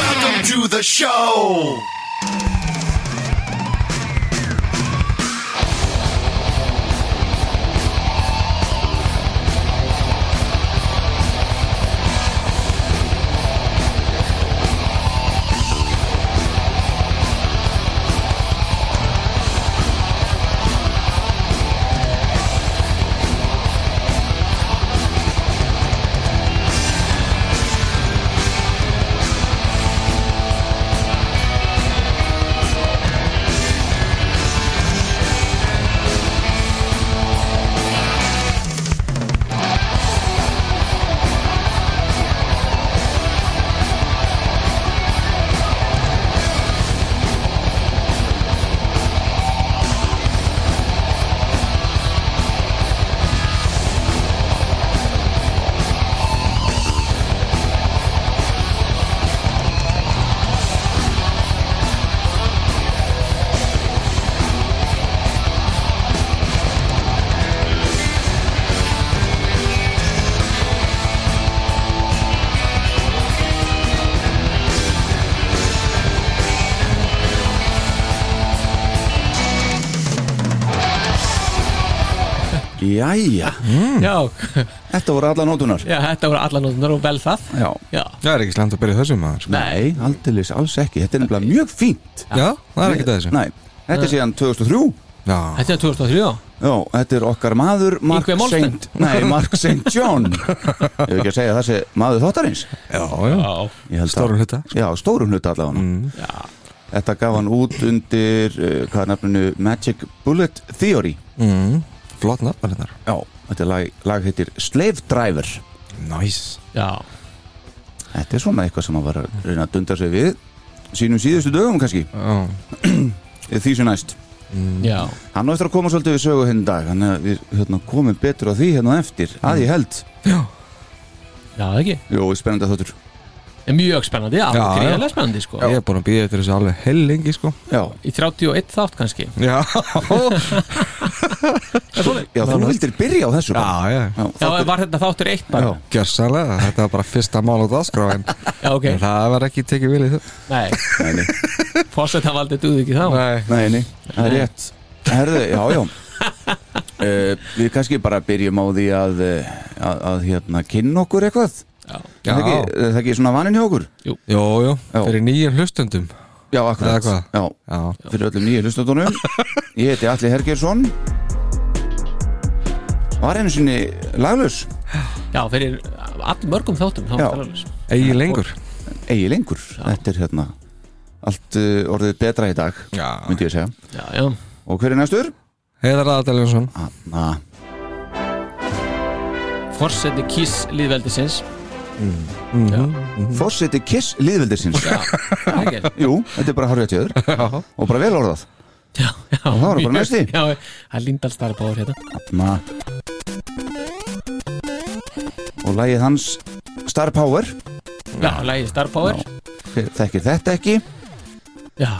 Welcome to the show. Jæja, Já, þetta voru alla nótunar já, þetta voru alla nótunar og vel það Já, Já, Það er ekki slemt að byrja þessu maður sko. nei, aldeilis, alls ekki Þetta er nefnilega mjög fínt Já, það er ekki þessu Nei, þetta er síðan 2003 Já, þetta er 2003 já. Já, þetta er okkar maður Mark Ingvi Málsteinn. Saint, nei, Mark Saint John Ég vil ekki að segja þessi maður þáttarins já, já Ég held að- Stórum hluta. Mm. Já, stórum hluta allavega Þetta gaf hann út undir, uh, hvað er nafninu, Magic Bullet Theory mm. Flott nafn hennar Já, þetta lag, lag heitir Slave Driver Næs já, Þetta er svona eitthvað sem hann var að reyna að dunda sig við Sínum síðustu dögum kannski, Já, því sem næst já Hann á eftir að koma svolítið við sögu hérna í dag Þannig að við hérna, komum betur á því hérna á eftir Að ég held Já, það ekki, Jó, spennandi þáttur er mjög spennandi, já, Já, já já. greiðlega spennandi sko Ég er búin að býða eftir þessu alveg hellingi sko Já, Í 31 þátt kannski Já, já þú vildir byrja á þessu já, bara. já já, Já, þáttur- var þetta þáttur eitt já. bara? Gjörsalega, þetta var bara fyrsta mál á dagskrá en Já, ok, en það var ekki tekið vilja þau nei, Nei, nei, fórsetta valdið duð ekki þá Nei nei, nei, það er rétt Herðu, já, já uh, Við kannski bara byrjum á því að eh, að, að hérna, kynna okkur eitthvað Já, Er Það ekki, er það ekki svona vanin hjá okkur Jó, jó, Já. fyrir nýjum hlustundum Já, akkurat Eða Já, Já, fyrir öllum nýju hlustatónum Ég heiti Atli Hergersson Var einu sinni laglaus já fyrir all mörgum þáttum þá Já. var það alveg. eigi lengur eigi lengur Þetta er hérna allt uh, orðið betra í dag Já. myndi ég segja Já, já, Og hver er næstur? Heiðar Aðaljónsson Anna fórseti kýs líðveldisins Fossiti Kiss liðveldisins Já, Jú, þetta er bara harfið til öður Og bara vel orðað já, já það var bara næsti. Já, það er Lindalstarp á hérna Anna Og lagið hans Star Power Já, lægið Starpower Hver Þekkir þetta ekki Já,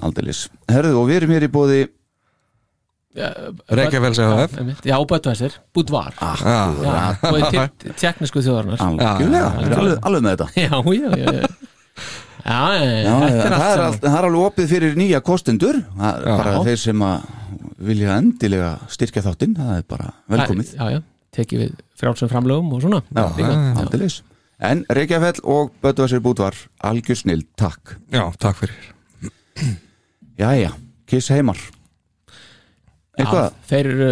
Aldeilis Herðu og við erum hér í bóði já Reykjavík Já, CHF einmitt. já Böttvæsir, Búdvar Já, Já, og til tjeknisku þjóðarnar Algjörlega, Já. við erum alveg, alveg með þetta Já, já, já, já. Já, Já, þetta er það, er allt allt, það er alveg opið fyrir nýja kostendur Það er Já. bara þeir sem að vilja endilega styrkja þáttinn það er bara velkomið Já, já, tekið við frjálsum framlögum og svona Já, Líka. aldeilis En Reykjafell og Böðvæsir Bútvar algjör snill, takk já takk fyrir Jæja, kiss heimar Eitthvað? þeir eru,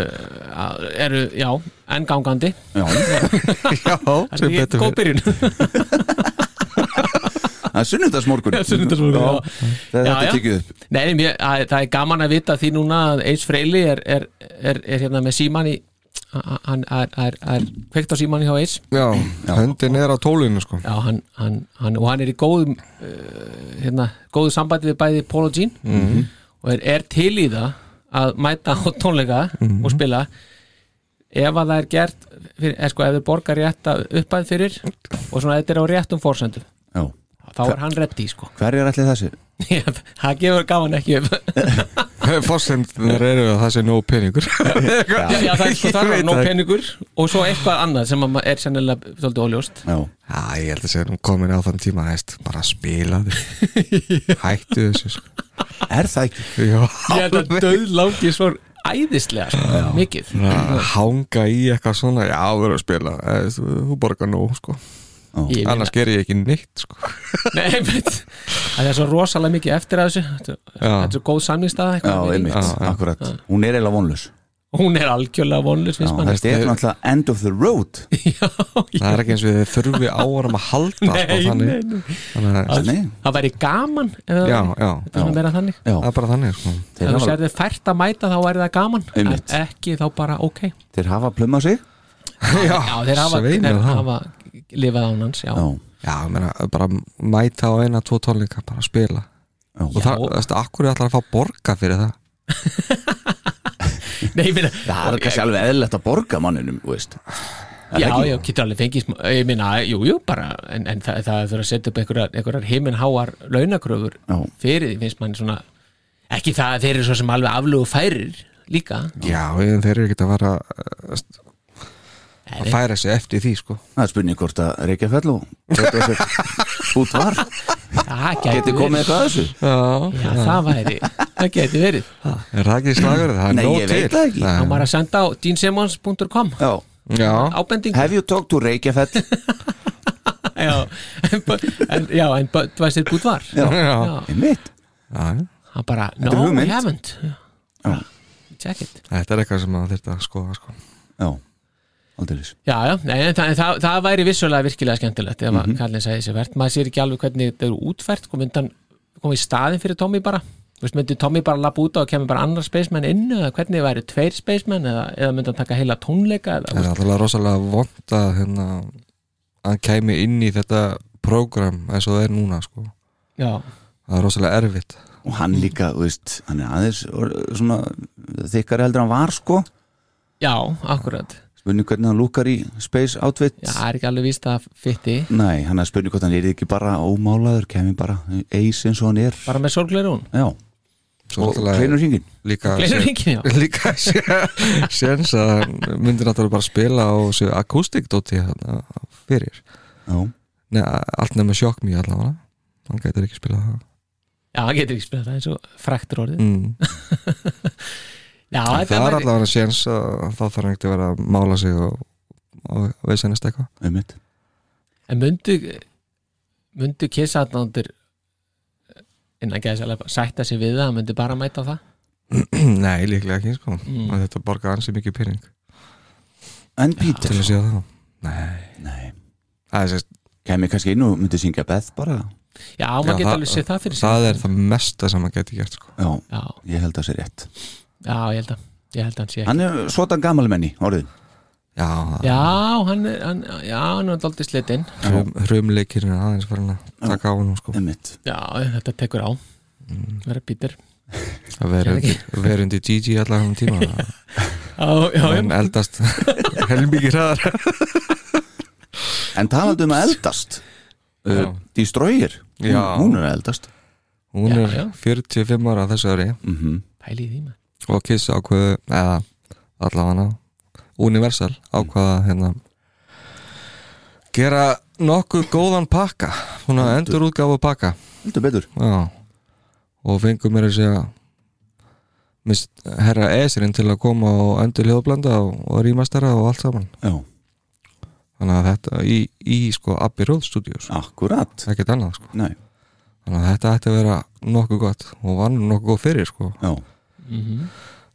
að- eru já, enn gangandi Já, Já, Það er sem ekki betur góð fyrir byrjun það er sunnudagsmorgun Sunnudagsmorgun, já. Þetta Já, já. er tekið upp Nei, nei, mér, að, það er gaman að vita því núna að Eils Freyli er, er, er, er hérna með síman í a- hann er, er, er kveikt á síman hjá Eils Já, höndin er á tólinu sko Já, hann, hann, hann, og hann er í góðum uh, hérna, góðu sambandi við bæði Paul og Jean Mhm. -hmm. og er, er til í það að mæta á tónleika Mhm. og spila ef að það er gert fyrir, er, sko, ef þau borgar rétt uppæð fyrir og svona þetta er á réttum forsendum Já. þá er hann reddi sko Hver er allir þessi? það gefur gaman ekki upp Fórsendir eru að það sé nóg peningur já, já, það er sko Ég það veit er nóg það. peningur og svo eitthvað annað sem að ma- er sennilega svolítið óljóst Já, Já, ég held að segja nú komin á þann tíma hæst, bara spila þig Hættu þessu sko er það ekki? Já, ég held að döð langi svo æðislega sko, mikið Að hanga í eitthvað svona Já, verður að spila, Eh, þú þú borgar nóg sko Ég meina- Annars ger ég ekki neitt sko Nei, einmitt. það er svo rosalega mikið eftir að þessu Þetta- Já. þetta er svo góð samningstað Já, einmitt, Já, já. akkurat Hún er eiginlega vonlaus hún er algjörlega vonlust Já, finnst mann Þetta er náttúrulega end of the road Það er ekki eins við þurfi áarum að halda sko, Nei, þannig, nei, nei. þannig að, Nei, það væri gaman ef það Já, væri- já. þetta er svona meira þannig já, Það er bara þannig sko þeir ef þú hafa, sér þið fært að mæta þá væri það gaman Einmitt. en ekki þá bara ok þeir hafa plumað sig Já, já, þeir hafa, sveinir þeir það. hafa lifað án hans já. Já, Já, ég meina, bara mæta á eina, tvo tónleika, bara að spila Já. Og það, veistu, akkur er allar að fá borga fyrir það Nei, ég meina, það er kannski alveg eðlilegt að borga manninum, þú veist Já, ekki? já, getur alveg fengið smá, ég minna, jú, jú, bara en, en það, það þurfa að setja upp einhverjar, einhverjar himinháar launakröfur Já. fyrir því finnst mann svona, ekki það að þeir eru svo sem alveg aflögu færir líka Já, en þeir eru ekkert að vera eh, st- að Nei. færa sig eftir því, sko Það er spurning hvort að Reykjafell og út var það gæti Geti komið eitthvað að þessu Já Já, það væri, það geti verið Er það ekki slagurðið? Það er Nei, nóg ég til veit það ekki. þá Nei. maður að senda á deansimmons.com Já, Já, ábending have you talked to Reykjafell? já, en, bu- en, já, en Böðvæsir Búdvar Já, já, einmitt já hann bara, er no, I hugmynd. haven't Já. check it Þetta er eitthvað sem maður þurft að skoða, sko Já, aldeilis Já, já, nei, en það, en það, það væri vissulega virkilega skemmtilegt ef Mhm. að Karlin segi sér verð maður sér ekki alveg hvernig þetta eru útfært kom, undan, kom í staðin fyrir Tommy bara Þú veist, myndi Tommy bara lappa út á og kemur bara annar spaceman inn eða hvernig væri tveir spaceman eða, eða myndi hann taka heila tónleika eða, Það er alltaf rosalega vond að hérna að kæmi inn í þetta prógram eins og það er núna, sko já, Það er rosalega erfitt Og hann líka, þú veist, hann er aðeins or- svona þykkari heldur en hann var sko já, akkurat Spurning hvernig hann lúkar í space outfit Já, það er ekki alveg víst að það fytti Nei, hann er spurning hvort hann er ekki bara ómálaður kemur bara eis eins og hann er bara með sorgleirún Já, Svo og náttúrulega- kleinur hringin líka Gleymir hringinn, já. líka sé- séns að hann myndi náttúrulega bara spila á þessu akústikdóti þarna fyrir Já, Nei, allt nefnir sjokk mjög allavega hann gætir ekki spilað það Já, það getur ekki spilað það eins og fræktur orðið mm. Já, þetta það er væri, allavega séns að þá þarf hann ekki að vera að mála sig og, og veisennist eitthvað einmitt en myndi myndi kissaðnandur innan geðsælega sætta sig við það, hann myndi bara mæta á það nei, líklega ekki sko Mm. mm. þetta borgar ansi mikið pening En Peter til að sé það nei, Nei, það er, sérst, kemur kannski inn og myndi syngja Beth bara Já, maður Já, getur það- alveg séð það fyrir sig það er það mesta sem hann gæti gert sko. Já, Já, ég held að það sé rétt já, ég held að Ég held að hann sé ekki Hann er svotan gamal menni, orðin já, það- Já, hann er, hann, já, hann er aldrei slitinn hrum, hrumleikirinn er aðeins farin að taka á hann sko. Einmitt Já, þetta tekur á Mm. Verða pítur að vera Ég veit undir, vera undir DJ allan um tíma Já, já, já, en eldast helmingi hraðar En talandi um að eldast Já. uh, Destroyer, hún, Já. hún er að eldast hún Já, er já. 45 ára þessu ári mm pæli í því maður og Kiss ákveðu eða allavega Universal ákvaða hérna gera nokkuð góðan pakka svona endur útgáfu pakka Heldur betur já. og fengum mér að segja mist, herra Esirinn til að koma og endur hljóðblanda og, og rýmastara og allt saman Já, þannig að þetta í, í sko Abbey Road Studios akkurat ekkert annað sko Nei, þannig að þetta ætti að vera nokkuð gott og var nú nokkuð góð fyrir sko já,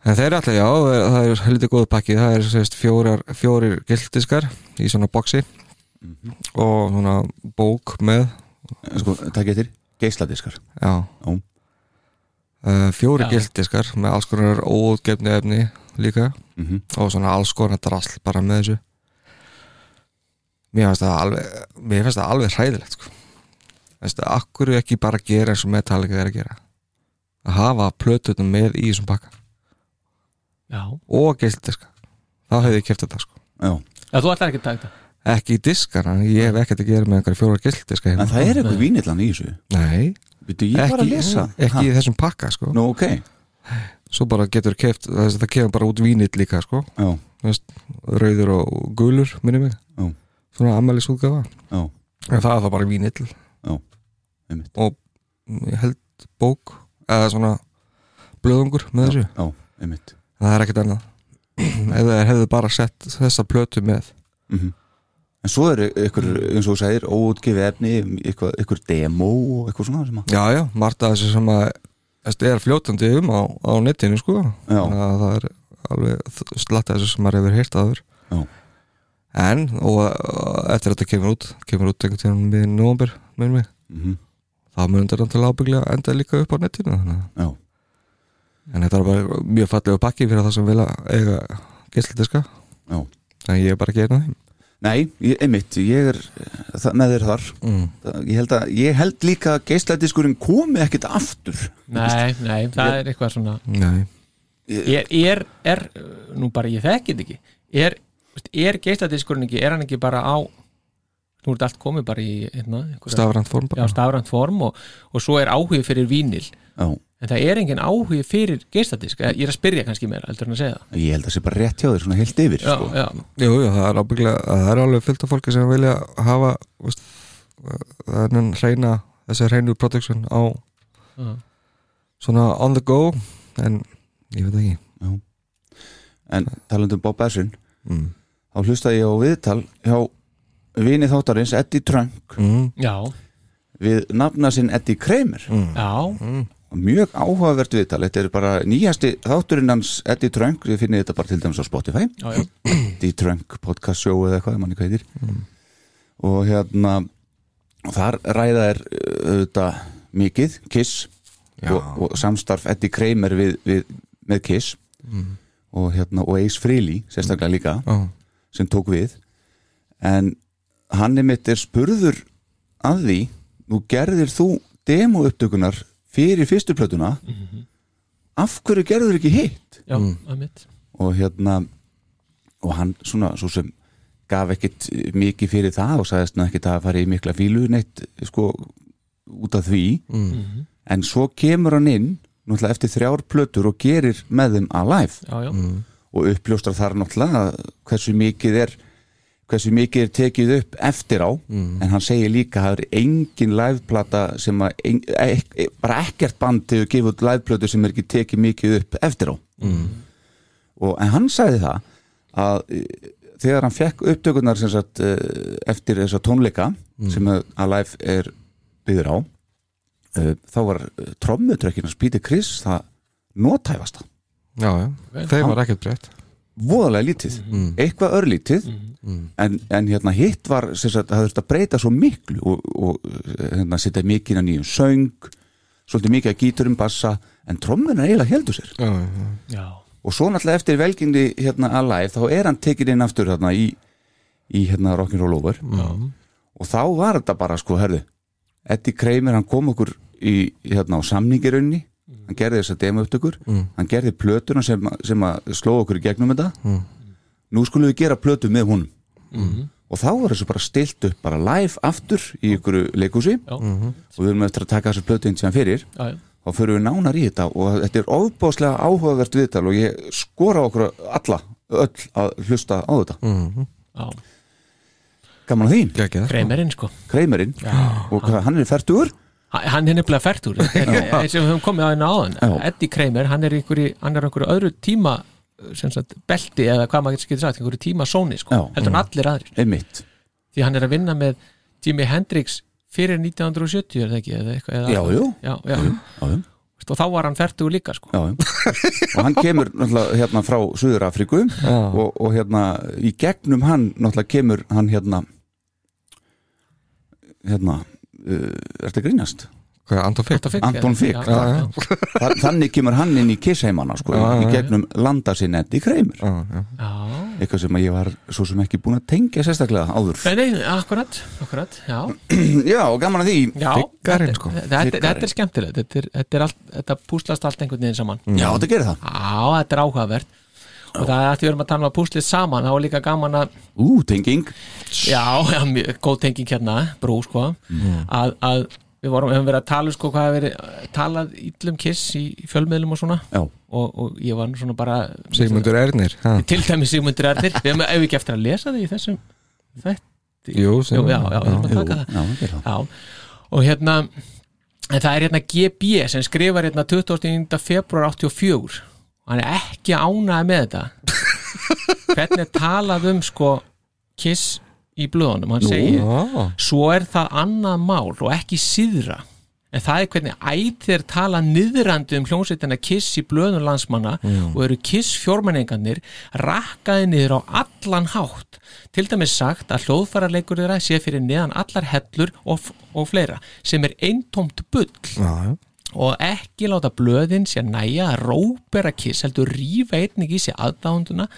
En þeir alltaf, já, það er heldur góð pakki það er sérst, fjórar, fjórir gildiskar í svona boksi og svona bók með Sko, takk eftir, geisladiskar já, Ó. uh, fjóri Já. gildiskar með alls konar óútgefni efni líka Mhm. og svona alls konar drasl bara með þessu mér finnst það alveg mér finnst það alveg hræðilegt sko. Veistu, akkur ekki bara gera eins og Metallica er að gera að hafa plötutum með í þessum pakka Já, og gildiska þá hefði ég kæft þetta sko Já, já þú ætlar ekki að taka þetta ekki í diskana, ég hef ekkert að gera með einhverja fjóra gildiska en heima það er eitthvað vínilann í þessu Nei, Býttu, ég var ekki, að lesa ekki í þessum pakka sko. Nú, ok, svo bara getur kæft, það, það kemur bara út vínill líka sko. já, Þú veist, rauður og gulur minni mig, Já. svona ammælisútgafa já, en það er það bara vínill einmitt og ég held bók eða svona blöðungur með þessu, Já, einmitt það er ekkert annað ef það hefðu bara sett þessa plötu með Mhm. En svo eru ykkur, eins og þú segir, óutgefi efni, ykkur, ykkur demo og eitthvað svona sem að Já, já, margt af þessu sem að þessi, er fljótandi um á, á netinu sko Já. Þannig að það er alveg slatta þessu sem maður hefur heyrt aður Já. En, og uh, eftir að þetta kemur út kemur út einhvern tíðan með nómber með mig, Mhm. þá mun þetta til ábygglega enda líka upp á netinu þannig. að- Já, En þetta er bara mjög fallegu pakki fyrir það sem vilja eiga geisladiska já en ég er bara ekki einn af þeim Nei, ég, einmitt, ég er eh, það- með þér þar mm. Það- ég held, að, ég held líka að geisladiskurinn komi ekkit aftur Nei, nei, það er eitthvað svona Nei, er, er, er, uh, nú bara ég þekki þetta ekki er, veist, er geisladiskurinn ekki er hann ekki bara á nú er þetta allt komið bara í hérna, einhverja- stafrænt form já, bara stafrænt form og, og svo er áhugi fyrir vínil Já, en það er engin áhugi fyrir geisladisk Eh, ég er að spyrja kannski meira, heldur en að segja það ég held að sé bara rétt hjá þér, svona heilt yfir sko. já, já, Jú, jú, það er ábygglega það er alveg fullt af fólki sem vilja hafa veist, þennan hreina þessi hreinu production á já. svona on the go en ég veit ekki En talandi um Bob Essin mm. þá hlustaði ég á viðtal hjá vini þáttarins Eddie Trunk Mm. já, við nafna sinn Eddie Kramer já. mjög áhugavert viðtal, þetta er bara nýjasti þátturinn hans Eddie Trunk við finnum þetta bara til dæmis á Spotify Já, já. Eddie Trunk podcast show eða eitthvað, manni hvað heitir og hérna og þar ræða er uh, auðvitað mikið, Kiss og, og samstarf Eddie Kramer við, við, með Kiss og hérna, og Ace Frehley sérstaklega líka Ó, sem tók við en hann er mitt er spurður að því nú gerðir þú demo upptökunar fyrir fyrstu plötuna af hverju gerður ekki hitt já, mm. og hérna og hann svona svo sem gaf ekkit eh, mikið fyrir það og sagðist nú ekkit að fara í mikla fílu neitt sko út af því Mhm. en svo kemur hann inn náttúrulega eftir þrjár plötur og gerir með þeim alive já, já. og uppljóstra þar náttúrulega hversu mikið er hversu mikið er tekið upp eftir á en hann segir líka að það er engin liveplata sem að ein, ek, ek, bara ekkert band hefur gefið út liveplötu sem er ekki tekið mikið upp eftir á Mm. og en hann sagði það að e, þegar hann fekk upptökunar sem sagt e, eftir þessa tónleika sem að að live er byggður á e, þá var trommutrekkin að spýti Chris það notæfasta já, já, þeim var ekkert breytt voðalega lítið, eitthvað örlítið en, en hérna hitt var sem sagt, það þurfti að breyta svo miklu og, og hérna, setja mikið inn á nýjum söng svolítið mikið að gíturum bassa en trommunar eiginlega heldur sér já, já, já. og svo náttúrulega eftir velgengni hérna Alive þá er hann tekinn inn aftur hérna í, í hérna Rock'n'Roll Over og þá var þetta bara sko, herðu Eddie Kramer, hann kom okkur í, hérna á samningirunni hann gerði þess að dema upptökur hann gerði plötuna sem, sem að sló okkur í gegnum þetta nú skulum við gera plötu með honum og þá var þessu bara stilt upp bara live aftur í ykkur leikúsi Já. og við erum eftir að taka þessa plötu inn sem fyrir já, já. þá fyrir við nánar í þetta og þetta er ofbáslega áhugavert viðtal og ég skora á okkur alla, öll að hlusta á þetta Mm. já. gaman að þín, ekki það Kreimerinn sko Kreimerinn og hvað, hann er færtur Ha- hann er nefnilega fært úr eh, eins og við höfum komið á einu áðan Já. Eddie Kramer, hann er í einhverju, hann er í einhverju öðru tíma eh, sem sagt, belti eða hvað maður getur sagt, einhverju tíma sóni sko, Já. heldur hann allir aðrir einmitt, því hann er að vinna með Jimi Hendrix fyrir 1970 er það ekki, eða eitthvað eða Já, jú. já, já. já, já. Veist, og þá var hann fertugur líka sko. já, já. og hann kemur náttúrulega hérna frá Suður Afríku og, og hérna í gegnum hann náttúrulega kemur hann hérna hérna uh, ertu að grínast? Hvað, Anton Fick? Anton Figg, Anton Figg, já, já, já. Þa, þannig kemur hann inn í kissheimana sko, Já, já, í gegnum landa sinni endi kreimur Já, já. Já. eitthvað sem að ég var svo sem ekki búin að tengja sérstaklega áður Nei, nei, akkurat, akkurat, já, já, og gaman að því já Figgarinn, þetta- sko. þetta, þetta, þetta er Figgarinn. skemmtilegt þetta, er, þetta, er allt, þetta púslast allt einhvern veginn saman já, þetta gerir það Já, þetta er áhugavert og það er að því við erum að tala um að púslið saman þá er líka gaman að, ú, tenging já, já mjög góð tenging hérna, brú sko að, að við vorum, hefum verið að tala um, sko hvað hefur verið talað ítlum kiss í fjölmiðlum og svona já, og, og ég var nú svona bara Sigmundur Ernir ha. til dæmis Sigmundur Erdir við hefum ef ekki eftir að lesa því í þessum þetta Jú, já, já, já, já, jú, já, já, já, það gerir það Já, og hérna en það er hérna GB sem skrifar hérna 29. februar 84 og hann er ekki ánæði með þetta hvernig er talað um sko kiss í blöðunum hann segir, Já. svo er það annað mál og ekki síðra en það er hvernig ætlir tala niðrandi um hljómsveitina kiss í blöðun landsmanna og eru kiss fjórmenningarnir rakkaði niður á allan hátt til dæmis sagt að hljóðfæraleikur þeirra sé fyrir neðan allar hellur og, og fleira sem er eintómt bull Já, já. og ekki láta blöðin sér næja að róbera kiss heldur rífa einnig í sér aðdánduna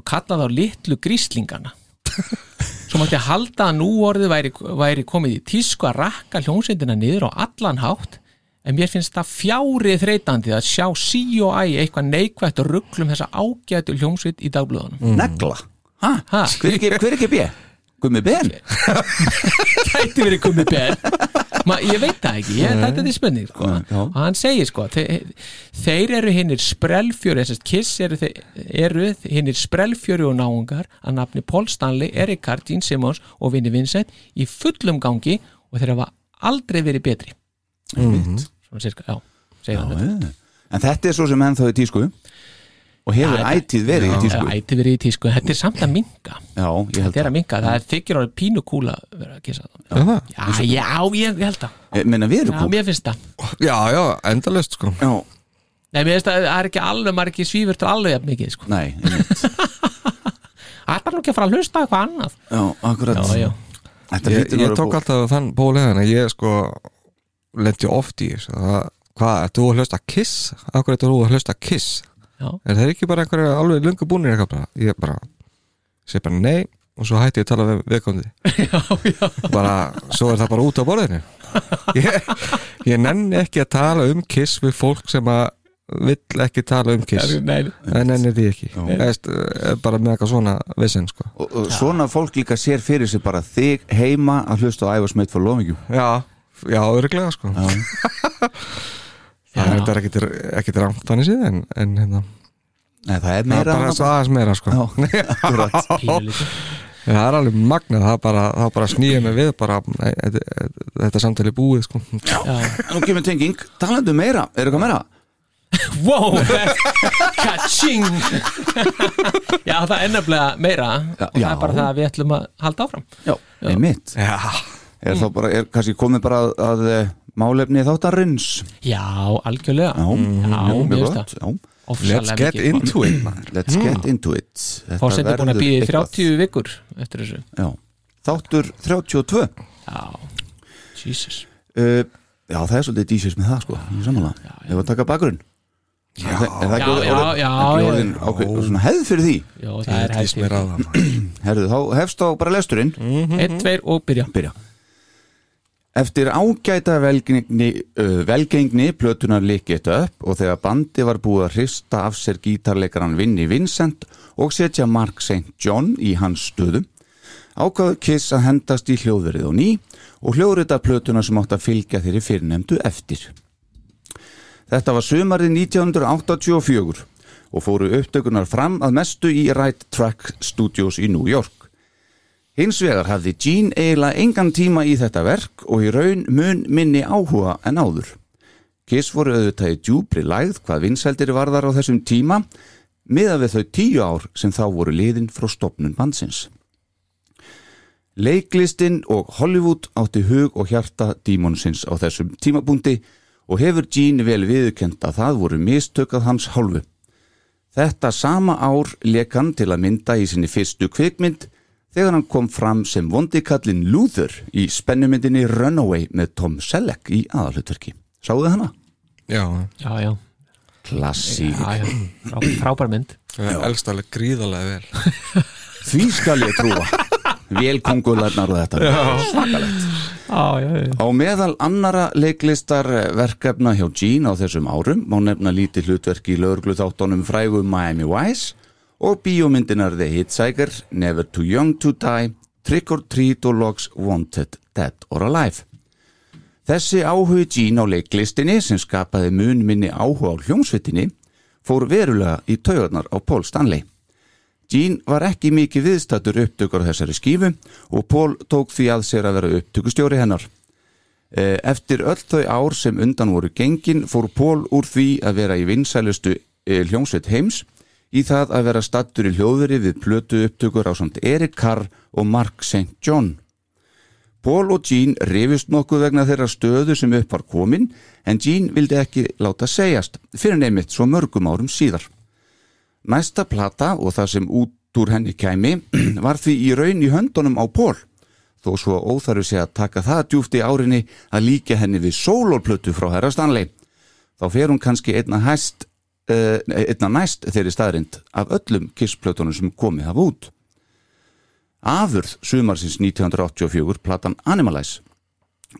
og kalla þá litlu gríslingana svo mátti halda að nú orðið væri, væri komið í tísku að rakka hljómsveitina niður á allan hátt en mér finnst það fjárið þreytandi að sjá sí og æ eitthvað neikvætt og rugglum þessa ágætu hljómsveit í dagblöðunum negla, ha, Mm. Ha? hver ekki, hver ekki bjö? Gummi Ben? gæti verið gummi ben Ma, ég veit það ekki, ég, þetta er spurning sko. Já, já. og hann segir sko þe þeir eru hinnir sprelfjöru þessast kiss eru, þe- eru hinnir sprelfjöru og náungar að nafni Paul Stanley, Eric Card, Gene Simmons og Vinnie Vincent í fullum gangi og þeir hafa aldrei verið betri Mm. svona cirka, já, segir hann Já, þetta. já. En þetta er svo sem ennþá í tísku og hefur Já, ætíð verið í tísku Það ætti verið í tísku, þetta er samt að minga Já, ég held þetta er það að minga, það er þykir orðið pínu kúla að vera að kissa það Er það? já, já, ég, ég held það, Ég Meina við já, erum kúl mér finnst það já, já, endalaust sko Já, Nei, mér finnst að það er ekki alveg, maður er ekki svífur til alveg jafn mikið, sko. nei, einmitt. Það er nú ekki að fara að hlusta á eitthvað annað. já, akkurat Já, já. Þetta ég, hlýtur að ég vera tók búið. alltaf þann bóliðan að ég sko lendi oft í þessu það- hvað, ert þú að hlusta kiss? akkur ert þú að hlusta kiss? Já. er það ekki bara einhverja alveg lungu búnir eitthvað bara, ég bara, segi bara nei og svo hætti ég að tala við viðkomandi bara, svo er það bara út á borðinu ég, ég nenni ekki að tala um kiss við fólk sem að vill ekki tala um kiss Nei, það nenni því ekki Eðst, bara með eitthvað svona vissinn sko og, og svona fólk líka sér fyrir sig bara þig heima að hlusta á æfa smeitt for lofingjú Já, já, örglega sko Það er þetta ekkit, ekkit rangt þannig síðan en, en hérna, Nei, það er það er meira bara en svo aðeins meira sko Já, akkurat pínulítið. En Það er alveg magnað, það bara, það bara snýja mig við bara, nei, þetta, þetta samtali er búið sko Já, Nú kemur tenging, talandu meira, er eitthvað meira? Wow! Kaching! Já, það er nefnilega meira og það Já. er bara það að við ætlum að halda áfram. Já, einmitt Er þá bara, er kannski komið bara að, að eh, málefni þáttarins Já, algjörlega. Já, Mhm. já, mjög mér finnst gott, það. já Ofsalega Let's get mikið, sko. into it maður Let's get into it Þetta Fórseti er búin verður að býða í eitthvað. 30 vikur eftir þessu. Já. Þáttur 32 Já, Jesus. uh, Já, það er svolítið dísis með það sko í samanlega, ef að taka bakgrunn Já, er það ekki Já, orðin- já, orðin- já, ekki já. orðin ákveð, svona hefð fyrir því Já, það er Lýst hættið. mér á það maður. Herðu, þá hefst á bara lesturinn Einn, tveir og byrja. byrja Eftir ágæta velgengni, uh, velgengni plötunar likið upp og þegar bandi var búið að hrista af sér gítarleikaran Vinni Vincent og setja Mark St. John í hans stöðu ákvaðu Kiss að hendast í hljóðverið og ný og hljóðrita plötuna sem átt að fylgja þeirri fyrrnemdu eftir. Þetta var sumarið 1984 og fóru upptökunar fram að mestu í Right Track Studios í New York. Hins vegar hafði Gene eiginlega engan tíma í þetta verk og í raun mun minni áhuga en áður. Kiss voru auðvitað í djúbri lægð hvað vinsældir varðar á þessum tíma miða við þau tíu ár sem þá voru liðin frá stopnun bandsins. Leiklistinn og Hollywood átti hug og hjarta dímonsins á þessum tímabúndi og hefur Gene vel viðurkennt að það voru mistökað hans hálfu. Þetta sama ár leik hann til að mynda í sinni fyrstu kvikmynd þegar hann kom fram sem vondikallin Luther í spennumyndinni Runaway með Tom Selleck í aðalhutverki. Sáðu hana? já, já, já, Klassík. já, já. Frá, frábær mynd já. elst alveg gríðarlega vel Því skal ég trúa. Vel kongularnar og þetta. já, já, já. Á meðal annara leiklistarverkefna hjá Gene á þessum árum má nefna lítið hlutverk í lögurglu þáttunum frægu Miami Vice og bíómyndinar The Hitchhiker, Never Too Young to Die, Trick or Treat og Logs Wanted, Dead or Alive. Þessi áhugi Gene á leiklistinni sem skapaði mun minni áhuga á hljómsveitinni fór verulega í taugarnar á Paul Stanley. Gene var ekki mikið viðstættur upptökur á þessari skífu og Paul tók því að sér að vera upptökustjóri hennar. Eh, Eftir öll þau ár sem undan voru gengin fór Pól úr því að vera í vinsælustu eh, hljómsveit heims í það að vera stattur í hljóðveri við plötu upptökur á samt Erik Carr og Mark St. John. Pól og Gene rifust nokkuð vegna þeirra stöðu sem upp var komin en Gene vildi ekki láta segjast fyrir neymitt svo mörgum árum síðar. Næsta plata og það sem út úr henni kæmi var því í raun í höndunum á Pól þó svo óþarfi sé að taka það djúft í árinni að líka henni við sólorplötu frá herra Stanley. Þá fer hún kannski einna, hæst, uh, einna næst þeirri staðrind af öllum kissplötunum sem komið hafa út. Afurð sumarsins 1984, platan Animalize,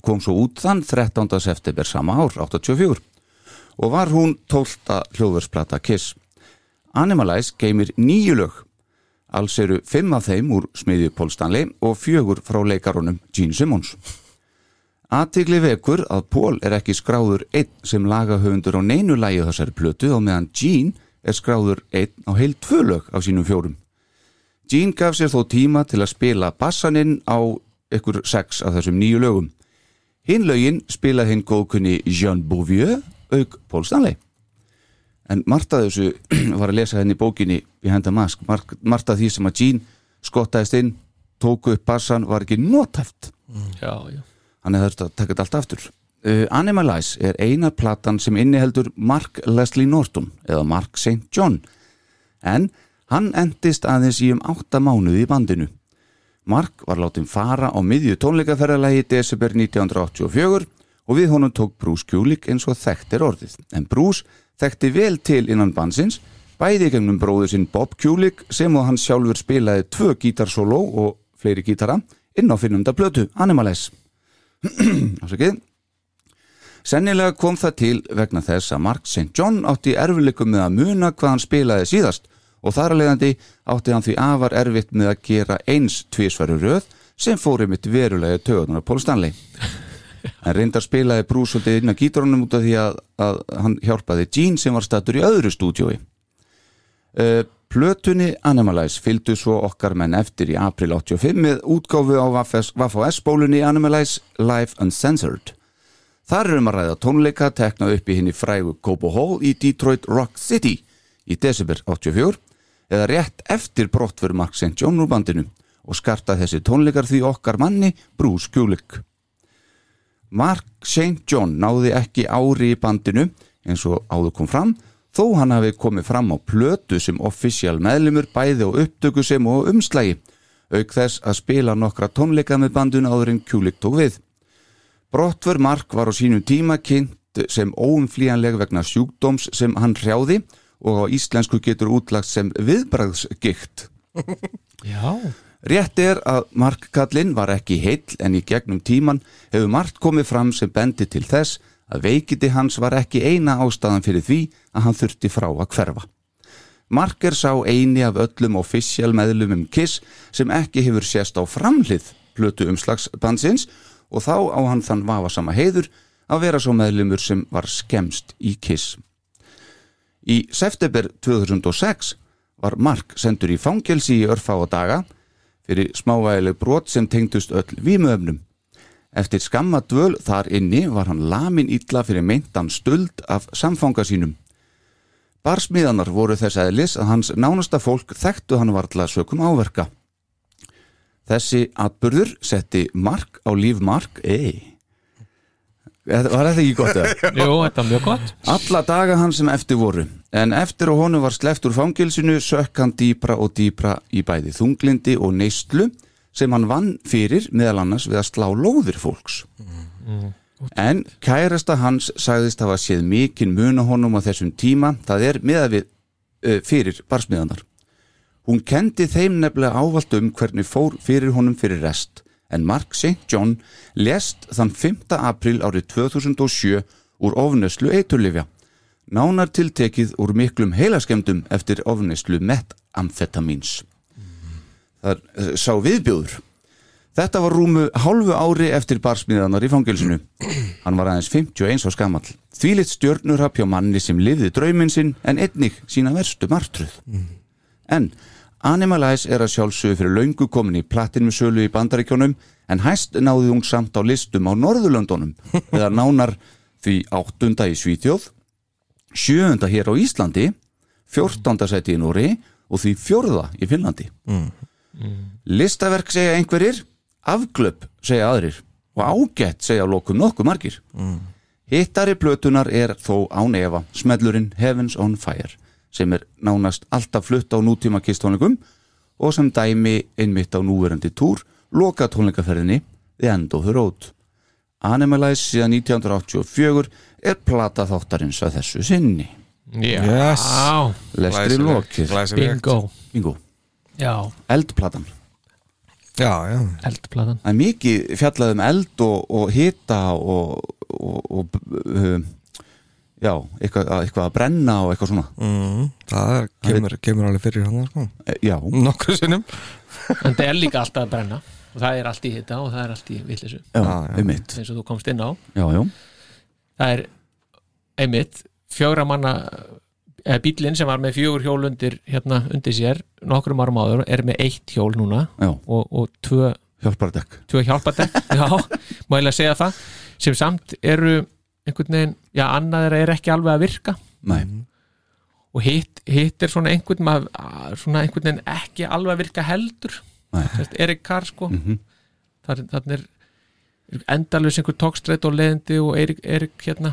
kom svo út þann 13. september sama ár, 84, og var hún 12. hljóðversplata Kiss. Animalize geymir nýju lög Alls eru fimm af þeim úr smiðju Paul Stanley og fjögur frá leikarunum Gene Simmons. Aðtikli vekur að Paul er ekki skráður einn sem lagahöfundur á neinu lægi þessari plötu og meðan Gene er skráður einn á heil tvö lög af sínum fjórum. Gene gaf sér þó tíma til að spila bassaninn á ykkur sex af þessum nýju lögum. Hinn lögin spilaði hinn góðkunni Jean Bouvier auk Paul Stanley. En margt af þessu var að lesa henni í bókinni Behind the Mask, Mark- margt af því sem að Gene skottaðist inn, tóku upp bassan var ekki notæft já, já. hann er þurft að taka þetta allt aftur uh, Animalize er eina platan sem inniheldur Mark Leslie Norton eða Mark St. John en hann endist aðeins í um átta mánuði í bandinu Mark var látin fara á miðju tónleikaferðalagi í desember 1984 og við honum tók Bruce Kulick eins og þekkt er orðið en Bruce þekkti vel til innan bansins bæði í gegnum bróður sinn Bob Kulick sem og hann sjálfur spilaði tvö gítarsóló og fleiri gítara inn á finnumda plötu Animalize afsakið Sennilega kom það til vegna þess að Mark St. John átti erfileikum með að muna hvað hann spilaði síðast og þar að leiðandi átti hann því afar erfitt með að gera eins tvísværu röð sem fóri mitt verulega töðunar Paul Stanley en reyndar spilaði Bruce svolítið inn á gítarunum út af því að, að hann hjálpaði Gene sem var stattur í öðru stúdíói uh, Plötunni Animalize fylgdu svo okkar menn eftir í april 85 með útgáfu á Vafs bólunni Animalize Live Uncensored Þar er um að ræða tónleika tekna upp í henni frægu Cobo Hall í Detroit Rock City í desember 84 eða rétt eftir brottfur Mark St. John úr bandinu og skarta þessi tónleikar því okkar manni Bruce Kulick Mark St. John náði ekki ári í bandinu eins og áður kom fram þó hann hafi komið fram á plötu sem offisjál meðlumur bæði og upptöku sem og umslægi auk þess að spila nokkra tónleika með bandinu áður en Kulik tók við. Brottfur Mark var á sínum tíma kynnt sem óumflýjanleg vegna sjúkdóms sem hann hrjáði og á íslensku getur útlagt sem viðbragðsgikt. já. Rétt er að markkallinn var ekki heill en í gegnum tíman hefur margt komið fram sem bendi til þess að veikiti hans var ekki eina ástæðan fyrir því að hann þurfti frá að hverfa. Mark er sá eini af öllum official meðlumum um Kiss sem ekki hefur sést á framhlið plötu umslagsbansins og þá á hann þann vafasama heiður að vera svo meðlumur sem var skemst í Kiss. Í september 2006 var Mark sendur í fangelsi í örfáa daga fyrir smávægileg brot sem tengdust öll vímöfnum. Eftir skamma dvöl þar inni var hann lamin illa fyrir meintan stöld af samfanga sínum. Barsmiðanar voru þess eðlis að hans nánasta fólk þekktu hann varla sökum áverka. Þessi atburður setti mark á líf mark, ei. Þetta- Var þetta ekki gott það? Jú, þetta er mjög gott Alla daga hans sem eftir voru En eftir að honum var sleppt úr fangilsinu sökk hann dýpra og dýpra í bæði þunglindi og neyslu sem hann vann fyrir meðal annars við að slá lóðir fólks En kærasta hans sagðist hafa séð mikinn muna honum á þessum tíma, það er meða við uh, fyrir barsmiðanar Hún kendi þeim nefnilega ávalt um hvernig fór fyrir honum fyrir rest, en Mark St. John lest þann 5. april árið 2007 úr ofnöslu eiturlifja. Nánar tiltekið úr miklum heilaskemdum eftir ofnöslu metamfetamins. Það er eh, sá viðbjóður. Þetta var rúmu hálfu ári eftir barsmiðanar í fangilsinu. Hann var aðeins 51 á skamall. Þvílitt stjörnurhap hjá manni sem lifði drauminn sinn en einnig sína verstu martruð. En Animalize er að sjálfsögðu fyrir löngu komin í platinu sölu í bandaríkjónum en hæst náði hún samt á listum á Norðurlöndunum eða nánar því áttunda í Svíþjóð, sjöunda hér á Íslandi, fjórtanda sæti í Núri og því fjórða í Finnlandi. Listaverk segja einhverjir, afglöp segja aðrir og ágætt segja lokum nokkuð margir. Hittari plötunar er þó án efa smellurinn Heavens on Fire sem er nánast alltaf flutt á nútíma kistónleikum og sem dæmi einmitt á núverandi túr loka tónleikaferðinni The End of the Road. Animalize síðan 1984 er plata þáttarins að þessu sinni. Já, Yes Á, Lestri lokið. Glæsilegt bingo Bingo. Já, Eldplatan. Já, já eldplatan Það er mikið fjallað um eld og, og hita og, og, og uh, já, eitthvað, eitthvað að brenna og eitthvað svona. mm. Það er, kemur, kemur alveg fyrir hann sko. Eh, Já. Nokkur sinnum En það er líka alltaf að brenna og það er allt í hita og það er allt í villisu Já, Já, já. einmitt eins og þú komst inn á Já, já, það er einmitt fjögra manna eða bílinn sem var með fjögur hjól undir hérna undir sér nokkrum árum áður er með eitt hjól núna já, og, og tvö, hjálpardekk tvö hjálpadekk já, má ég að segja það sem samt eru einhvern veginn já, annað þeirra er ekki alveg að virka Nei, Mm, og hitt, hitt er svona einhvern maður, að- svona einhvern veginn ekki alveg að virka heldur Nei. Sest, Erik Carr sko mm Mhm. -hmm. þannig er endalus einhver tókstrætt og leðindi og Erik, Erik hérna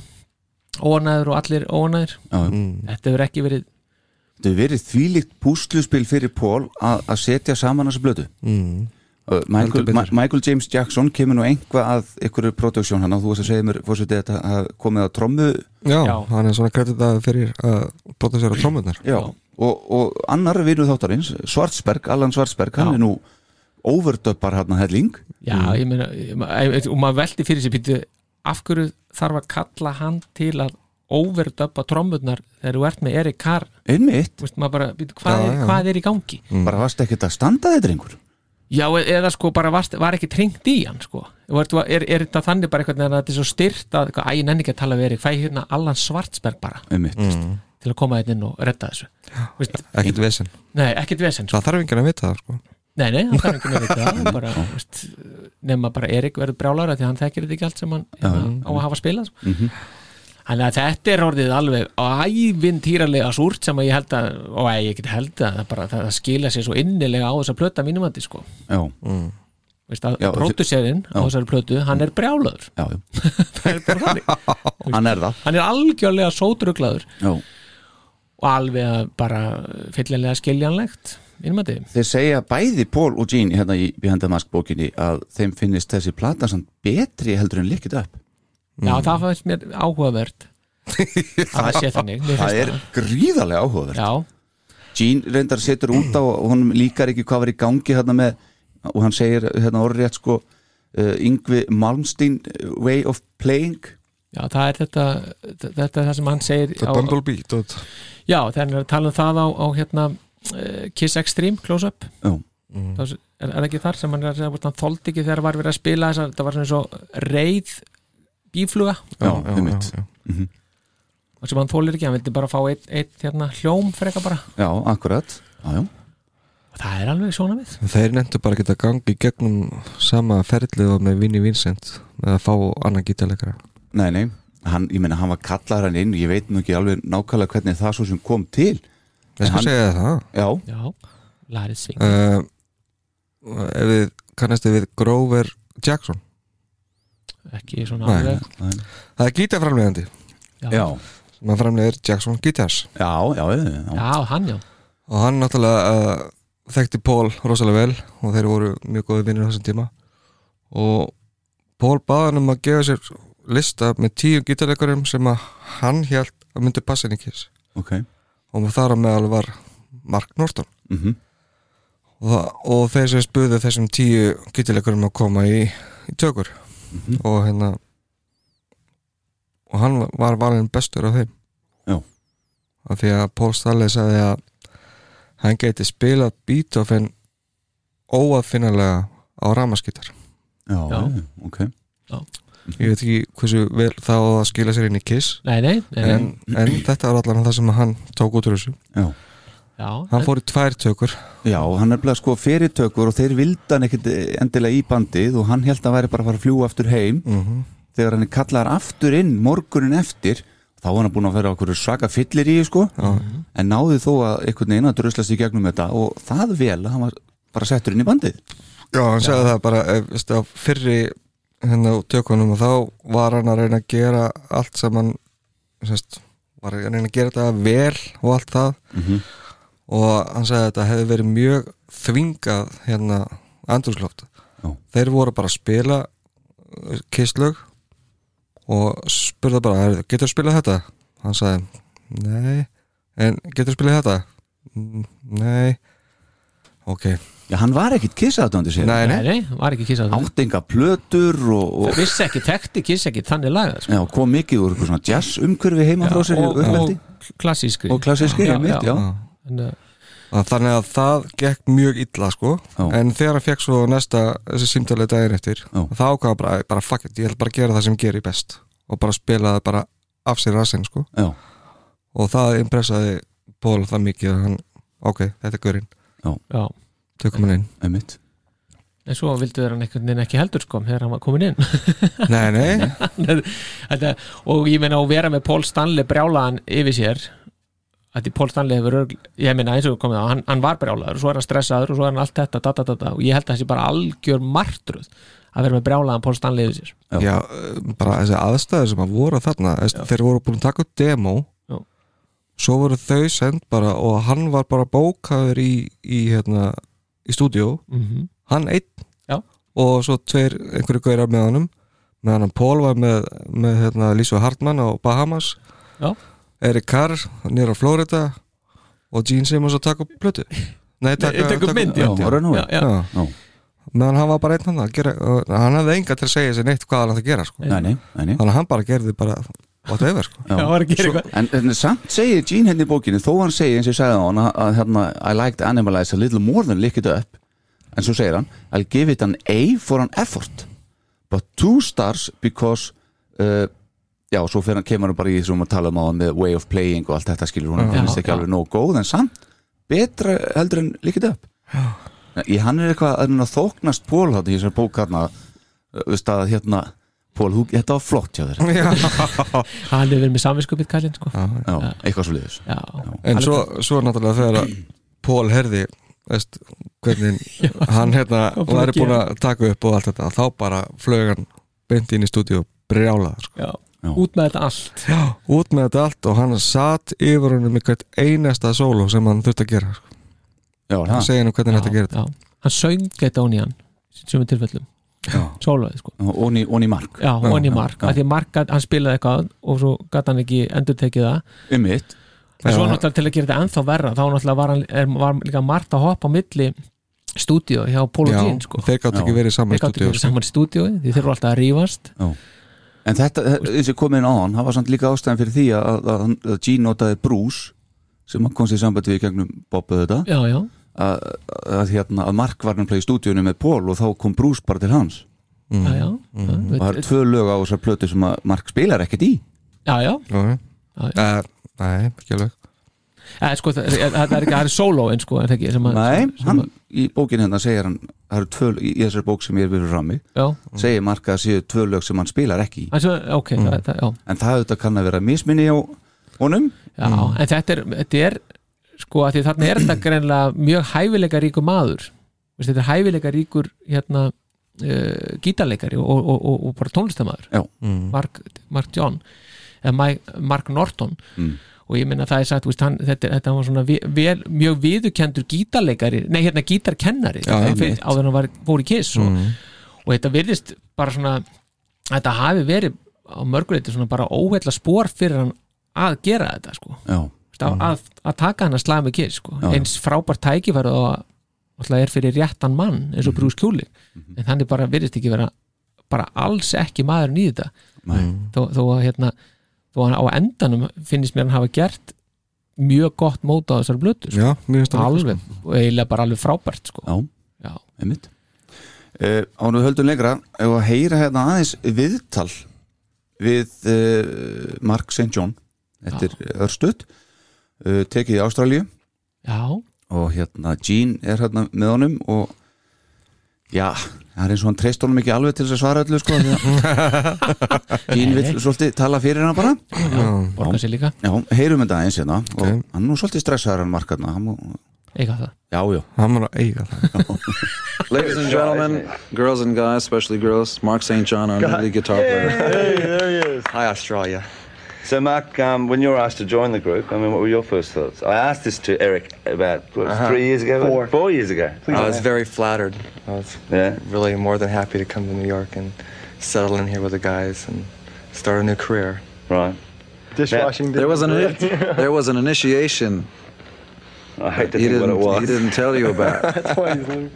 óanæður og allir óanæður já, já. mm, þetta hefur ekki verið Þetta hefur verið þvílíkt púsluspil fyrir Pól að að setja saman þessu blötu mm. Uh, Michael, Heldur betur. Ma Michael James Jackson kemur nú einhvað að ykkur produksjón hann og þú varst að segja mér fórseti þetta að komið á trommu Já, Já. hann er svona kreditað fyrir að bóta sér á trómurnar já. Og, og annar vinur þáttarins Svartsberg, Allan Svartsberg, hann Já. er nú overdöppar hann að helling já, Mm. ég meina, ég ma- ég- og maður veldi fyrir sér býttu, af hverju þarf að kalla hann til að overdöpa trommurnar þegar þú ert með Erik Carr þú einmitt, veist, maður bara, býttu, hvað, Já, er, já. hvað er í gangi bara varst ekkert að standa þetta einhver Já, e- eða sko bara varst, var ekki trengt í hann sko. er, er, er þetta þannig bara eitthvað að þetta er svo styrt að eitthvað, æ, ég nenni ekki að tala við Erik fæ hérna Allan Svartsberg bara einmitt, til að koma hérna inn og redda þessu Vist, Ekkert vesen Nei, ekkert vesen sko. Það þarf enginn að vita það sko. Nei, nei, það er ekki með þetta bara, vist, nema bara Erik verður brjálara því að hann þekkir þetta ekki allt sem hann hérna, á að hafa spilað sko. Þannig að þetta er orðið alveg ævintýralega súrt sem að ég held að og æ, ég get held að það, bara, það skila sér svo innilega á þess að plöta mínum andi sko. já, veist að Já, pródusserinn á þessari plötu, hann er brjálaður já, já hann er það hann er algjörlega sótruglaður já. og alveg að bara fyllilega skiljanlegt innum að þið þeir segja bæði Paul og Gene hérna í Behind the Mask bókinni að þeim finnist þessi plata samt betri heldur en likkið upp já Mm. það fannst mér áhugavert að það sé þannig mér það finnst er gríðarlega áhugaverð já, Gene reyndar setur út á og honum líkar ekki hvað var í gangi hérna með og hann segir hérna orðrétt sko uh, Yngvi Malmsteen uh, way of playing já, það er þetta þetta er það sem hann segir Það á, er Bumblebee dot. já, þegar hann er að tala um það á, á hérna eh, Kiss Extreme Close-Up Já. Þá er, er það ekki þar sem hann er að segja hvort hann þoldi ekki þegar var verið að spila þess að það var svona eins og reið bífluga já, einmitt. já. og sem hann þólir ekki, hann vildi bara fá eitt, eitt hérna, hljóm freka bara já, akkurat já, já. og það er alveg svona við Þeir nefndu bara að geta gangi gegnum sama ferlið og með Vinnie Vincent með að fá annan gítarleikara Nei, nei, hann, ég meina hann var kallar hann inn ég veit nú ekki alveg nákvæmlega hvernig það svo sem kom til Ég skal Hann- segja þér það já, já, lærið sving uh, Ef við kannastu við Grover Jackson ekki svona Nei. alveg það er gítarframlegandi já, sem að framlegir Jackson Guitars já, já, já. Já, hann já og hann náttúrulega uh, þekkti Pól rosalega vel og þeir voru mjög góði vinnir á þessum tíma og Pól baði hann um að gefa sér lista með tíu gítarleikarum sem að hann held að myndi passa inn í kiss ok og þar á meðal var Mark Norton mm og, það, og þeir sem spöðu þessum tíu gítileikurum að koma í, í tökur og hérna og hann var valinn bestur af þeim Já. af því að Paul Stanley sagði að hann geti spilað Beethoven óaðfinnalega á ramaskítar já, Já. já, ok ég veit ekki hversu vel það á að skila sér inn í Kiss Nei, nei, nei, nei. en, en þetta var allan það sem hann tók út úr þessu já, Já, hann fór í tvær tökur já hann er bleið sko fyrirtökur og þeir vildi hann ekkit endilega í bandið og hann held að hann væri bara að fara að fljúa aftur heim þegar hann er kallaðar aftur inn morgunin eftir þá var hann búin að vera okkur svaka fyllir í sko, en náði þó að einhvern veginn að druslast í gegnum þetta og það vel að hann var bara settur inn í bandið Já, hann sagði það bara ef, veistu, á fyrri hérna á tökunum og þá var hann að reyna að gera allt sem hann sest, var að reyna að gera þetta vel og allt það Mhm. og hann sagði að þetta hefði verið mjög þvingað hérna andrúsloft Já. þeir voru bara að spila uh, kistlög og spurði bara, "Heyrðu, getur þú spilað þetta? hann sagði, nei en getur þú spilað þetta? "Mm, nei ok, Já, hann var ekkit kissaðdóndi sér nei, nei nei, nei, var ekki kissað áttinga plötur og, og Það vissi ekki, tekti kiss ekki þannig lagað sko. já, kom mikið úr eitthvað svona jazz umhverfi heima frá sér í og, uppeldi og klassískri og klassíski Já, heimitt, já, já. já. Ah. En, uh, að þannig að það gekk mjög illa sko Já. en þegar hann fekk svo næsta þessi símtalið daginn eftir Já. þá ákvaða bara, bara fuck it, ég ætla bara að gera það sem gerir best og bara spila það bara af sér rassinn sko Já. og það impressaði Pól það mikið að hann, ok, þetta er görinn Já, tökum hann inn einmitt en svo vildu þeir hann einhvern veginn ekki heldur sko þegar hann var komin inn nei, nei, þetta, og ég meina að vera með Paul Stanley brjálaðan yfir sér að því Paul Stanley hefur örg, ég meina eins og við komið á, hann, hann var brjálaður og svo er hann stressaður og svo er hann allt þetta, da, da, da, da, og ég held að það sé bara algjör martruð að vera með brjálaðan Paul Stanley yfir sér Já. já, eh, bara þessi aðstæður sem að voru þarna, þess, þeir voru búin að taka upp demo Já. svo voru þau send bara og hann var bara bókaður í, í hérna, í stúdíó mm -hmm. hann einn Já. og svo tveir einhverju gaurar með honum meðan hann Pól var með, með hérna, Lísu Hartmann á Bahamas Já. Erik Carr nýra á Florida og Gene Simmons að taka upp plötu Nei, taka, taka upp mynd, já, var það nú já, já, Já. Já. meðan hann var bara einn hann að gera og hann hafði enga til að segja sér neitt hvað hann ætti að gera sko. Nei, nei, nei, nei. þannig að hann bara gerði bara whatever sko. já, var að gera Svo, eitthvað en, en samt segir Gene henni í bókinu þó hann segir eins og ég sagði á hann að, að hérna, I like to animalize a little more than lick it up en svo segir hann I'll give it an A for an effort but two stars because uh, já, svo fyrir hann kemur hann bara í þessum að tala um á hann með way of playing og allt þetta skilur hún, hann Já, finnst ekki já. alveg nóg góð en samt betra heldur en lick it up í hann er eitthvað að hann að þóknast Pól þarna í þessari bók hérna, veist að hérna Pól, þú- þetta var flott hjá þér já, hann hefur verið með samvinskupið kallinn sko. eitthvað svo liðis já, en svo, svo náttúrulega þegar að Pól herði veist, hvernig hann hérna Hvað búin að væri búin að taka upp og allt þetta þá bara flög hann beint inn í stúdíu brjálað sko. já. út með þetta allt út með þetta allt og hann satt yfir honum í hvert einasta sólu sem hann þurfti að gera sko. Já, er það segja hann hvernig hann ætti að gera þetta já. hann söng þetta ón í hann sem er tilfellum, sólaði sko Onni, onni mark já, onni mark, af því að mark gat- hann spilaði eitthvað og svo gæti hann ekki endurtekið það um mitt en svo Já. náttúrulega til að gera þetta ennþá verra þá náttúrulega var, hann, er, var líka margt að hoppa á milli stúdíu hjá Paul og Jean sko. þeir gátt ekki Já. verið saman þeir í sko. gáttu ekki stúdíu verið saman í stúdíu því þeir eru alltaf að rífast En þetta, þessi komin á hann, það var samt líka ástæðan fyrir því að, að, að Gene notaði Bruce sem hann komst í sambandi við í gegnum Bobbu þetta já, já, að, að, hérna, að Mark var náttúrulega í stúdíunum með Paul og þá kom Bruce bara til hans Mm. já, já og það er tvö lög á þessar plötu sem að Mark spilar ekkert í já, já, Já, Já, já. já. Eh, Nei, ekki alveg Eh, sko, það, það, það er ekki, það er sólóin sko, er það ekki, sem að, Nei, sem hann, að, í bókinu hérna segir hann það eru tvö, í í þessari bók sem ég er við frammi já, segir Mark að það séu tvö lög sem hann spilar ekki í hann sem, ok, það, það, já en það auðvitað kann að vera misminni á honum Já, en þetta er, þetta er sko að því þarna er þetta greinlega mjög hæfileika ríkur maður Vist, þetta er hæfileika ríkur hérna uh, gítarleikari og, og, og, og bara tónlistamæður Já. Mm. Mark, Mark John eða Mike, Mark Norton og ég minna það er sagt, veist, hann, þetta, þetta var svona ve- vel, mjög viðukendur gítarleikari nei hérna gítarkennari Já, Mm. Fyrir- einmitt. áður en hann var, fór í kiss og, og þetta virðist bara svona þetta hafi verið á mörguleiti svona bara óhella spór fyrir hann að gera þetta sko já, Veist, að, að, að taka hann að slaga með kiss sko. Já, já. eins frábært tækifæri og alltaf er fyrir réttan mann eins og Bruce Kjúli en þannig bara virðist ekki vera bara alls ekki maðurinn í þetta Mm. Nei. þó, þó að hérna þó að á endanum finnist mér hann hafa gert mjög gott móta á þessar blötu sko. já, mér finnst það líka, alveg, og eiginlega bara alveg frábært sko. já, Já. einmitt uh, Ánum við höldum lengra ef að heyra hérna aðeins viðtal við uh, Mark St. John eftir Örstuð uh, tekið í Ástralíu já, og hérna Gene er hérna með honum og já, það er eins og hann treyst honum ekki alveg til þess að svara öllu sko því að Gene vill svolítið tala fyrir hana bara borgar sér líka já, heyrum þetta eins hérna og Ok. hann er nú svolítið stressaður en markarna hann, mú- eiga það já, já, hann var að eiga það Ladies and gentlemen, girls and guys, especially girls, Mark St. John, our new lead guitar player. Hi, Australia. So, Mark, um, when you were asked to join the group, I mean, what were your first thoughts? I asked this to Eric about what, three years ago, four, four years ago. Uh, I was very flattered. I was Yeah. really more than happy to come to New York and settle in here with the guys and start a new career. Right. Dishwashing There was an there was an initiation I hate to he think what didn't it he was. didn't tell you about.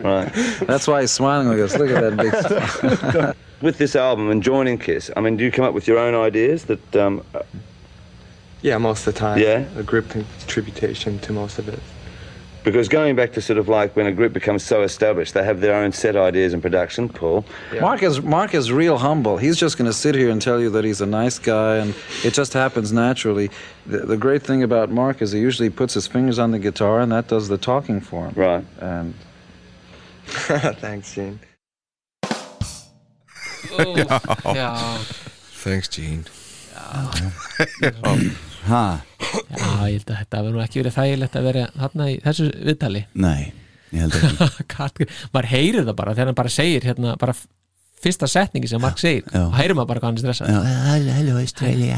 Right. That's why he's smiling like this. Look at that big. smile. With this album and joining Kiss, I mean, do you come up with your own ideas that? Um, uh, Yeah, most of the time. Yeah. The group contribution to most of it. because going back to sort of like when a group becomes so established, they have their own set ideas and production. Paul. Mark is Mark is real humble. He's just going to sit here and tell you that he's a nice guy, and it just happens naturally. The, the great thing about Mark is he usually puts his fingers on the guitar, and that does the talking for him. Right. And Thanks, Gene. já, thanks Gene ha, já, ég held að þetta verður nú ekki verið þægilegt að vera þarna í þessu viðtali nei ég held ekki, Karl- maður heyrir það bara þegar hann bara segir hérna, bara f- fyrsta setningi sem Mark segir Já. þá heyrir maður bara hvað hann er stressað já, hello Australia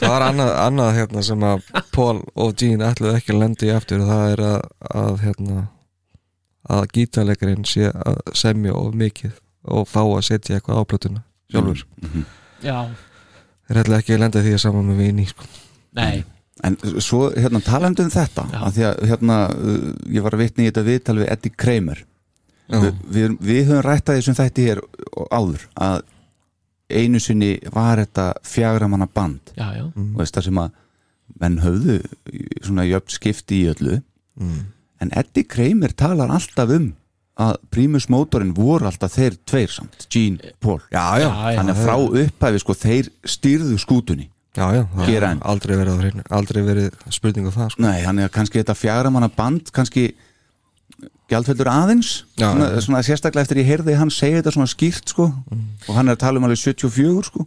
það var annað, annað hérna sem að Paul og Gene ætluðu ekki að lendi aftur og það er að, að hérna að gítarleikarinn sé að semja of mikið og fá að setja eitthvað á plötuna sjálfur já, þeir ætla ekki að lenda því að saman með vini sko. nei, En svo hérna talandi um þetta Já. að því að hérna uh, ég var að vitna í þetta viðtal við Eddie Kramer Vi, við, við höfum rættað þessum þætti hér og áður að einu sinni var þetta fjagra manna band já, já, og veist það sem að menn höfðu í- svona jöfn skipti í öllu en Eddie Kramer talar alltaf um að Primus Motorin voru alltaf þeir tveir samt, Gene, Paul já, já, Já, já. þannig að frá upphæfi sko þeir stýrðu skútunni já, já það Gera hefur enn. aldrei verið á hreinu, aldrei verið spurning á það sko. Nei, hann er kannski þetta fjagramanna band kannski gjaldfellur aðeins Já, svona, já, já. svona sérstaklega eftir ég heyrði hann segja þetta svona skýrt sko og hann er að tala um alveg 74 sko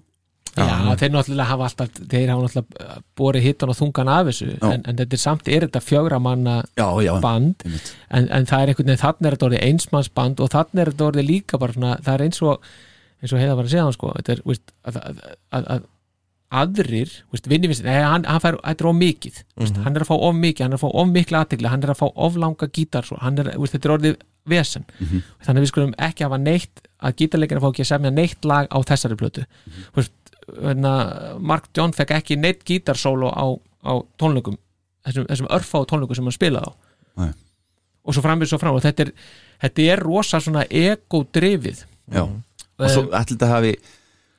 já, þeir náttúrulega hafa alltaf þeir hafa náttúrulega uh, borið hittan og þungan af þessu en, en þetta er samt, er þetta fjögra manna Já, já, band einmitt. en, en það er einhvern veginn, þannig er þetta orðið einsmannsband og þannig er þetta orðið líka bara svona, það er eins og eins og heiða var að segja hann sko þetta er, veist, að, að, að, að aðrir, veist, vinni vissi nei, hann, hann fær, þetta er of mikið, Mhm. veist, hann er að fá of mikið hann er að fá of mikla aðtegli, hann er að fá of langa gítar svo, hann er, veist, þetta er orðið vesen, þannig að við skulum ekki hafa neitt að gítarleikina fá ekki að semja neitt lag á þessari plötu Mhm. veist, hérna, Mark John fekk ekki neitt gítarsólo á, á tónleikum þessum, þessum örfá tónleikum sem hann spilaði á Nei. og svo framvið svo fram og þetta er, þetta er rosa svona ego-drifið Mm. já. og svo eh, allir þetta hafi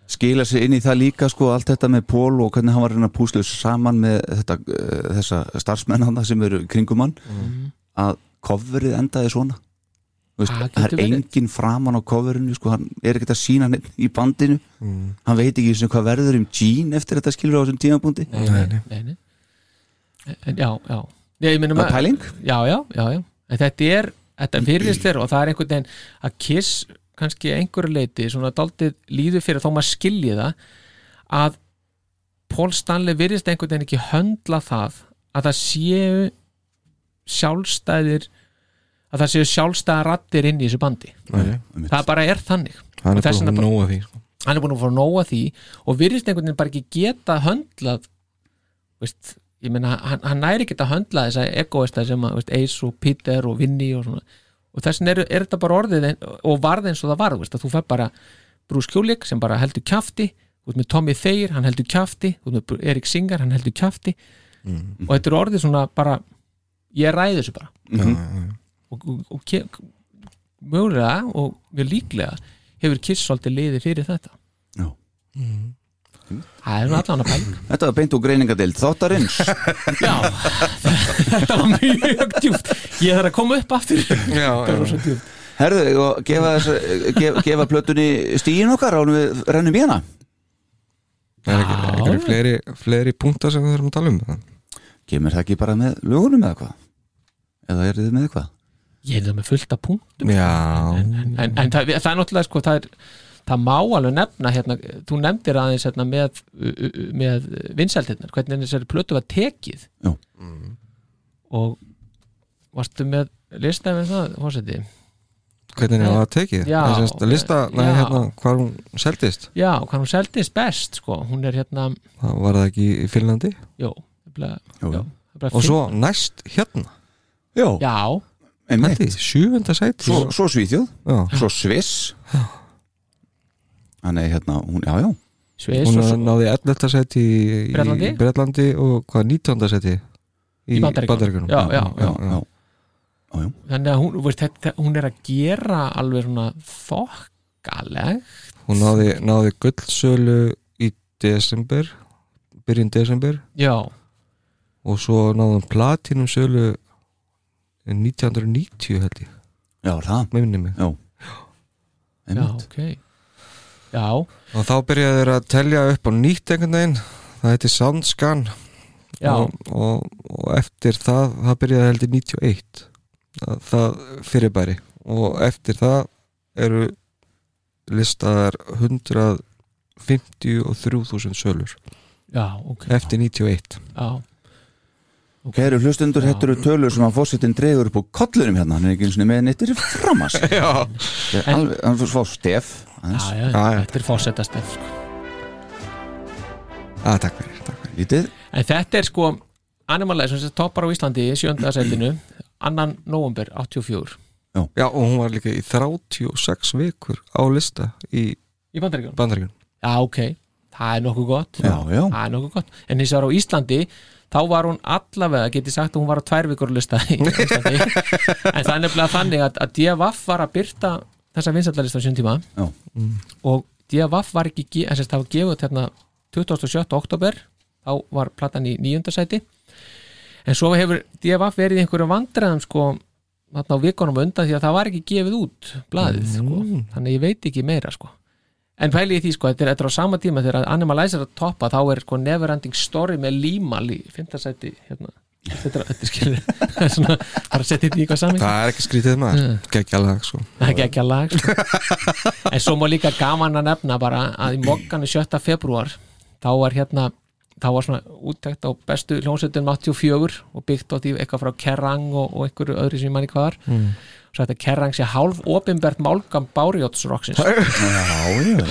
skila sér inn í það líka sko allt þetta með Pól og hvernig hann var að reyna að púslu þessu saman með þetta, eh, þessa starfsmenn hann sem eru kringum hann Mhm. að coverið endaði svona Þú Veist, það Ah, er getur verið. enginn framan á coverinu sko, hann er ekkert að sína hann í bandinu Mm. hann veit ekki einu sinni hvað verður um Gene eftir þetta skilur á þessum tímapunkti Eh, nei, nei. Nei, nei. En, já, já Nei, ég, Það meina er maður- pæling? já, já, já, já. En þetta er, þetta fyrirvist þér og það er einhvern veginn að kiss kannski að einhverju leiti, svona daldið líður fyrir þó maður skilji það að Paul Stanley virðist einhvern veginn ekki höndla það að það séu sjálfstæðir að það séu sjálfstæða rattir inn í þessu bandi Nei, það bara er þannig Og hann er þess bara vegna nóg að því sko. hann er búin að fá nóga því og virðist einhvern veginn bara ekki geta höndlað veist, ég meina hann, hann næri ekki að höndla þess að egoista sem að veist, Ace og Peter og Vinny og svona og þess vegna er, er þetta bara orðið ein, og varð eins og það varð, veist, að þú fær bara Bruce Kulik sem bara heldur kjafti út með Tommy Thayer, hann heldur kjafti út með Bru- Eric Singer, hann heldur kjafti og þetta er orðið svona bara ég ræði þessu bara og, og, og ke- mögulega og mjög líklega hefur Kiss svolítið liði fyrir þetta Já. Það er nú allan að pæling Þetta var beint og greiningadeild þáttarins Já, þetta var mjög djúpt Ég þarf að koma upp aftur já, já. Herðu, og gefa, þess, gefa, gefa plötunni stíin okkar ánum við rennum í hana það er ekki, Já. ekki fleiri, fleiri punktar sem við þurfum að tala um Kemur það ekki bara með lögunum eða hvað? Eða er þið með eitthvað? Ég er það með fullt af punkt já, En, en, en það, það er náttúrulega sko, það, er, það má alveg nefna hérna, Þú nefndir aðeins hérna, með, með vinsæltirnar Hvernig þessari plötu var tekið Mm-hmm. Já. Og varstu með listaði með það, fórseti hvernig er það að tekið Eh, Já. eh, það er semst að lista, nei, Já. hérna, hvar hún seldist Já, hvað hún seldist best sko. Hún er hérna, það var það ekki í Finnlandi jó, nefnilega- Jú, jó, nefnilega og finn- svo næst hérna, Já, Já, einmitt hætti, sjöfunda sæti Svo, svo Svíþjóð, já, svo Sviss Þannig hérna, hún, já, já Sviss hún og svo náði 11. sæti í Bretlandi. Bretlandi og hvað 19. sæti Í Bandaríkjunum. Bandaríkjunum Já, já, já, já. þannig að hún, þú veist, þetta, hún er að gera alveg svona þokkaleg hún náði, náði guldsölu í desember byrjun desember já, og svo náði hún platinum sölu 1990 held ég, Já, það, með minni mig já, einmitt ok já, og þá byrjaði þeir að telja upp á nýtt einhvern veginn það heiti Soundscan já, og, og, og eftir það það byrjaði heldur 91 það, það fyrirbæri og eftir það eru listaðar 153.000 sölur já, ok eftir 91 já, Kæru hlustundur, Já. þetta eru tölur sem að fórsetin dregur upp úr kollunum hérna, hann er ekki einu sinni með neitt fyrir framast Já, Alveg, hann fór stef já, aðeins, já, Já, já. þetta er fórsetast sko. að, Ah, takk fyrir, takk fyrir. lítið en þetta er sko Animalize, sem toppar á Íslandi í sjönda setinu, annan november 84, Já, og hún var líka í 36 vikur á lista í í bandaríkjum bandaríkun já, ok, það er nokkuð gott Já, já, það er nokkuð gott, en hins vegar á Íslandi þá var hún allavega, get ég sagt að hún var á tvær vikur lista í Íslandi en það er nefnilega þannig að, að DFF var að byrta þessa vinsællarlista á sjönd tíma Já. og DFF var ekki ge- þess að það var gefið út hérna 27. oktober þá var platan í nýjöndasæti en svo hefur DFF verið í einhverjum vandræðum sko þarna á vikunum á undan því að það var ekki gefið út blaðið sko, þannig að ég veit ekki meira sko En pæli í því sko, þetta er, þetta er á sama tíma þegar Animalizer er að toppa, þá er sko Neverending Story með Límal í fintasæti hérna, þetta er, þetta er skilur það er svona, bara að setja þetta í eitthvað saman Það er ekki skrítið maður, geggja lag sko. það er ekki ekki að lag sko. en svo má líka gaman að nefna bara að í mokkanu 7. februar þá var hérna þá var svona úttækt á bestu hljómsveitum 84 og byggt á því eitthvað frá Kerrang og, og einhverju öðru sem ég manni hvaðar mm. svo þetta Kerrang sé hálf opinbert málgam Bárjótsroksins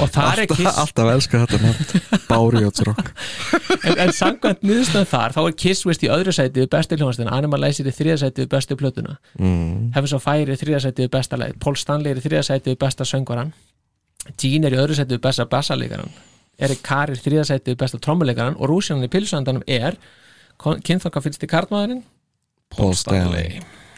og það er alltaf, kiss alltaf elska þetta nafn Bárjótsrock en, en samkvæmt niðurstöðum þar þá er Kiss Wist í öðru sæti við bestu hljónastöðin Animalize er í þriða sæti við bestu plötuna mm. Hefins og Fire er í þriða sæti við besta leið Paul Stanley er í þriða sæti við besta söngvaran Gene er í öðru sæti við besta bassalegaran Eric Carr er í þriða sæti við besta trommulegaran og rúsjanan í pilsuandanum er kynþokka finnst í kartmaðurinn Paul Stanley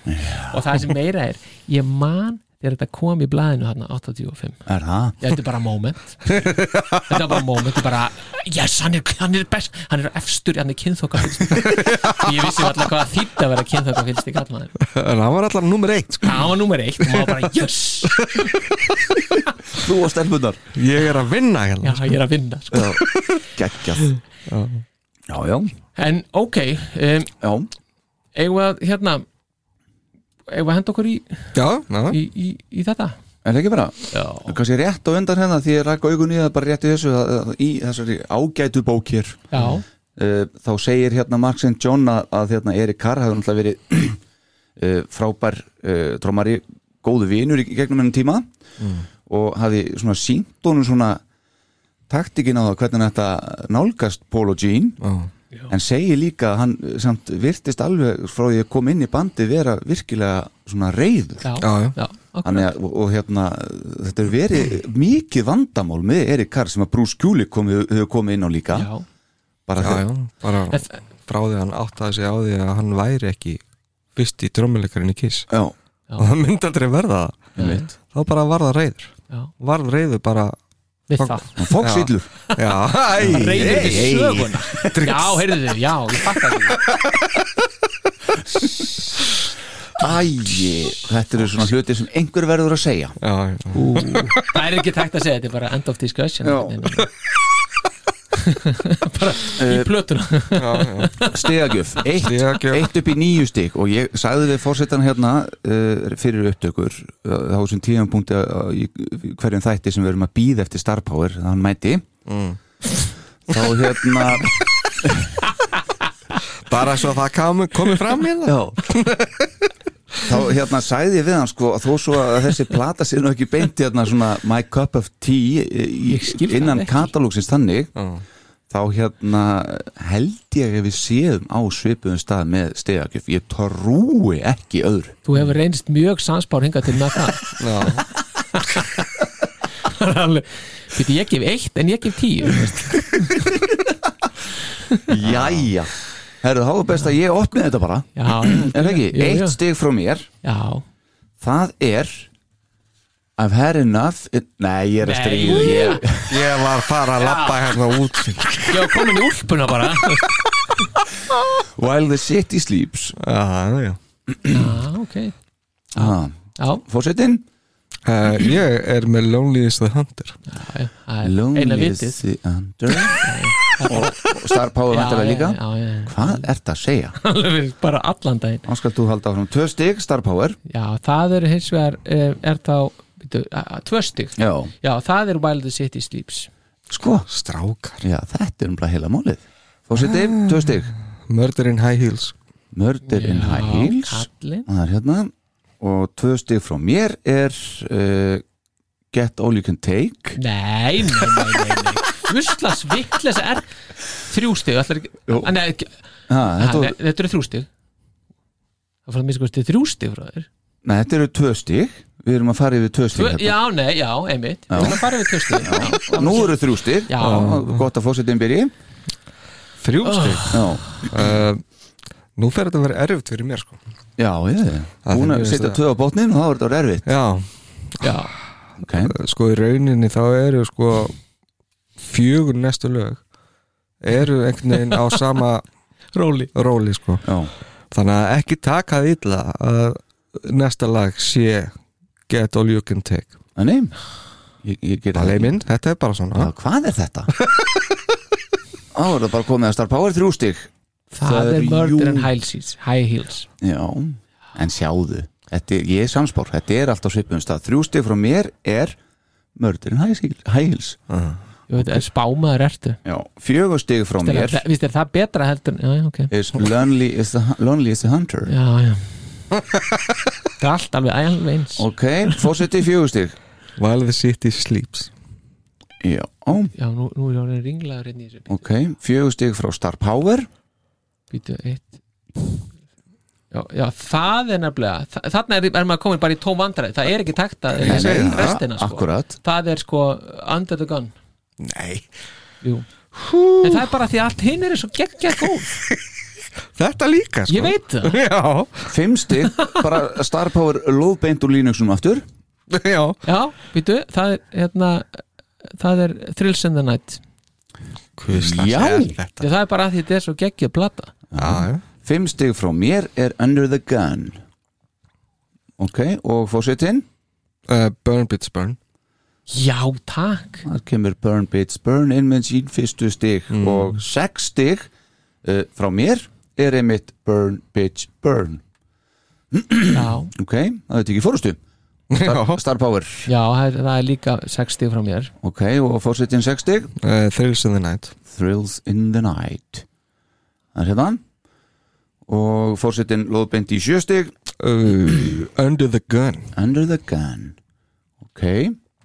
og það sem meira er ég man þegar þetta kom í blaðinu hérna 85 er það Já, þetta er bara moment Þetta er bara moment, þetta er bara Yes, hann er, hann er best, hann er efstur Hann er kynþóka Ég vissi alltaf hvað það þýtti að vera kynþóka fylgst í kallmaður En hann var alltaf nummer eitt sko. Það var númer eitt og maður bara yes Þú og stelpunar Ég er að vinna Já, hérna ég er að vinna sko. Gækjað Já, já, En ok, um, já eigum við að hérna eigum við að henda okkur í, Já, já, í, í, í þetta Er það ekki bara, Já, kannski rétt á undan hérna því ég ræk augun í það bara rétt í þessu að, að, í þessari ágætu bókir já, Eh, uh, þá segir hérna Mark St. John að, að hérna Erik Carr hafði náttúrulega verið uh, frábær uh, trómari góðu vinur í gegnum ennum tíma og hafi svona sínt honum svona taktikinn á það hvernig þetta nálgast Paul og Gene en segir líka að hann uh, samt virtist alveg frá því að kom inn í bandi vera virkilega svona reyður já, Já, já. já, akkurat. Þannig að, og, og hérna, þetta er verið mikið vandamál með Erik Karr sem að Bruce Kulik komið, hefur komið inn á líka já. bara já, þegar, já, bara En þ- frá því að hann áttaði sig á því að hann væri ekki fyrst í drömmuleikarinn í Kiss já, og það myndi aldrei verða það einmitt. þá bara var það reyður Já. var reyður bara við Fang- það Foxillur já, æ, reyður við ei, ei. söguna já, heyrðu þið, já, ég fattar því Æi, þetta eru svona hluti sem einhver verður að segja já, já. það er ekki tækt að segja, þetta er bara end of discussion Já. bara Eh, í plötuna Stegagjöf, eitt, Stigagjöf. eitt upp í nýju stig og ég sagði við fórsetan hérna uh, fyrir upptökur uh, þá sem tíðanpunkti uh, í í hverjum þætti sem við erum að býða eftir Star Power þannig að hann mæti þá hérna bara svo að það kom, komið fram hérna Já Þá hérna sagði ég við hann sko að þó svo að þessi plata sé nú ekki beint hérna svona my cup of tea í, Ég skil það innan ekki. katalógsins þannig Já. þá hérna held ég að við séum á svipuðum stað með stegakjöf, ég trúi ekki öðru þú hefur reynst mjög sansbár hingað til með það já, Það er alveg, veit ég gef eitt en ég gef tíu Jæja Herru þá er best að ég opni þetta bara já, Er það ekki? Jú, jú. Eitt stig frá mér já það er I've had enough Nei, ég er að Nei, stríða ég- ég- ég var fara að lappa hérna út ég var komin í úlpuna bara While the city sleeps já, já já, ok, ah. já, Fórsetin Uh, ég er með Lonely is the Hunter já, já það er eina Lonely is vitið the under og, og Star Power Já, vantarlega líka já, já, já, já. Hvað ert að segja? Alveg bara allan daginn Þá skal þú halda áfram Tvö stig Star Power já, það eru hins vegar eh, er þá, byrju, tvö stig Já já, það eru Wild the City Sleeps Sko Strákar Já, þetta er umlað heila málið Fórseti, tvö stig Murder in High Heels Murder in Ah. Já, High Heels kallinn. Það er hérna Og tvö stig frá mér er uh, Get All You Can Take Nei, nei, nei, nei, nei. Uslas vitleis er þrjú stig ætlar ekki- Jú. Ah, nei, ekki- ha, ah, þetta, nei, var, Þetta eru þrjú stig Það fór að minnst kosti þrjú stig frá þér nei, þetta eru tvö stig Við erum að fara yfir tvö stig Tvö, hérna. Já, nei, já, einmitt Við erum að fara við tvö stig Já. Nú eru þrjú stig Já. Gott að fórsetin byrji Þrjú stig Já uh, Nú fer þetta að vera erfitt fyrir mér sko Já, ég Það Búin er að mjög setja stað. tvö á botnin og þá er þetta erfitt Já, já, okay. sko í rauninni þá eru sko fjögur næstu lög eru einhvern veginn á sama Róli róli sko Já, þannig að ekki taka það illa að næsta lag sé Get All You Can Take að neym Ég, ég geri Balei ekki. minn, þetta er bara Já, svona Hvað er þetta? Á, er það bara komið að Star Power þrjú stig Það, Það er eru jú- Murder and High Heels, high heels. Já, en sjáðu þetta, er- Ég er samspór, þetta er allt á svipum stað Þrjú stig frá mér er Mördurinn Hægils Ég veit, okay. Spámaður ertu Já, fjögur stig frá mér Vist er það betra heldur en- Já, já, ok is lonely, is the, lonely is the Hunter Já, já Það er allt alveg alveg eins Ok, fórseti fjögur stig While the City Sleeps Já, Já, nú, nú er ég orðin ringlaður inn í þessu ok, fjögur stig frá Star Power Býtu eitt Já, já, það er nefnilega þa- Þarna er, er maður komin bara í tóm vandræði Það er ekki takt að lesa Nei, restina sko. Akkurat Það er sko under the gun Nei, Jú En það er bara því að allt hinn er svo geggja góð Sko. þetta líka sko Ég veit það Já, Fimm stig, bara Star Power lóðbeint úr Linuxum aftur já Já, býtu, það er hérna Það er Thrills in the Night Hvistlags Já. er þetta Því það er bara að því þetta er svo geggja plata Já, já Fimm stig frá mér er Under the Gun Ok, og fórsetin Uh, burn Bits Burn Já, takk Þar kemur Burn Bits Burn inn með sín fyrstu stig Mm. og sex stig uh, frá mér er einmitt Burn Bits Burn Já, Ok, það veit ekki fórustu Já. Star Power, já það er- það er líka 60 frá mér ok, og fórsetin sex stig uh, Thrills in the Night Thrills in the Night Það er hérna og fórsetin lóðbeint í sjö stig uh, Under the Gun Under the Gun ok,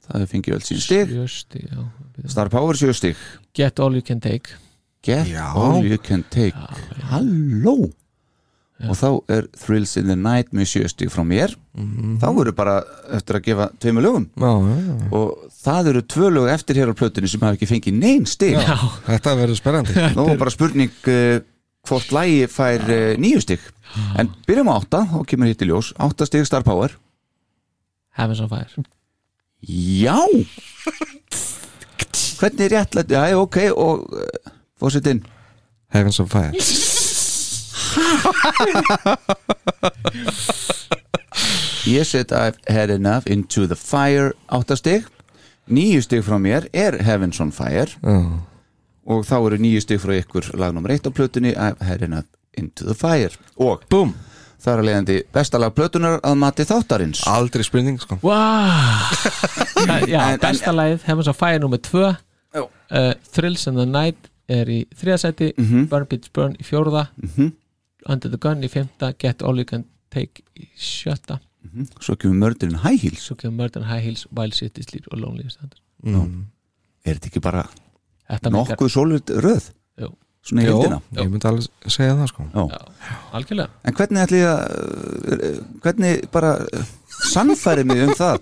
það fengið öll sín stig Sjösti, já. Star Power 7 stig Get all you can take Get Já. all you can take Halló og þá er Thrills in the Night með 7 stig frá mér þá eru bara eftir að gefa tveimu lögum já, já, já. og það eru tvö lög eftir hér á plötunni sem hafa ekki fengið neinn stig Já, Þetta verður spennandi Nú var bara spurning uh, hvort lægi fær uh, nýju stig en byrjum á átta, þá kemur hitt í ljós átta stig Star Power Heavens on Fire Já Hvernig réttlætt Já, ok, og uh, fórsetin Heavens on Fire Ég set I've had enough into the fire átta stig Nýju stig frá mér er Heavens on Fire Já. og þá eru nýju stig frá ykkur lagnum reitt á plötunni I've had enough into the fire og Búm, það er að leiðandi bestalag plötunar að mati þáttarins aldrei spurning sko. Wow Það- Já, En- en- besta lagið Heavens on Fire nummer 2 uh, Thrills in the Night er í þriðasæti Mhm. Burn Beats Burn í fjórða Under the Gun í fymta Get all you can take í sjötta Mhm. Svo kemur mördunin High Heels Svo kemur Murder in High Heels Wild City Sleep og Lonely Standard Er þetta ekki bara Þetta meikar- nokkuð sólut röð Jú. svona í Jó, hildina Ég myndi alveg segja það sko. Já, algjörlega en hvernig ætli ég að uh, hvernig bara uh, sannfæri mig um það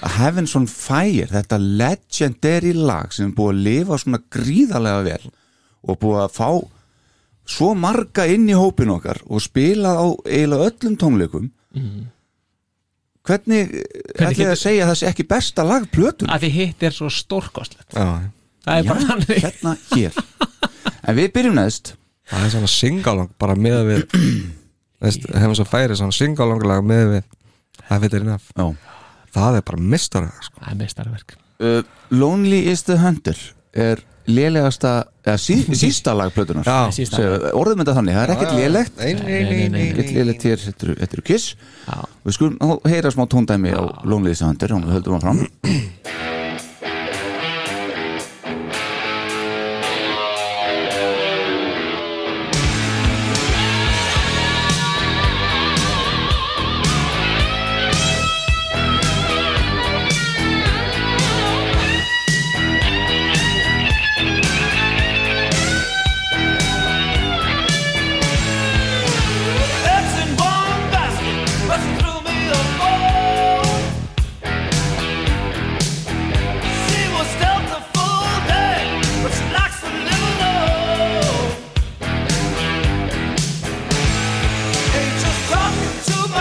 að Heaven's on Fire þetta legendary lag sem er búið að lifa svona gríðarlega vel og búið að fá svo marga inn í hópin okkar og spila á eiginlega öllum tónleikum hvernig, Mhm. Hvernig hvernig ætli ég getur- að segja að það sé ekki besta lag plötun að því hitt er svo stórkostlegt já, það er bara Já, þannig hérna hér en við byrjum næst Það er svona singalong bara með við veist, Heavens on Fire er svona singalong lag með við Það veitir innaf Já. Það er bara mistara sko. það er mestarverk uh, Lonely is the Hunter er lélegasta, eða sí, sísta lag plötunar Já. Sísta. Svo, orðum þetta þannig, það er ekkert lélegt Nei, nei, nei, nei, ekkert lélegt hér, þetta eru- þetta eru kiss Já. við skulum þá heyra smá tóndæmi á Lonely is the Hunter, hún höldum hann fram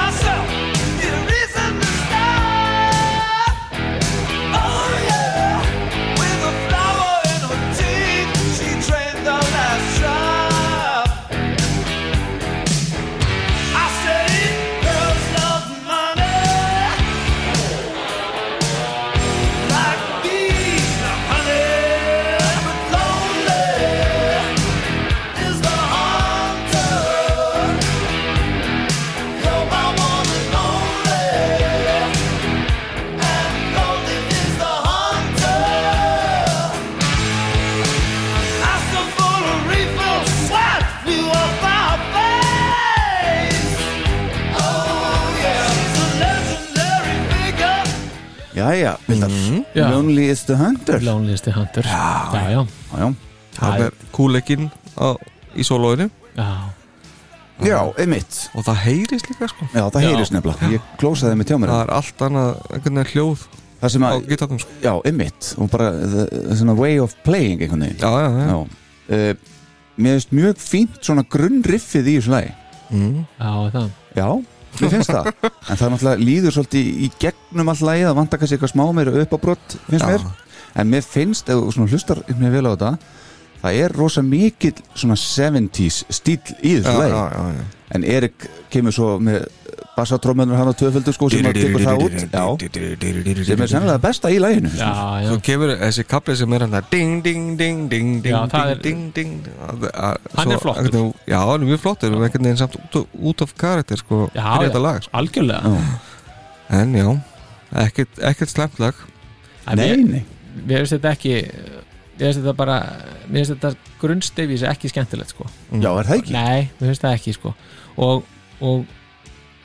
Oh, Oh, Jæja, Vildar, Já. Lonely is the Hunter já, Loneliest Hunter já, já, já. Það er kúleikinn á- í sólóinu já. já, einmitt og það heyrist líka sko. já, það heyrist nefnilega, ég klósaði með tjámur Það er allt annað einhvern veginn hljóð það sem á að, gitarnum sko. já, einmitt og bara, það er svona way of playing einhvern veginn Já, já, já, já. Uh, mér finnst mjög fínt svona grunnriffið í þessu lagi já það. Já, mér finnst það En það náttúrulega líður svolítið í gegnum all lagið að vanta kannski eitthvað smá meira upp á brott finnst Já. mér, en mér finnst ef þú svona hlustar mér vel á þetta það er rosa mikill svona 70s stíl í já, þessu já, lagi já, já. en Erik kemur svo með bassatrómunar hann á tvöföldu sko sem að tekur það út Já, sem er sennilega besta í laginu já, já. Svo kemur þessi kapli sem er hann það ding, ding, ding, ding, ding, Já, það ding, er- ding, ding að- að- Hann er svo flottur. einhvern veginn- Já, hann er mjög flottur og einhvern veginn samt út, út af karakter sko, Já, fyrir þetta já. lag sko. algjörlega En já, ekkert, ekkert slemt lag En Nei, mér- nei, mér finnst þetta ekki mér finnst þetta bara mér finnst þetta grunnstefis ekki skemmtilegt sko já er það ekki nei, mér finnst það ekki sko og, og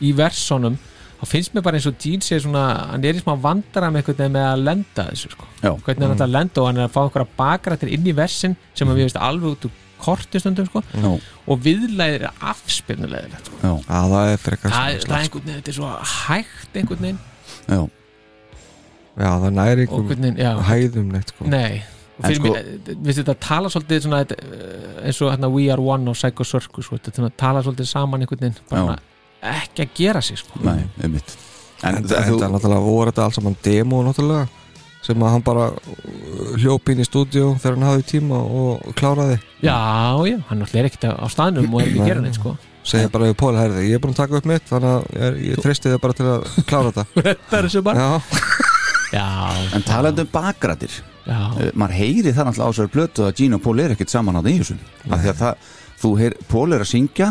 í versonum þá finnst mér bara eins og Gene sé svona hann er í smá vandara með einhvern veginn með að lenda þessu sko. Já. hvernig hann ætlar að lenda og hann er að fá einhverja bakrættir inn í versin sem að mér finnst alveg út úr kortu stundum sko. Já, og viðlæðir er afspyrnulegðilegt sko. já, að það er frekar það, svona það er slags- einhvern veginn, þetta er svo hægt einhvern veginn já sko. já, það næri og einhver einhvern veginn, já hæðum neitt sko. Nei, og fyrir En sko- mér, við þetta tala svolítið svona, þetta, eh, eins og hérna We Are One og Psycho Circus, sko, þetta svona, tala svolítið saman einhvern veginn, bara Já. svona, ekki að gera sig sko. Nei, um mitt En, en en það þú, náttúrulega voru þetta alls saman demo náttúrulega sem að hann bara uh, hljóp inn í stúdíu þegar hann hafði tíma og kláraði Já, já, hann náttúrulega er ekkert á staðnum og er ekki að gera neitt sko. segja bara við Pól herði, ég er búin að taka upp mitt þannig að ég, ég treysti þið bara til að klára þetta Þetta er þessu bara já, Já, en talandi um Eh. bakgrætir já, maður heyri það náttúrulega á sér blötu að Gene og Paul er ekkert saman á því þessum af því að það, þú heyr, Paul er að syngja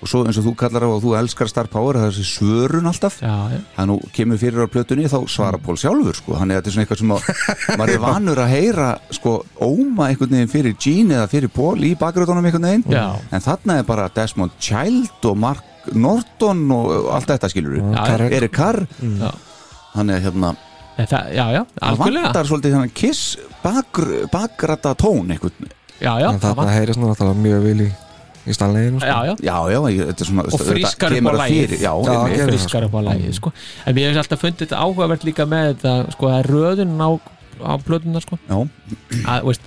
og svo eins og þú kallar á og þú elskar Star Power það er þessi svörun alltaf já, já. það nú kemur fyrir á plötunni þá svarar Pól sjálfur sko, hann er þetta er svona eitthvað sem að maður er vanur að heyra sko óma einhvern veginn fyrir Gene eða fyrir Pól í bakgröðunum einhvern veginn Já. en þarna er bara Desmond Child og Mark Norton og allt þetta skilur við Já, já. Erik Carr, Já. hann er hérna Nei, það- já, já, hann algjörlega vantar svolítið hann kiss bakr, bakgrata tón einhvern Já, já, það en þarna vantar heyrið svona náttúrulega mjög vil í, í sko. stanleginu Já, já, já, já, ég- þetta er svona og þetta frískar upp kemur á að lagið fyrir, já, Já, einmitt. gerðu það, frískar upp á lagið sko. en mér hefði alltaf fundið þetta áhugavert líka með þetta sko, að röðun á, á blöðuna sko. já, að, veist,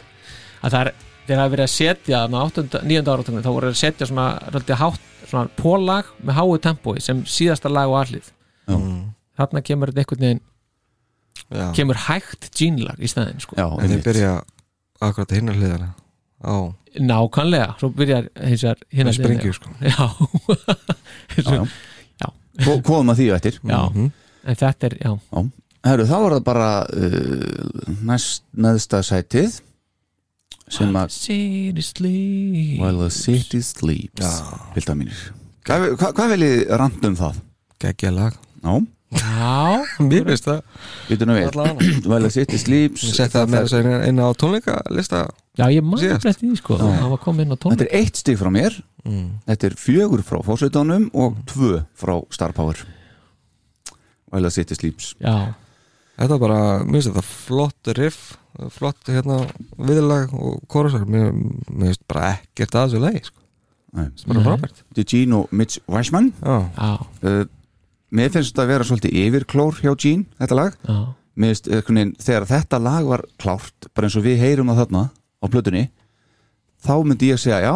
að það er þegar það er verið að setja þarna á 8., 9. áratöngin þá voru þeir að setja svona, svona, hátt, svona pólag með háu tempói sem síðasta lag og allið Já. þarna kemur þetta einhvern veginn Mm. já. kemur hægt djínlag í staðin sko. já, en einmitt. þið byrja akkurat hinna hliðana á nákvæmlega, svo byrjar hins vegar hinn Það springur, sko. já, já, já. Já. Ko- komum að því á eftir já. Mhm. en þetta er, já, Herru, þá var það bara uh, næst, næðsta sætið sem að seriously While the city sleeps Vilda mínir Hvað, hvað, hvað viljið randa um það? geggja lag Já, já, mér finnst það, við við While the city sleeps ég sett það með þess að inn á tónleikalista já, ég man Síðast. eftir því sko, Já. það var komið inn á tónleik Þetta er eitt stig frá mér Þetta er fjögur frá fósveitunum og tvö frá Star Power While the city sleeps já, Þetta er bara, mér finnst þetta flott riff flott hérna viðlag og korusar, mér mér finnst bara ekkert að þessu lagi, sko, Nei. þetta er bara Nei. frábært Þetta er Gene og Mitch Weissman Já, já, uh, Mér finnst þetta að vera svolítið yfirklór hjá Gene, þetta lag já Mér finnst, eh, einhvern veginn, þegar þetta lag var klárt bara eins og við heyrum að þarna á plötunni þá myndi ég að segja já,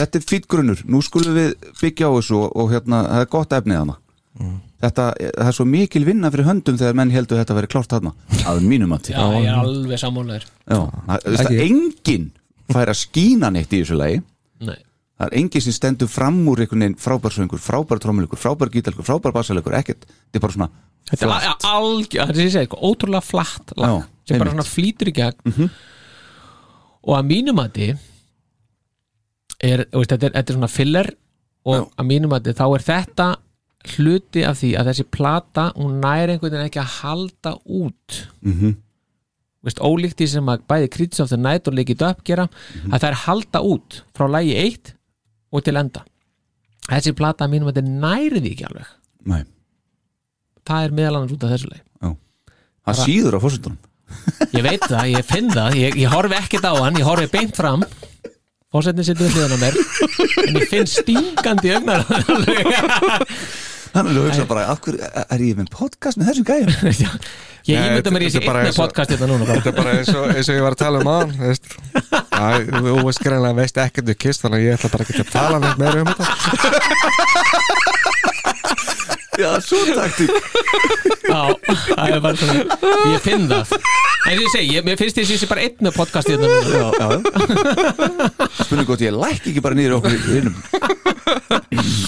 þetta er fýtt grunnur nú skulum við byggja á þessu og, og hérna, það er gott efnið hana Mm. þetta, eh, það er svo mikil vinna fyrir höndum þegar menn heldur þetta að vera klárt þarna að mínum að Já, ég er alveg sammálaður til Ekki. engin fær að skína neitt í þessu lagi Nei. það er engin sem stendur fram úr einhvern veginn frábær söngur, frábær trómulikur, frábær gítalkur frábær basalökur, ekkert, þetta er bara svona Þetta er al- algjör, þetta er sem ég segi, sko, ótrúlega flatt lag Já, sem einmitt. bara Mhm. svona flýtur í gegn og að mínum að þið er, þú veist, þetta, er, þetta er svona filler og að mínum að þið þá er þetta hluti af því að þessi plata hún næri einhvern veginn ekki að halda út Mhm. veist, ólíkt því sem að bæði Critics of the Night og Liggit Up gera Mhm. að það er halda út frá lægi 1 og til enda þessi plata að mínum að þið næri því ekki alveg Nei. það er meðal annars út af þessu lagi það síður á fórsöndunum Ég veit það, ég finn það, ég, ég horfi ekkert á hann, ég horfi beint fram Fórsetin sittur við hliðan á mér En ég finn stingandi ögnar Þannig að hugsa bara, af hverju er- er ég með podcast með þessum gæjum? Ég Nei, ímynda mér í þetta- þessi þetta er bara einni eins og- podcast þetta núna bara. þetta er bara eins og, eins og ég var að tala um aðan veist, Já, þú veist greinlega veist ekkert við kist, þannig að ég ætla bara ekki að tala neitt meira um þetta Já, svo taktík Já, það er bara svona Ég finn það En eins og ég segi, ég, mér finnst þessi bara einn með podcast þetta núna Já, já Spurning gott, ég læk ekki bara niður okkur hinnum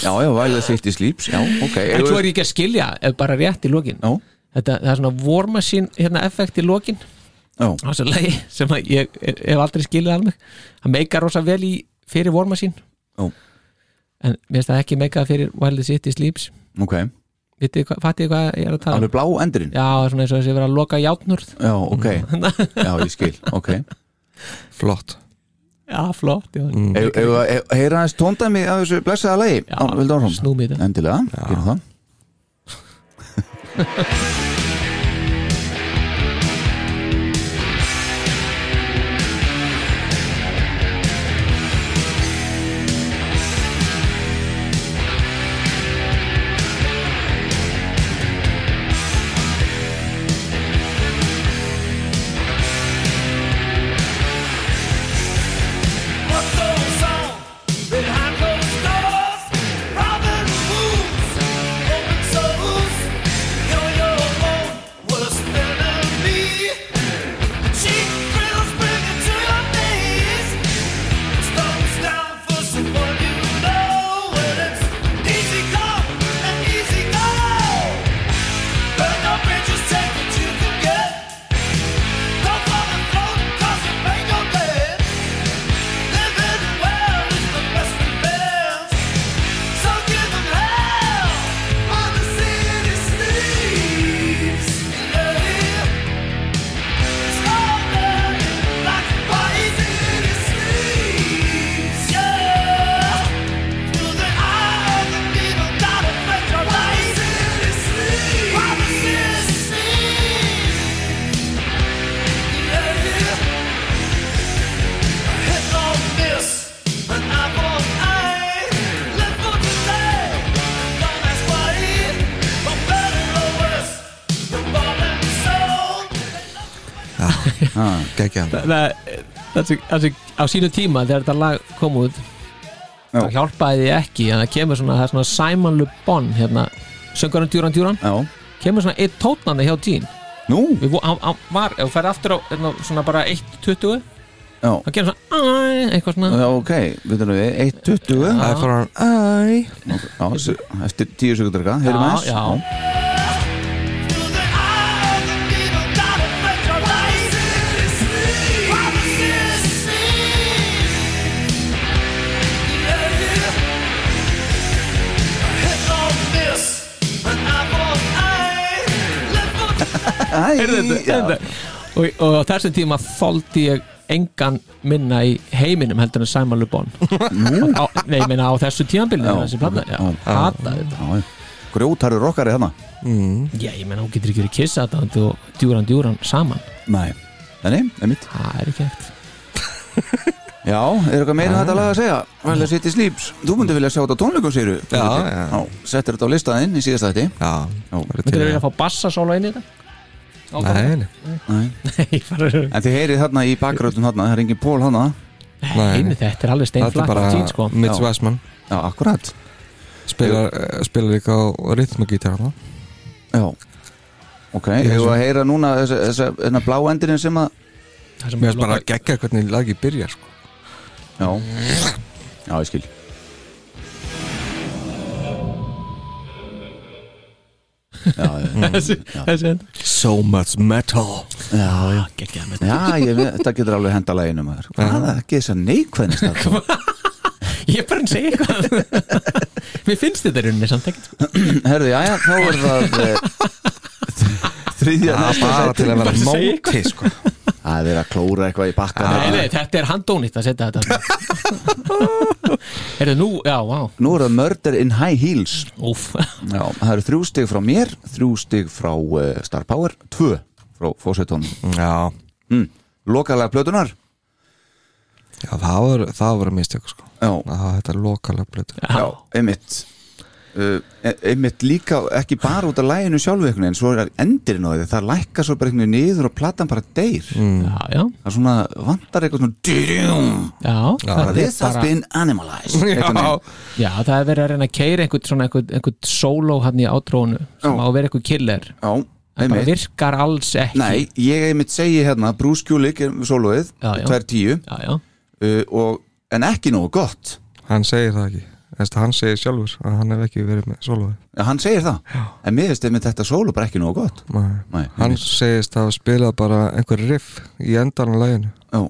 Já, já, væla sitt í slíps Já, ok En svo er ég ekki að skilja, ef bara rétt í lokin Já, Þetta, það er svona War Machine hérna, effekt í lokin já, á þessu lagi sem að ég er- hef aldrei skilið alveg hann meika rosa vel í fyrir vorma sín Já. en mér finnst það ekki meika fyrir While the City Sleeps ok Vitið hvað- fattið þið hvað ég er að tala um? Alveg blá endurinn já, svona eins og þessi verið að loka játnurð Já, ok Já, ég skil, ok Flott já, flott já. Mm. e- Ef- ef- ef- Heyra aðeins tóndæmi af þessu blessaða lagi Já, Vildu áfram snúmið þetta Endilega, gerum það Gekkja hann það, það, það, á sínu tíma þegar þetta lag kom út Já. þá hjálpaði því ekki en það kemur svona, það er svona Simon Le Bon hérna, söngarinn Duran Duran Já, kemur svona eitt tótnandi hjá Dean nú, Við, vo- hann, hann var, ef þú færi aftur á hérna, svona bara 1.20 já þá kemur svona "Æ", eitthvað svona Já, ok, við þurfum við, 1.20 Já. Það er frá hann Æ Já, s- eftir 10 sekundur eitthvað, heyrum Já, aðeins já. Æ, Heyrðu já. þetta, heyrðu þetta. og, og á þessum tíma þóldi ég engan minna í heiminum heldur en Simon Le Bon á, nei, ég meina á þessu tímanbylni Já, þessi plata, já, já. hata þetta Já, já. Grjótarður okkar er þarna já, ég meina, hún getur ekki verið kissa þetta og djúran djúran saman Nei, þannig, einmitt það er ekki hægt Já, er eitthvað meira um þetta lag að segja? Vel að sitja í slíps Þú myndi vilja sjá þetta á tónleikum, segir þú Já, já. Settir þetta á listaðinn í síðasta þætti Já Já. væri til myndir í þú vilja það. fá bassasóla inn í þetta? Nei, nei, nei, bara- En þið heyrið þarna í bakgröðum þarna, það er engin pól hana Nei. nei, þetta er alveg þetta er steinflakk bara tín, sko. Mitch Já. Westman Já, akkurat spilar, eh, spilar líka á rithmagítar hann Já Ok, hefur að heyra núna þessa, þessa, þessa bláendurinn sem að Það sem Mér finnst bara lokar- að geggja hvernig lagi byrjar sko. Já, já, ég skil Já, Mm. já, þessi, þessi endur So much metal já, geggjað með já ég, ve- þetta getur alveg henda læginu maður Hvað er ekki þess að neikvæðnist þetta? ég er bara að segja eitthvað mér finnst þetta í rauninni samt ekkert sko. Herði, já, já, þá er það eh, Þriðja Það er næsta bara til sæti. að vera Bara segja móti sko. Það er að klóra eitthvað í bakka nei, þarna. nei, þetta er handónýtt að setja þetta er það nú, já, vá Nú er það Murder in High Heels úf, Já, það eru þrjú stig frá mér Þrjú stig frá uh, Star Power Tvö frá Fósveitónum Já, mm. Lokalega plötunar Já það voru, það voru mistök sko. Já, Að hafa Þetta er lokalega blötu já, einmitt uh, e- einmitt líka ekki bara út af læginu sjálfu einhvern veginn, svo er endirinn á því það lækkar svo bara einhvern veginn niður og platan bara deyr já, já, það er svona, vantar eitthvað svona dyrjum, já, bara það er this has bara been animalized einhvern veginn. já, það er verið að reyna að keira einhvern svona einhvern, einhvern solo hann í átrónu sem Já. á að vera einhvern killer já, það bara einmitt virkar alls ekki Nei, ég einmitt segi hérna Bruce Kulick, soloið, Já, já. 2.10 já, já, uh, og, en ekki nógu gott Hann segir það ekki Þessi, Hann segir sjálfur að hann hef ekki verið með soloði Ja, hann segir það, en mér veist einmitt þetta solo bara ekki nógu gott Nei, Hann einmitt. segist að spila bara einhver riff í endan á læginu já,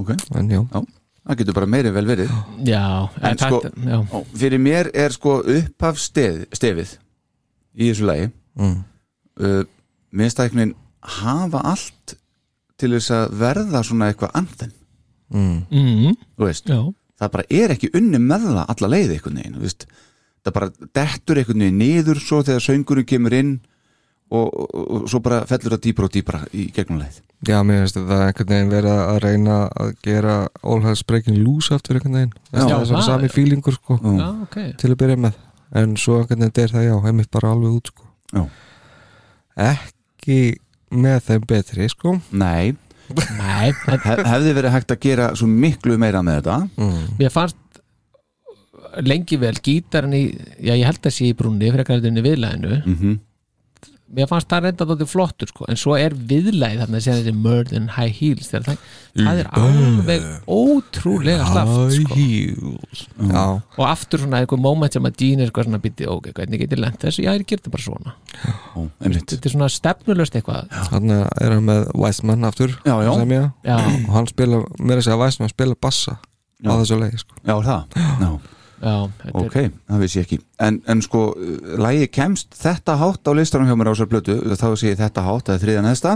ok En jú, það getur bara meiri vel verið já, En en sko- þetta- já. Ó, fyrir mér er sko upphaf stef, stefið í þessu lagi mm. uh, minnstæknin hafa allt til þess að verða svona eitthvað anthem Mm. Mm, þú veist, já, það bara er ekki unni með það alla leið einhvern veginn þú veist. það bara dettur einhvern veginn niður svo þegar söngurinn kemur inn og, og, og svo bara fellur það dýpra og dýpra í gegnum leið Já, mér finnst þetta einhvern veginn verið að reyna að gera All Has Breaking Loose aftur einhvern veginn Já. Það er Já, svona það- sami fílingur sko Já. Já, ok. til að byrja með en svo einhvern veginn deyr það já, heimitt bara alveg út sko Já. Ekki með þeim betri sko Nei, Nei, en hef, hefði verið hægt að gera svo miklu meira með þetta mér fannst lengi vel gítarinn í já, ég held að sé í brúnni frekar heldur en í viðlæðinu Mhm. mér fannst það reynda þótti flottur sko, en svo er viðlæð þarna að segja þessi Murder in High Heels þegar það, það er alveg ótrúlega slaft sko. heels Já, og aftur svona eitthvað moment sem að Dean er eitthvað svona býti, ok, hvernig getur lent þessu já, ég gerði þetta bara svona, Ó, einmitt þetta er svona stefnulöst eitthvað þannig er hann með Weissmann aftur Já, já. sem ég já, og hann spila, mér að segja að Weissmann spila bassa Já. á þessu leið sko Já, er það, já, já, þetta ok, það vissi ég ekki en, en sko, lægi kemst þetta hátt á listanum hjá mér á sér blötu þá sé ég þetta hátt, það er þriðan eðsta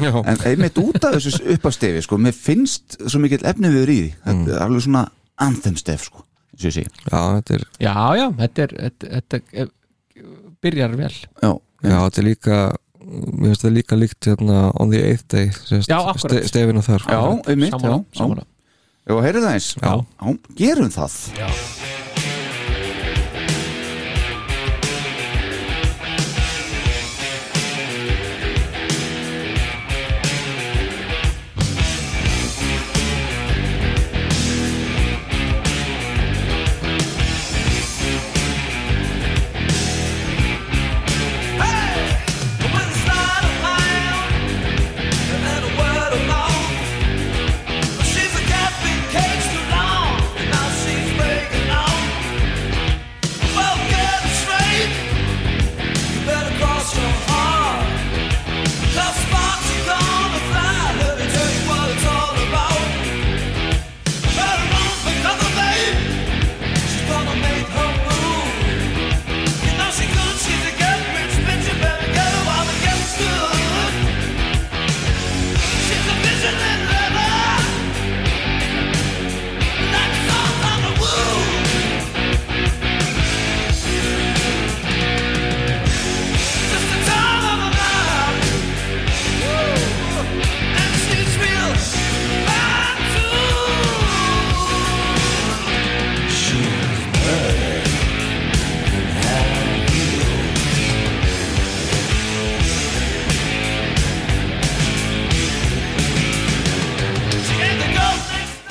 Já, en einmitt út af þessu uppastefi sko, mér finnst svo mikill efni við í því þetta er alveg svona anthemstef sko, eins og ég segi já þetta er er já, já, þetta er þetta, þetta er, byrjar vel Já, Já, þetta er líka mér finnst það líka líkt hérna on the eighth day sérst, Já, akkurat. stefin og þar sko. já einmitt, já, Sammála, já sammála. Já, heyrðu það eins Já. gerum það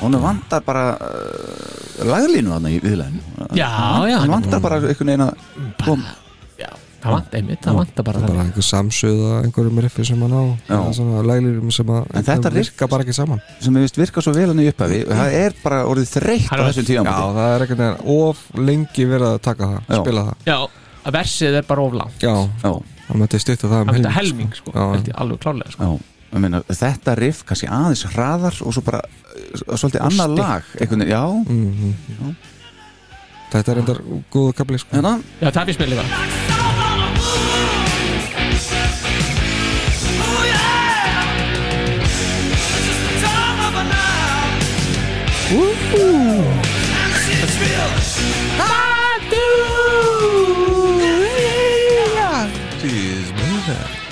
Hún vantar bara uh, laglínu þarna í viðlæðinu já, já, Hún vantar bara einhvern veginn að kom, það vantar einmitt, það vantar bara bara það einhver samsöða einhverjum riffi sem hann á Já. eða svona lælirum sem að En þetta virka bara ekki saman sem ég veist virka svo vel hann í upphafi og það er bara orðið þreytt á Hann er- þessum já, tíðanbúti það er ekkert neginn of lengi verið að taka það, Já. spila það já, að versið er bara oflá já, Já, það mætti stutta það um það myndi helming. helming sko, Já. held ég alveg klárlega sko. já Ég Meina, þetta riff kannski aðeins hraðar og svo bara uh, svolítið annað lag einhvern veginn, já, Mhm, þetta er endar góðu kapli sko. hérna já, það finnst mér líka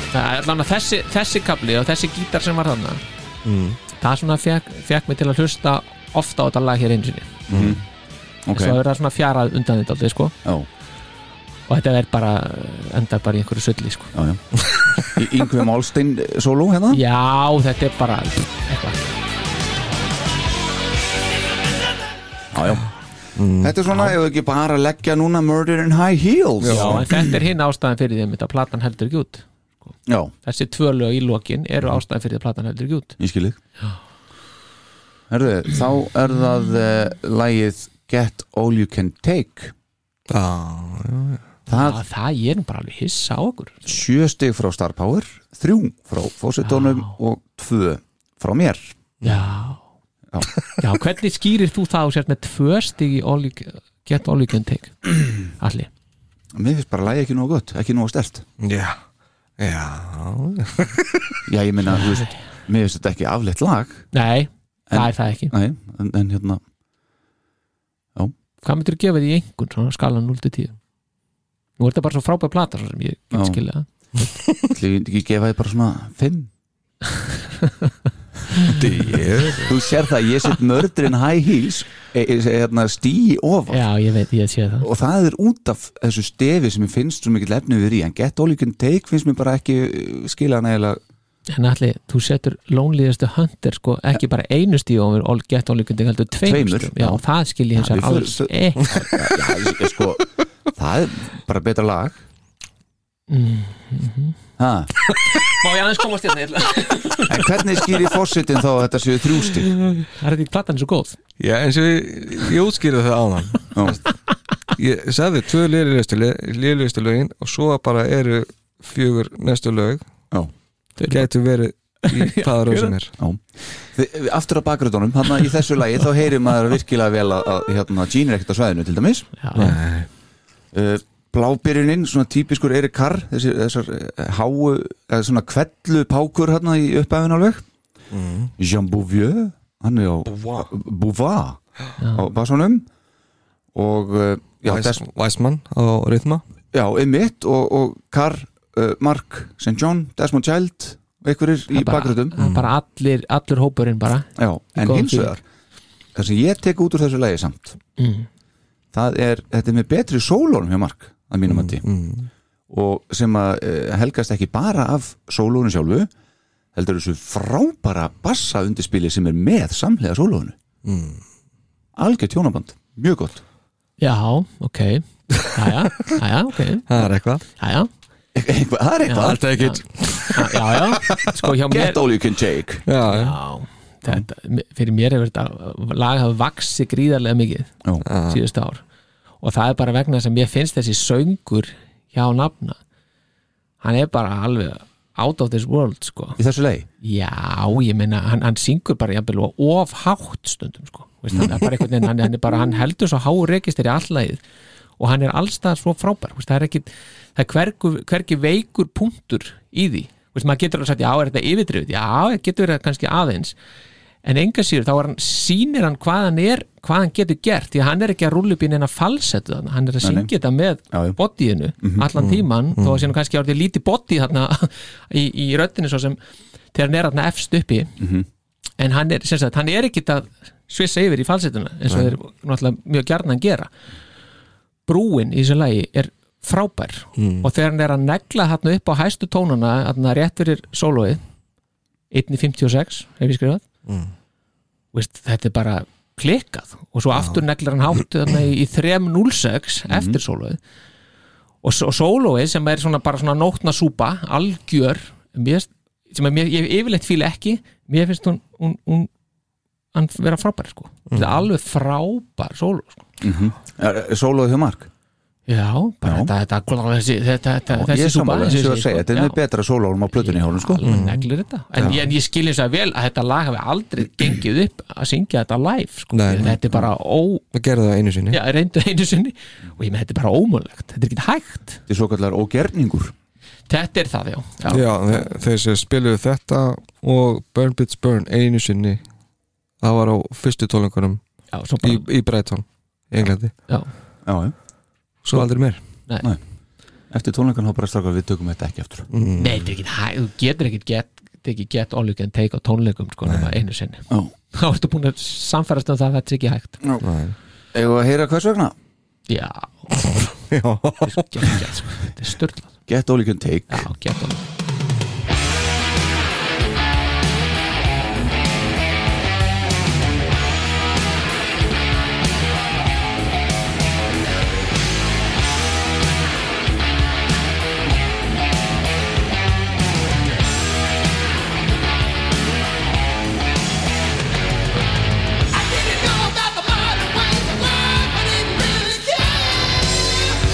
Það er allan að þessi, þessi kapli og þessi gítar sem var þarna það svona fekk, fekk mig til að hlusta ofta á þetta lag hér einsinni okay. ok, svo er það svona fjarað undan þetta aldrei, sko. já, og þetta er bara endar bara í einhverju sölli sko. já, já Í- Yngvi Málstein solo hérna já, þetta er bara eitthvað Já, já. Þetta er svona, ef við ekki bara leggja núna Murder in High Heels já, en þetta er hinn ástæðan fyrir því einmitt að platan heldur ekki út Já, þessi tvö lög í lokin eru ástæðan fyrir því að platan heldur ekki út ég skil þig Herðu, þá er það uh, lagið Get All You Can Take já, já, Það að það ég er nú bara alveg hissa á okkur sjö stig frá Star Power þrjú frá fósitónum og tvö frá mér já, Já. já hvernig skýrir þú það og sért með tvö stig í all you, get all you can take allir Mér finnst bara lagið ekki nógu gott, ekki nógu stert já já, Já, ég meina, þú veist, mér finnst þetta ekki afleitt lag nei, En- það er það ekki Nei, en, en hérna hvað myndir þú gefa því einhvern svona skala 0-10 já, nú er þetta bara svo frábæð plata svo sem ég get Já. skilja Ætli ég myndi ekki gefa þið bara svona fimm Þú sér það, ég set mördrin high heels e, e, hérna, stíi ofar já, ég veit, ég sé það og það er út af þessu stefi sem ég finnst svo mikið lefnum við í en get all you can take finnst mér bara ekki eh, skila nægilega en allir, þú setur Loneliest Hunter sko, ekki bara einu stíu ofur all get all you can take, heldur Tveimur, tveimur stíu já, já. það skil ég hins Já, vegar við alls förum- ekki. Já, ég- ég sko, það er bara betra lag ha, má ég aðeins komast hérna Erla? En hvernig skýri fórsetin þá að þetta séu þrjústi? það er ekki platan svo góð Já, eins og ég, ég útskýrði það áðan Ég sagði tvö liðlustu lögin og svo bara eru fjögur næstu lög Já. Þau gætu verið í hvaða röð sem er Þi- Aftur á bakgrutunum, hann í þessu lagi þá heyrir maður virkilega vel að, að hérna, Gene er ekkert á svæðinu til dæmis já, Nei, uh, Blábyrjunin, svona típiskur Erik Carr þessi, þessar eh, háu, eða svona kvellu pákur hérna í upphæfin alveg Jean Bouvier hann er á Bouvard á basónum og uh, já, þess, Væsmann á Rithma já, Emmett og, og Carr, uh, Mark, St. John Desmond Child og einhverjir í bakgrutum bara, bara allir, allur hópurinn bara Já, en góðum hins fíling. vegar það sem ég tek út úr þessu lagi samt það er, þetta er með betri sólónum hjá Mark að mínum mm, og sem að eh, helgast ekki bara af sólónu sjálfu heldur þessu frábæra bassa undirspili sem er með samlega sólónu mm. algjör tjónaband, mjög gott já, ok já, já, ok Það er eitthvað já, já eitthvað, það er eitthvað, I'll take it já, já, sko hjá mér get all you can take Já, já. já, þetta, fyrir mér hefur þetta lag hafa vaksi gríðarlega mikið Já. síðust ár og það er bara vegna sem ég finnst þessi söngur hjá nafna hann er bara alveg out of this world sko. í þessu lagi já, ég meina, hann, hann syngur bara jafnvel og of hátt stundum sko. Veist, hann, er bara einhvern veginn, hann, hann, er bara, hann heldur svo háu rekistir í allagið og hann er allstað svo frábær Veist, það er ekki, það er hvergu, hvergi veikur punktur í því Veist, maður getur alveg sagt, já, er þetta yfirdrifið já, það getur verið kannski aðeins en enga síður, þá er hann, sýnir hann hvað hann er, hvað hann getur gert því að hann er ekki að rúlla upp í neina falsettu þarna hann er að syngja þetta með Já, Mhm. já. bodyinu allan tíman, þó að sé nú kannski árið lítið body þarna í, í röddinu svo sem þegar hann er þarna efst uppi Mhm. en hann er, sem sagt, hann er ekki að svissa yfir í falsettuna eins og þeir náttúrulega mjög gjarnan gera brúin í þessu lagi er frábær Mhm. og þegar hann er að negla þarna upp á hæstu tónana þarna rétt fyrir sólóið 1.56 hef ég skrifað Veist, þetta er bara klikkað og svo aftur neglar hann hátt þarna í í 3.06 Mhm. eftir sólóið og, s- og sólóið sem er svona bara svona nótna súpa algjör mér, sem að mér, ég yfirleitt fíla ekki mér finnst hún, hún, hún hann vera frábær sko Mhm. þetta er alveg frábær sóló sko. sólóð hjá Mark já, bara Já. þetta, þetta, þetta, þessi, þetta, þetta ég þessi er súpa sammála, eins og eins ég og að segi, segja, sko. þetta er Já. með betra sólónum á plötunni hjá hún sko alveg neglir þetta en ég, en ég skil eins og vel að þetta lag hafi aldrei gengið upp að syngja þetta live sko. Nei, nei. þetta er bara ó, Við gerðum það einu sinni já, reyndu einu sinni og ég með þetta er bara ómulegt, þetta er ekki hægt þetta er svo kallar ógerningur þetta er það já, já. Já, þe- þeir sem spiluðu þetta og Burn Bits Burn einu sinni það var á fyrstu tólengunum já, svo í, bara, í Brighton, í Englandi já. já, já. Svo aldrei meir eftir tónleikan þá bara strákar við tökum þetta ekki eftir Mm. nei, þetta er ekki hægt, þú getur ekki get, ekki get all you can take á tónleikum sko, nema einu sinni Já. þá ertu búin að samfærast um það að þetta er ekki hægt Eða að heyra hvers vegna? já, Já, get, get, sko. þetta er störtlað Get all you can take já, get all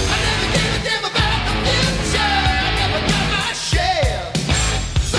I never gave a damn about the future. I never got my share.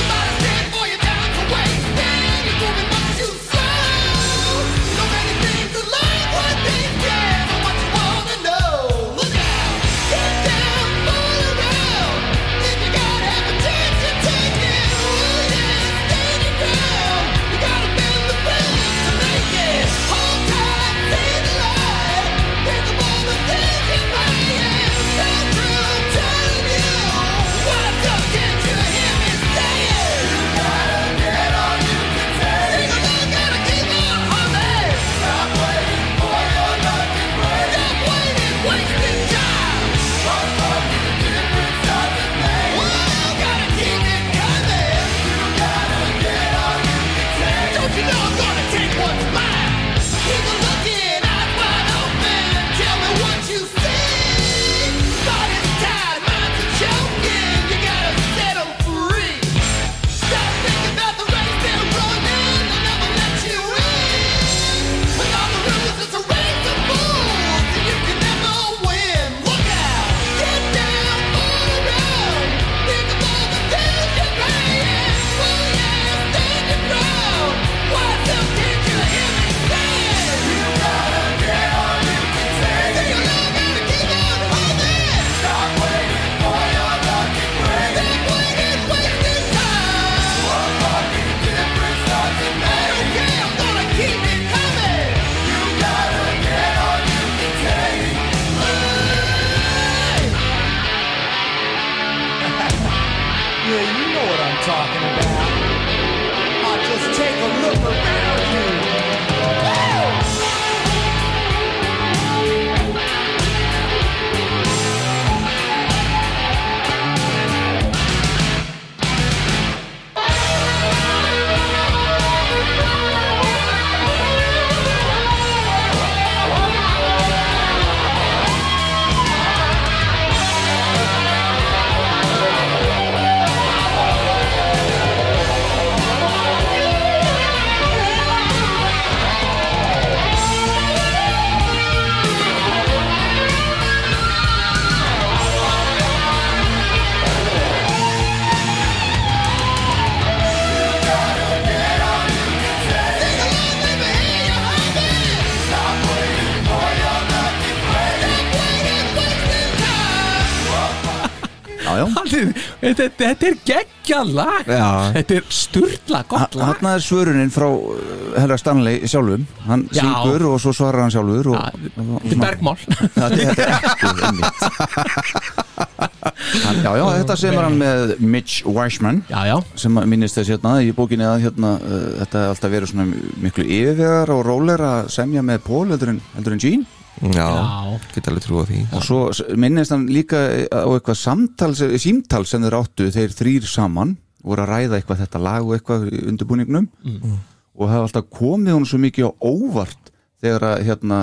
þetta, þetta er geggja lag Já. Þetta er sturla gott lag Þarna er svörunin frá uh, Helga Stanley sjálfum Hann Já. syngur og svo svarar hann sjálfur og, Ja, og- Þetta er bergmál Já, þetta er ekki einmitt. hann, Já, já, þetta semur hann með Mitch Weissman Já, já, sem að minnist þess hérna í bókinni að hérna, uh, þetta er alltaf verið svona miklu yfirvegar og róler að semja með Paul heldur en, heldur en Gene Já, Já. get alveg trúið því og svo s- minnist hann líka eh, á eitthvað samtal, símtal sem þeir áttu þeir þrýr saman voru að ræða eitthvað þetta lag og eitthvað í undirbúningnum og það var alltaf komið hún svo mikið á óvart þegar að hérna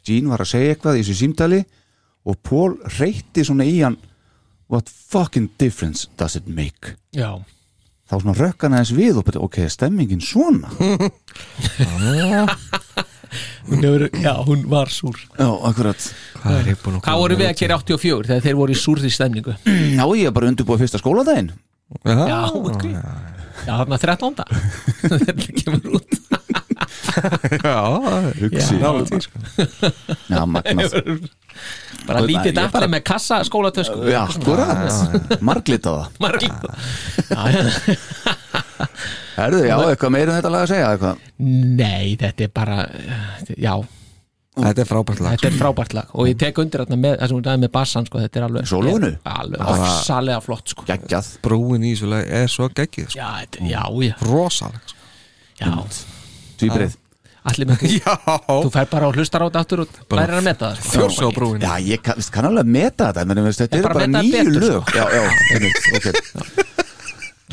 Gene var að segja eitthvað í þessu símtali og Paul reytti svona í hann what fucking difference does it make já þá svona rökkan aðeins við og betur, ok, er stemmingin svona Hún, hefur, já, hún var súr Já, akkurat Hvað er ég búin að Hvað voru við að gera 84 þegar þeir voru í súrði stemningu? Já, ég er bara undirbúið fyrsta skóladaginn Já, Já, ok Já, þarna 13. Þetta kemur út já, Hugsi. já, nálægt því, sko. Já, magnað Bara Guð, lítið ég bara- dættari með kassa skólatösku Já, sko. akkurat, marglitaða Marglíku Herðu, já, eitthvað meira um þetta lag að segja eitthvað. Nei, þetta er bara Já, Þetta er frábært lag þetta er frábært lag og ég tek undir þarna með, það sem hún dæði með bassan sko, þetta er alveg Sólóinu? Alveg, Bara- ofsalega flott sko. Gaggjað Brúin í þessu lag er svo geggið sko. Já, þetta, já, já, Rosaleg sko. já Tvíbreið Allir með því, Já, þú fer bara og hlustar á þetta aftur og Bara- lærir að meta það sko. fjórsá brúin Já, ég kann, veist, kann alveg að meta þetta menn, veist, Þetta Ég eru bara bara meta nýju betur, lög Já, já, einmitt, ok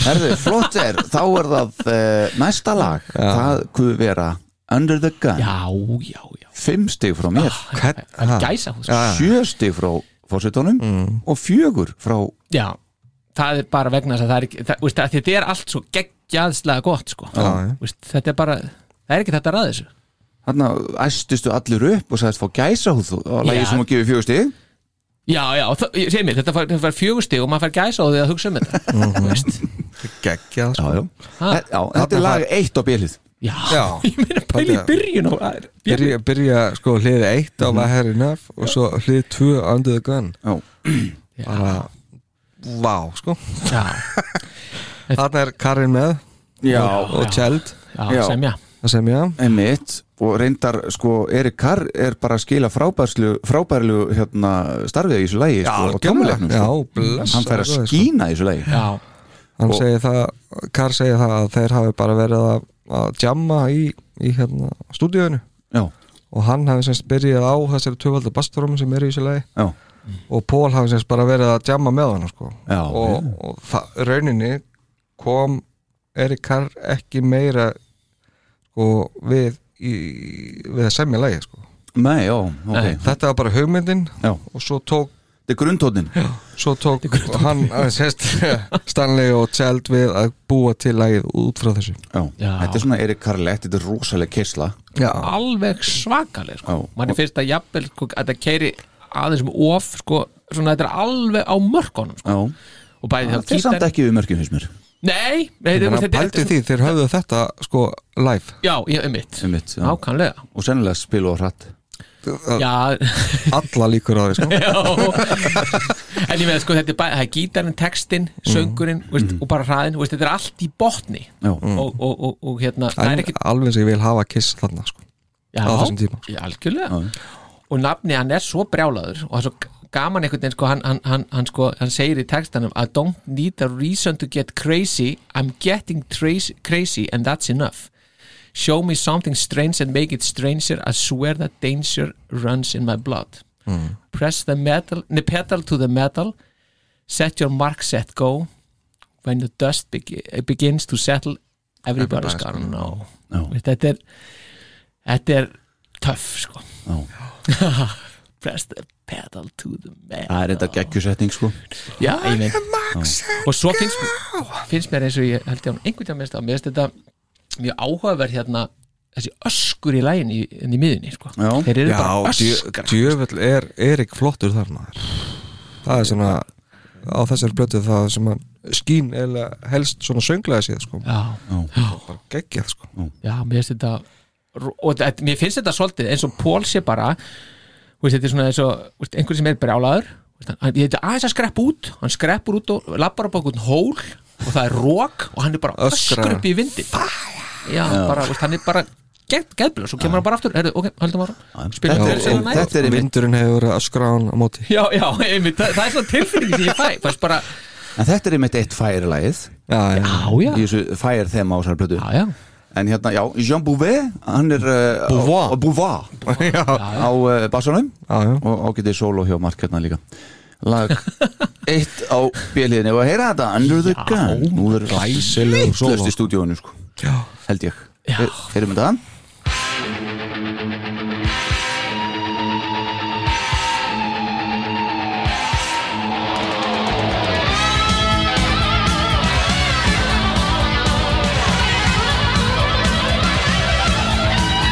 Herðu, flott er, þá er það uh, næsta lag Það kuð vera Under the Gun Já, já, já Fimm stig frá mér Hvern- Það ha? er gæsa hús Já, já. Sjö stig frá fórsetunum Og fjögur frá Já, það er bara vegna þess að það er ekki, það, veist, að þetta er allt svo geggjaðslega gott sko. já. veist, þetta er bara, það er ekki þetta ræðis Þarna æstustu allir upp og sagðist fá gæsa húð og lagið Já. sem að gefa fjögur stig Já, já, það, ég segi mér, þetta fær, þetta fær fjögustig og maður fær gæsa á því að hugsa um þetta Þú veist, Geggjað sko. já. Ha? já Þetta er lag eitt á bylið já, Já. ég meina pæli í Þetta- byrjun og það er Byrja, byrja sko hlið 1 á What Hair Enough og svo hlið 2 Under the Gun Mhm. Já. bara vá sko Já, þarna er Karin með Já, og Tjeld já, Já. semja það sem ég einmitt og reyndar sko Erik Carr er bara að skila frábærlu, frábærlu hérna, starfið í þessu lægi sko, og tómulegnum já, sko. bless hann fær að skína í þessu lægi Já, hann Og- segir það, Kar segir það að þeir hafi bara verið að, að jamma í, í hérna, stúdíunum já, og hann hafi semst byrjað á þessari tvöfalda bassdrómi sem er í þessu lagi já, og Pól hafi semst bara verið að jamma með hann sko. Já, og, og það, rauninni kom Erik Kar ekki meira sko, við, í, við að semja lagi sko. nei, já, ok Nei. þetta var bara hugmyndin já, og svo tók þetta er grundtónin já, svo tók hann að sérst Stanley og Tjeld við að búa til lagið út frá þessu Já. þetta er svona Erik Carr-legt þetta er rosalega kisla Já, alveg svakaleg sko. Já. Manni finnst að jafnvel sko, að það keiri aðeins um of sko, svona þetta er alveg á mörkunum sko. já, og bæði þá þetta er samt ekki við mörgjum hins mér Nei, nei þannig að pælti því þeir höfðu þetta sko live Já, ég er mitt Einmitt, já. Nákvæmlega og sennilega spilu á hratt Já, alla líkur á því sko já En ég með sko þetta er bara, það er gítarinn, textinn, söngurinn veist, og bara hraðinn, veist, þetta er allt í botni já, og, og, og, og hérna, Mm. það er en, ekki alveg sem ég vil hafa kiss þarna sko Já, á þessum tíma, já, algjörlega Og nafni, hann er svo brjálaður og það er svo g- gaman einhvern veginn, sko, hann, hann, hann, hann, sko, hann segir í textanum I don't need a reason to get crazy I'm getting trace, crazy and that's enough Show me something strange and make it stranger I swear that danger runs in my blood Hmm. Press the metal, ne, pedal to the metal Set your mark, set go When the dust begi- begins to settle Everybody's gonna know Já. Veist, Þetta er Þetta er töff sko Já. Press the pedal to the metal það er þetta geggjusetning sko Já, ég meina Og svo finnst, finnst mér eins og ég held ég án einhvern tímann minnst á Mér finnst þetta mjög áhugaverð hérna Þessi öskur í lægin í, hérna í miðunni sko Já. Þeir eru bara djö- öskra djöfull er Erik flottur þarna það er svona á þessari blötu það sem hann skín eða helst svona sönglaði síðan sko Já, bara geggjað sko já, mér finnst þetta Og þetta- mér finnst þetta svolítið eins og Pól sé bara þú veist, Þetta er svona eins og þú veist, einhver sem er brjálaður Veist hann- hann- ég heiti aðeins að skrepp út hann skreppur út og lappar upp á einhvern hól og það er rók og hann er bara Öskrar. öskur upp í vindin já, bara, veist, hann er bara geðblöð, svo kemur hann bara aftur Heyrðu, ok, höldum ára, spilum Þetta við er- þessi þetta nætt er einmitt- Vindurinn hefur verið öskra á hann á móti já, já, einmitt, það, það er svona tilfinning sem ég fæ, fæst bara, En þetta er einmitt eitt færilægið Já, já, já. á já Í þessu færi þeim á þessari plötu já, já, En hérna, já, Jean Bouvet Hann er uh, á- Beauvoir. á- Beauvoir Á uh, bassanum já. Og ágætið solo hjá Mark hérna líka Lag eitt á bjöliðinni Og að heyra þetta, Under the Gun Nú er Glæsilegur solo. Lust í stúdíónu, sko já. Held ég Hey- Heyrum þetta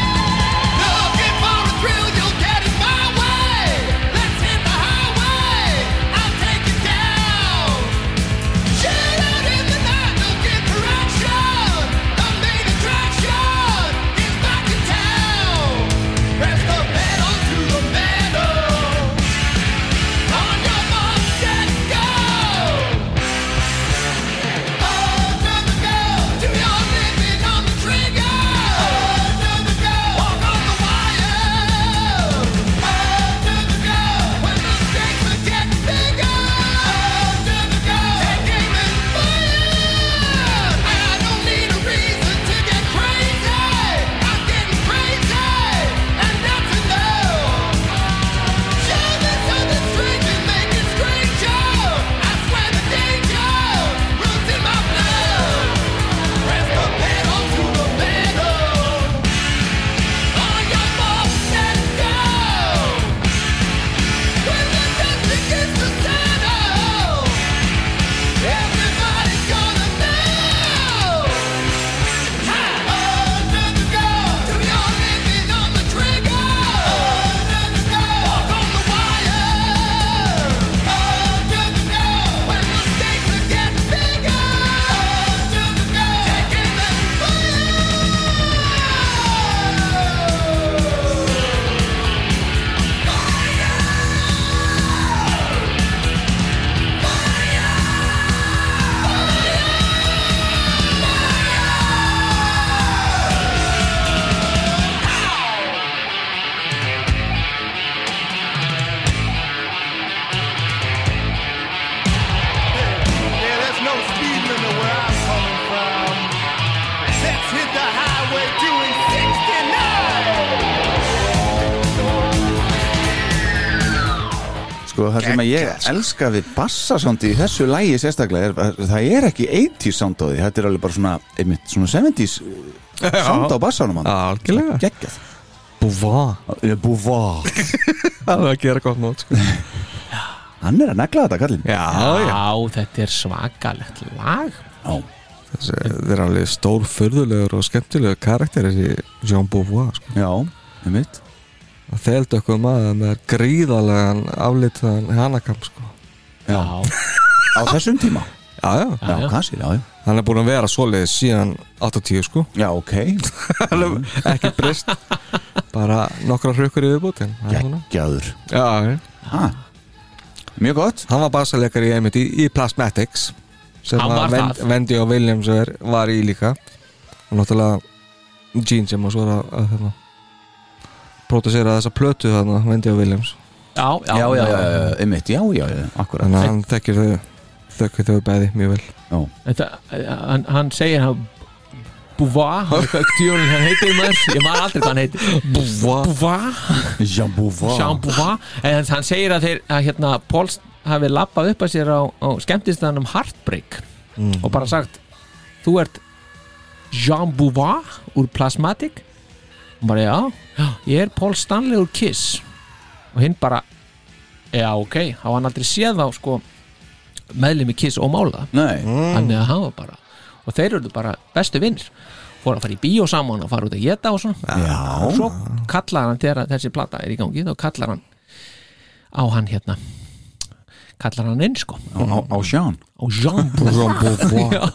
Looking for a thrill, you'll get it my way. Let's hit the highway. I'll take you down. Shoot out in the night, looking for action. The main attraction is back in town. Press the pedal to the metal. On your mark, set, go. Another go. Do your living on the trigger. Another go. Walk on the wire. Another go. When the stakes are getting bigger. Another go. Take aim and fire. I don't need a reason to get crazy. I'm getting crazy, and that's enough. Everybody's gonna know Yeah, there's no speed limit where I'm coming from. Let's hit the highway doing 69. Sko það sem að ég elska við bassasándi í þessu lægi sérstaklega er, að það er ekki 80s sound á því, þetta er alveg bara svona, einmitt, svona 70s sound á bassanum hann. Algjörlega. Geggjað. Búva Eh, Búvá. Það er að gera gott mót sko. Hann er að negla þetta kallinn. Já, já já, þetta er svakalegt lag Þessi, Þeir eru alveg stór fyrðulegur og skemmtilegur karakter þessi Jean Beauvoir sko. Já, einmitt. Það þeldu okkur maður með gríðarlegan aflitaðan hanakam sko. Já. Á þessum tíma. Já, já Já, kannski, já, já. Hann er búin að vera svoleiðis síðan 80 sko Já, ok. Ekki breyst Bara nokkra hrökkur í viðbútin Geggjaður. Já, já Ha. Mjög gott. Hann var basalekar í einmitt í, í Plasmatics sem Hann var að Vend, það. Vendi og Williams er, var í líka og náttúrulega Gene sem var svo að, að hérna, pródusera þessa plötu þarna Vendi og Williams já, já, Já, já, já, já, einmitt, já, já, já, akkurat. þannig að hann þekkir þau þekkir þau bæði mjög vel þetta, hann, hann segir hann Búva, djúlinn hann heitir maður ég maður aldrei hvað hann heitir Búva Búva, Jean Bouvoir. Sean Búva en hann- hann segir að þeir, að hérna Paul hafi lappað upp að sér á, á skemmtistanum Heartbreak og bara sagt, þú ert Jean Búva úr Plasmatic og bara já, já, ég er Paul Stanley úr Kiss og hinn bara já ok, þá hann aldrei séð þá sko meðlum í Kiss og mála Nei, þannig að hafa bara og þeir eru bara bestu vinnir fór að fara í bíó saman og fara út að geta og svona Já. svo kallar hann þegar þessi plata er í gangi þá kallar hann á hann hérna kallar hann inn sko á, á, á Sean. á Jean Beauvoir Já.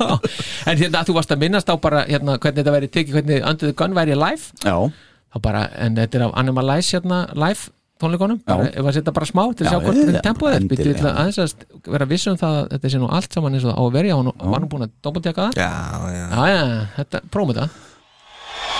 en hérna þú varst að minnast á bara hérna, hvernig þetta væri tekið, hvernig Under the Gun væri live Já, þá bara, en þetta er af Animalize hérna live tónleikunum bara, ef að setja bara smá til Já, að sjá hvort já, við tempóð er endilega. býttu til að aðeins að st- vera viss um það að þetta sé nú allt saman eins og það á að verja og hann var nú búin að doppeltjaka það já, já já, já, þetta, prófum þetta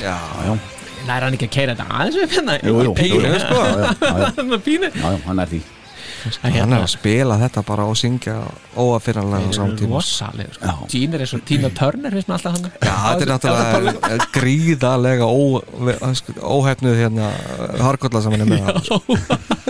læra hann ekki að keira þetta aðeins upp hérna Jú, jú, jú, jú, sko, já, já, já, Það er pínu Hérna, já, já, hann er því Hann er að spila þetta bara og syngja óafinnanlega á samtíma Rosaleg, Já. sko Gene er eins og Tina Turner, finnst maður alltaf hann Já, þetta er náttúrulega gríðarlega ó- ve- sko, óhefnuð hérna harkolla sem hann er með hann, sko.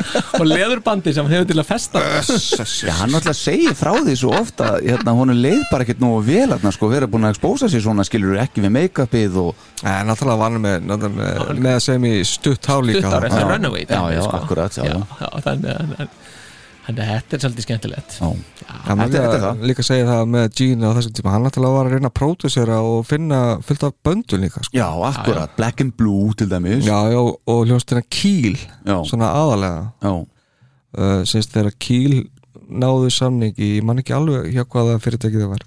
Og leðurbandi sem hann hefur til að festa Já, hann alltaf segir frá því svo ofta hérna, honum leið bara ekkert nógu vel hérna, sko, vera búin að expósa sig svona, skilur ekki við make-upið og En náttúrulega var hann með, náttúrulega með, með sem í stutt há líka Stuttar eftir Já. Runaway Já, dæmið, já, sko. akkurat, já, já. já Þannig að- þannig að þetta er svolítið skemmtilegt já, Já, Þetta- maður þetta er líka, það. líka segja það með Gene á þessum tíma, hann náttúrulega var að reyna að pródusera og finna fullt af böndun líka sko. já akkurat, Black and Blue til dæmis Já, já, og hljóstina Kíl já, svona aðalega já, uh, semst þegar Kíl náðu samning í, ég man ekki alveg hjá hvaða fyrirtæki það var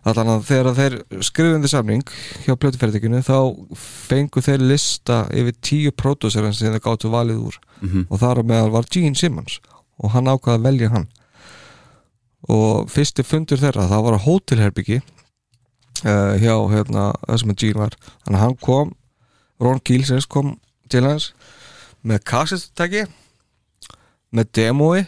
allan að þegar þeir skrifundi samning hjá plötufyrirtækinu þá fengu þeir lista yfir tíu pródúserinn sem þeir gáttu valið úr og þar á meðal var Gene Simmons og hann ákvaði að velja hann og fyrsti fundur þeirra það var á hótelherbyggi uh, hjá hérna, þessum að Gene var þannig að hann kom, Ron Kíl sem sagt kom til hans með kassistæki með demói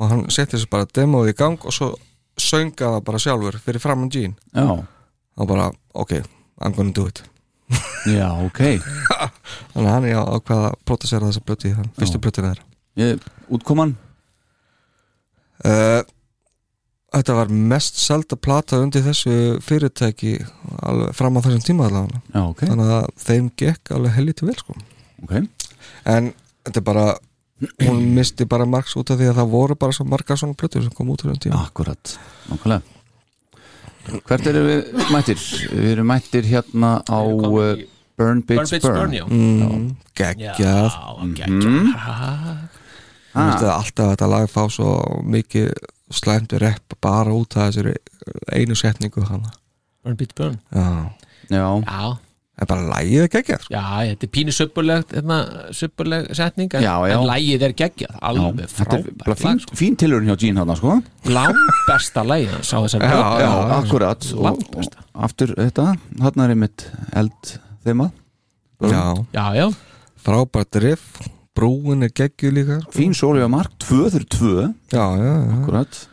og hann setti þessu bara demóið í gang og svo sönga það bara sjálfur fyrir framann Gene já, og bara, ok, I'm gonna do it já, ok þannig að hann er á hvað að protestera þessa blötu í þann, fyrstu blötuna þeirra ég, útkoman uh, Þetta var mest selda plata undir þessu fyrirtæki alveg fram á þessum tíma allavega Mm. já, ok, þannig að þeim gekk alveg helviti vel sko ok en þetta er bara hún misti bara margs út af því að það voru bara svo margar svona blötu sem kom út á þessum tíma akkurat, nákvæmlega hvert eru við mættir? við erum mættir hérna á Við erum komin uh, Burn Burn Bits Bitch Burn, Burn Mhm. já mm, Já, geggjað geggjað. Mér finnst það alltaf að þetta lag fá svo mikið slæmdu rep bara út af þessari einu setningu hana Burn Bitch Burn Já, já, Já, en bara lagið er geggjað sko. já, þetta er pínu söpulegt söpuleg setning en, Já, já. en lægið er geggjað, já alveg þetta er bara frábært fín, lag, sko. fín tilurinn hjá Gene hérna, sko langbesta lægið hans á þessari Já, blötu. já, akkurat og, Langt og besta. aftur þetta, þarna er einmitt eld þeima Já, já, já, frábært riff brúin er geggjuð líka sko. fín sólega mark, 2-2 Já, já, já akkurat,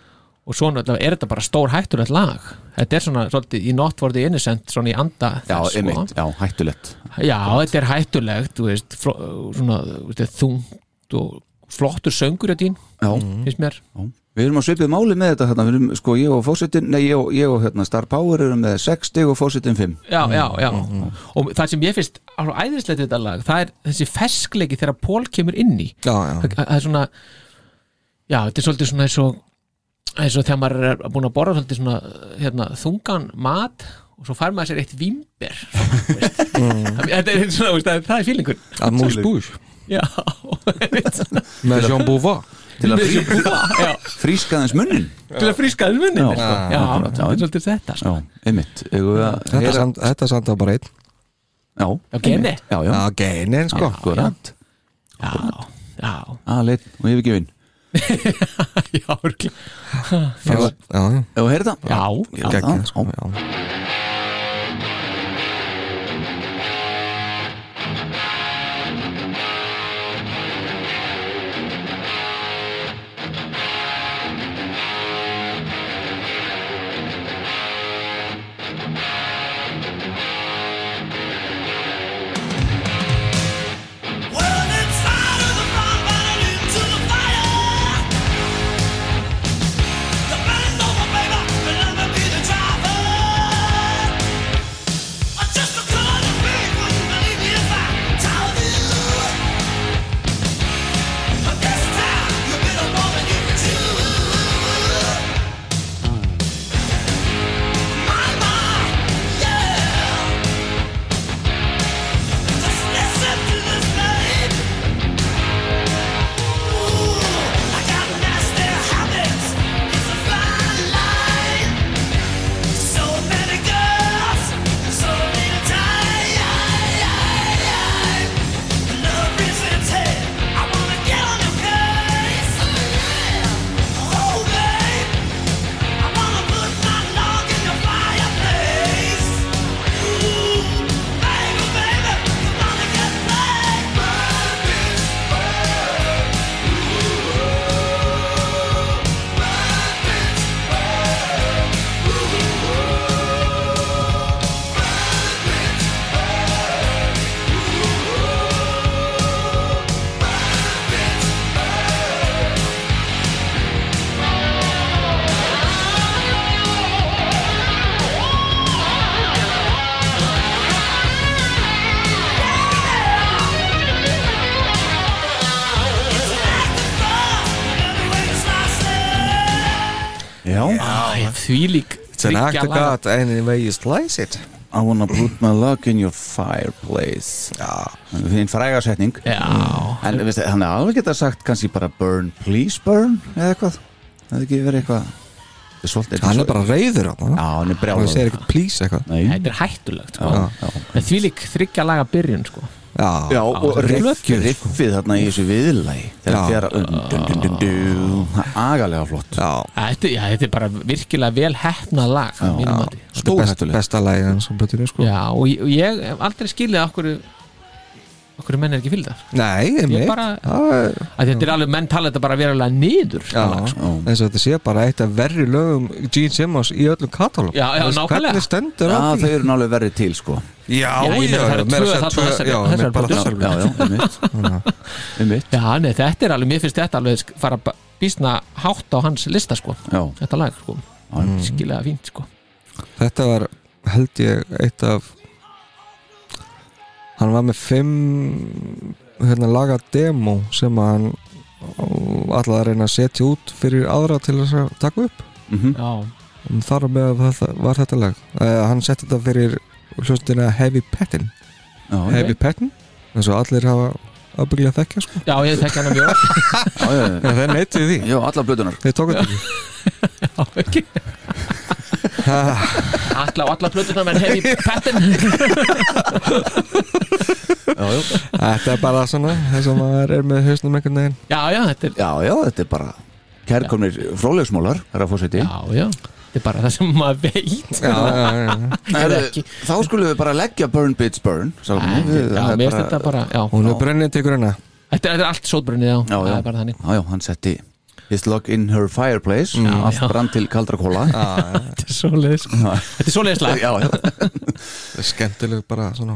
og svona er þetta bara stór hættulegt lag þetta er svona, svolítið, í Not For The Innocent svona í anda já, þess, sko. einmitt, já, hættulegt Já, þetta er hættulegt þú veist, fló, svona, þú veist, þungt og flottur söngur á dín, já, finnst mér já, við erum að svipið máli með þetta hérna, við erum, sko, ég og fórsetin nei, ég og, ég og hérna, Star Power erum með 6 stig og fórsetin 5 Já, já, já mm, og það sem ég finnst alveg æðislegt við þetta lag, það er þessi feskleiki þegar Pól kemur inn í Já, já, það það er svona já, þetta er svolítið svona eins og eins og þegar maður er búin að borða svolítið svona hérna, þungan mat og svo fær maður sér eitt vimber svona, veist. Mm. þetta er svona, veist, það, það er fílingur að mús bús já, einmitt. með Jean Bouva til að frí, já, fríska þess munnin til að fríska þess munni Já, já, já, akkurat, já. þetta er svolítið þetta já, sko. einmitt, eigum við að Þetta heyra- samt- þetta samt að bara einn já, Já, Gene. einmitt, já, já, Já, geinin sko akkurat já, já aðleitt og yfirgefin já, örugglega. Já, já, já, Ef þú heyrðu það? já, já. geggjað, já. sko, já. Well, it's out of the bomb, but it into the fire. The bend over, baby, and let me be the driver. I'm just a color pig, wouldn't believe me if I told you. But this time, you've been a woman you can choose. My, my, yeah. Just listen to this babe. Ooh, I got nasty habits. It's a fine line. So many girls, so many times. Love reasons here. I wanna get on your case. Oh babe, I wanna put my log in your fireplace. Baby, baby, you wanna get played? Burn, bitch, burn. Burn, bitch, burn. Já, Æ, því lík It's an act of God any way you slice it I wanna put my luck in your fireplace Já, Það er Þín frægarsetning Já, En veist, hann er alveg geta sagt kannski bara burn, please burn eða eitthvað Það er ekki verið eitthvað Það er svolítið hann er bara reyður á það Já, hann er hann brjálæður segir ekkert please eitthvað Nei þetta er hættulegt sko. Já. En því lík þryggja laga byrjun sko. Já, Já, og það er riffið, geggjað, sko. riffið þarna í þessu viðlægi Þegar Já. fjara um, dun, dun, dun, dun, Það er agalega flott Já, þetta, já, þetta er bara virkilega vel hefnað lag Já. já, þetta er best, Stórhættulegt. besta lægin hans á blötunni sko já, og ég, og ég hef aldrei skilið okkur okkur menn er ekki fylgdar Nei, Ég einmitt bara- Já, að þetta er alveg, menn tala þetta bara verulega niður Já, þetta lag, sko. eins og þetta sé bara eitt af verri lögum Gene Simmons í öllum katalóg Já, já, nákvæmlega. Hvernig stendur Já, á þau því? eru nálega verið til sko Já, Já, ég meina, það eru meira tvö þarna á að segja tvö- þessari- já, þessari meina bara plötu. Já, þessari já, já, einmitt Einmitt, já, nei, þetta er alveg, mér finnst þetta alveg fara ba- býsna hátt á hans lista sko. já þetta lag, sko. Mm. skiljaða fínt sko. Þetta var held ég eitt af hann var með fimm hérna laga demo sem að hann allar að reyna að setja út fyrir aðra til þess að taka upp já, en þar á meðal þetta, var þetta lag uh, hann setti þetta fyrir hljóstina Heavy Pettin Já, já, Heavy Pettin eins og allir hafa ábygglega þekkja sko já ég þekki hana já, mjög já, já. en þeir neytið því Já, allar blöðunar þeir tóku þetta ekki Já, ekki Alla og alla plöturnar menn hef í petten þetta er bara svona þess að maður er með hausnum einhvern veginn Já, já, þetta er Já, já, þetta er bara Kærkomnir frólegsmólar, herra fósiti Já, já, þetta er bara það sem maður veit já, já, já, já. Herðu, ekki. eh, Þá skulum við bara leggja Burn Bitch Burn Æ, Já, mér finnst þetta bara Já, hún er brennið til grunna þetta er, þetta er allt sótbrunnið já, Já, já. það er bara þannig Mm. Já, já, hann setti His log in her fireplace Allt já. Ah. brann til kaldra kóla Þetta er svoleiðis Þetta er svoleiðis lag Já, já, Það er skemmtileg bara svona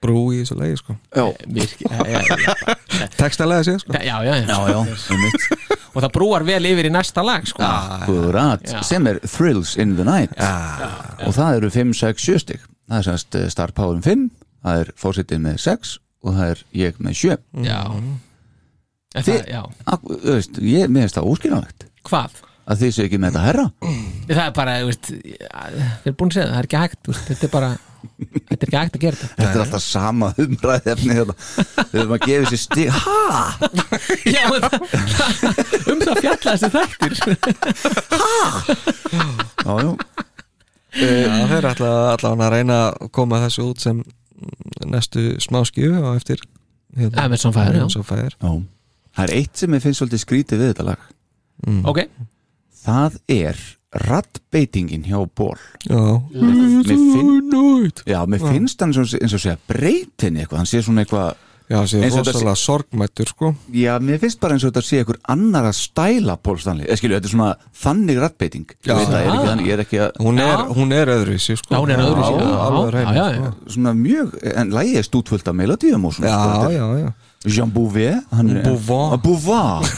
brú í þessu lagi sko já Virki- Já, já, já, Textalega séð sko já, já, já. Já, já, einmitt Og það brúar vel yfir í næsta lag sko. Akkurat, Já. sem er Thrills in the Night Og það eru 5, 6, 7 stig Það er semst eh, Star Power um 5 Það er fósitið með 6 Og það er ég með 7 Já En Þi- það, já, Ak, þú veist, ég, Mér finnst það óskiljanlegt hvað? Að þið séu ekki með þetta herra Það er bara, þú veist Við erum búin að segja það, það er ekki hægt þú veist, Þetta er bara, þetta er ekki hægt að gera þetta Þetta er alltaf sama umræðefni Við höfum að gefa sér stig Ha? Já, en það- um það fjallaðist þið þættir Já, já, Já, Eh, þeir ætla allavega að reyna að koma þessu út sem næstu smáskju og eftir Hérna, Amazon Fire, já. Amazon Fire. já það er eitt sem ég finnst svolítið skrítið við þetta lag Mm. ok, það er rattbeitingin hjá ból Já mér, finn, Nút já, mér finnst hann eins og, eins og segja breytinni eitthvað, hann sé svona eitthvað Já, þessi Eins og þetta rosalega sorgmættur sko já, mér finnst bara eins og þetta sé eitthvað annar að stæla bólstanli, eða skilju, þetta er svona þannig rattbeiting, Já. ég veit það, ég er ekki þannig ég er ekki að, Hún er, hún er öðruvísi sko já hún er öðru síðan já, alveg sko. reyna já, já, svona mjög en lægi er stútfullt af melodíum og svona sko, Já, þetta er- já, já Jean Bouvet hann er- Bouvard. Ah, Bouvard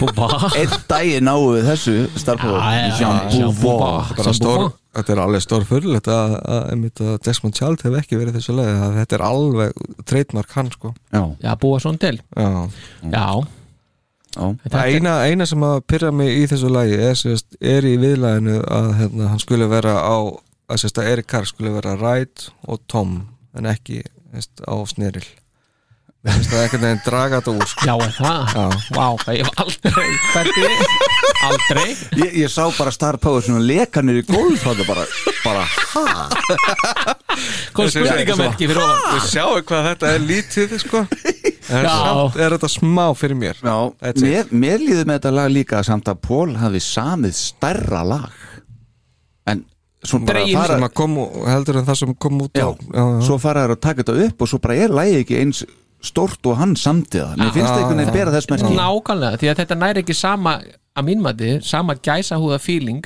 búba einn daginn náðu við þessu starfbóð Jean Bouvard bara stór, þetta er alveg stór fyrirlegt að, að, einmitt að Desmond Child hef ekki verið þessu leið að þetta er alveg treytmark hann sko já, já, búa svona til Já. já, já, þetta er- eina, eina sem að pyrra mig í þessu lagi er, sérst, er í viðlæðinu að hérna, hann skulle vera á að, sérst, að Erik Carr skulle vera ræt og tom en ekki sérst, á sneril það er ekkert veginn draga þetta úr sko. já, er það Já. vá, ég hef aldrei hvernig, aldrei Ég, ég sá bara starfbóð svona lekanir í gólf það bara, bara kom spurningamerki fyrir ofan Þau sjáu hvað þetta er lítið sko. en Já. samt er þetta smá fyrir mér já, That's it. mér, mér líður með þetta lag líka samt að Pól hafi samið stærra lag en svona bara Dregin fara sem að kom, heldur en það sem kom út já, á, já, já. svo fara þær að taka þetta upp og svo bara er lagi ekki eins stórt og hann samtiða mér finnst Já, það einhvern veginn já. bera þess merki Mm. Nákvæmlega, því að þetta næri ekki sama að mínmati, sama gæsa húða feeling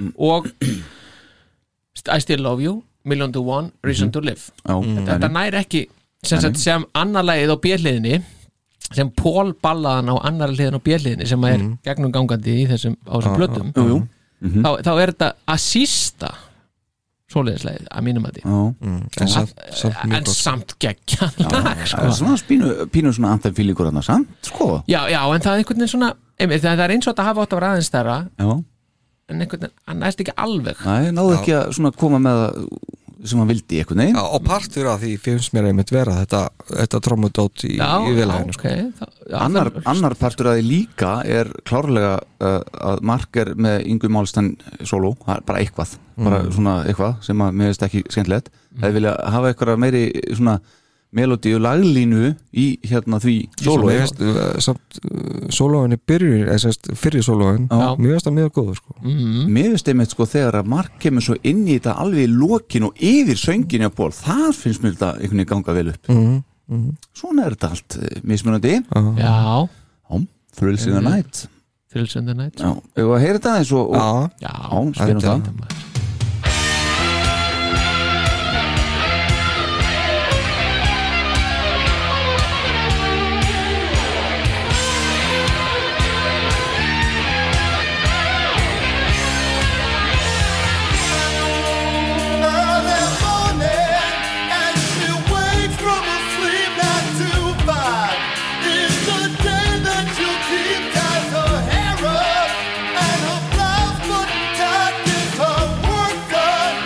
Mm. og I still love you Million to One, Reason Mhm. to Live Já, þetta en- næri ekki sem, sagt, sem annar lagið á bjöliðinni sem Pól ballaðan á annar liðin á bjöliðinni sem er Mhm. gegnum gangandi í þessum á þessum plötum Ah, jú, jú. Mhm. þá, þá er þetta að sísta svoleiðislegið að mínmati Já. Mm, en samt, samt mjög en gott samt geggja lag Ah, Það er sko. svona pínu, pínu svona anthem fílingur hann að samt, sko já, já, en það er einhvern veginn svona einmitt, það er eins og þetta hafa átt að vera aðeins þærra Já, en einhvern veginn, hann næst ekki alveg næ, náðu ekki að svona koma með það sem hann vildi eitthvað neginn Já, og partur af því finnst mér einmitt vera þetta, þetta trommudót í, í viðlæðinu sko. ok þá- já, annar, það- annar partur að því líka er klárlega uh, að Mark er með Ingu Málstein solo, það er bara eitthvað bara svona eitthvað sem að mér veist ekki skemmtilegt, það er vilja hafa eitthvað meiri svona melodíu laglínu í hérna því solo Mér finnst, uh, samt uh, sólóin í byrjun eh, eða sérst fyrir sólóin Já. mér finnst það mjög góður sko. mhm, mér finnst einmitt sko þegar að Mark kemur svo inn í þetta alveg í lokin og yfir sönginu á ból, það finnst mér þetta einhvern veginn ganga vel upp Mm. Mhm. svona er þetta allt eh, mismunandi já, Thrills in the Night Thrills in the Night Já, ef að heyra þetta eins og, og Já, já, spilum það. þetta maður. Early morning, and she wakes from a sleep not too fine. It's the day that you keep ties her hair up, and her blouse put tight is her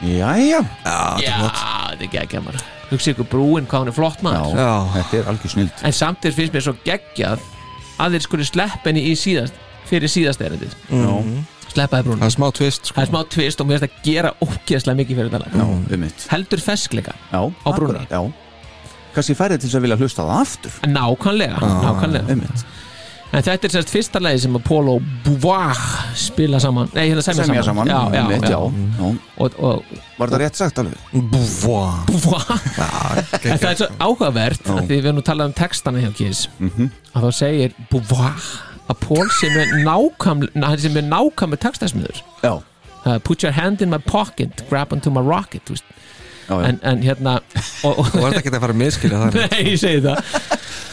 Já, þetta er geggja maður Hugsa ykkur brúin hvað hún er flott maður Já. þetta er algjör snild En samt er finnst mér svo geggjað að þeir skuli sleppa henni í síðast fyrir síðast erindið Já. Sleppa þeir það brúin er smá tvist Það sko. er smá tvist og mér finnst að gera ógeðslega mikið fyrir þetta Já, lag um mitt Heldur feskleika Já, Mm. Á brúnni. akkurat, Já Kanski færið til þess að vilja hlusta á það aftur Nákvæmlega, nákvæmlega Um mitt En þetta er sérst fyrsta lagi sem að Polo Bouvoir spila saman Nei, hérna semja, Semja saman Já, já, um mitt, já. Mm. já. Já. Og, og Var það rétt sagt alveg? Búfá Bouvoir En það er svo áhugavert Já. að því við erum nú talað um textana hjá Kiss Mhm. að þá segir Bouvoir að Paul sem er nákvæmlega hann sem er nákvæmlega textasmiður Já, uh, Put your hand in my pocket, grab onto my rocket þú veist. já, já. en, en hérna og, og, Þú ert ekki að fara að miskilja það Nei, ég segi það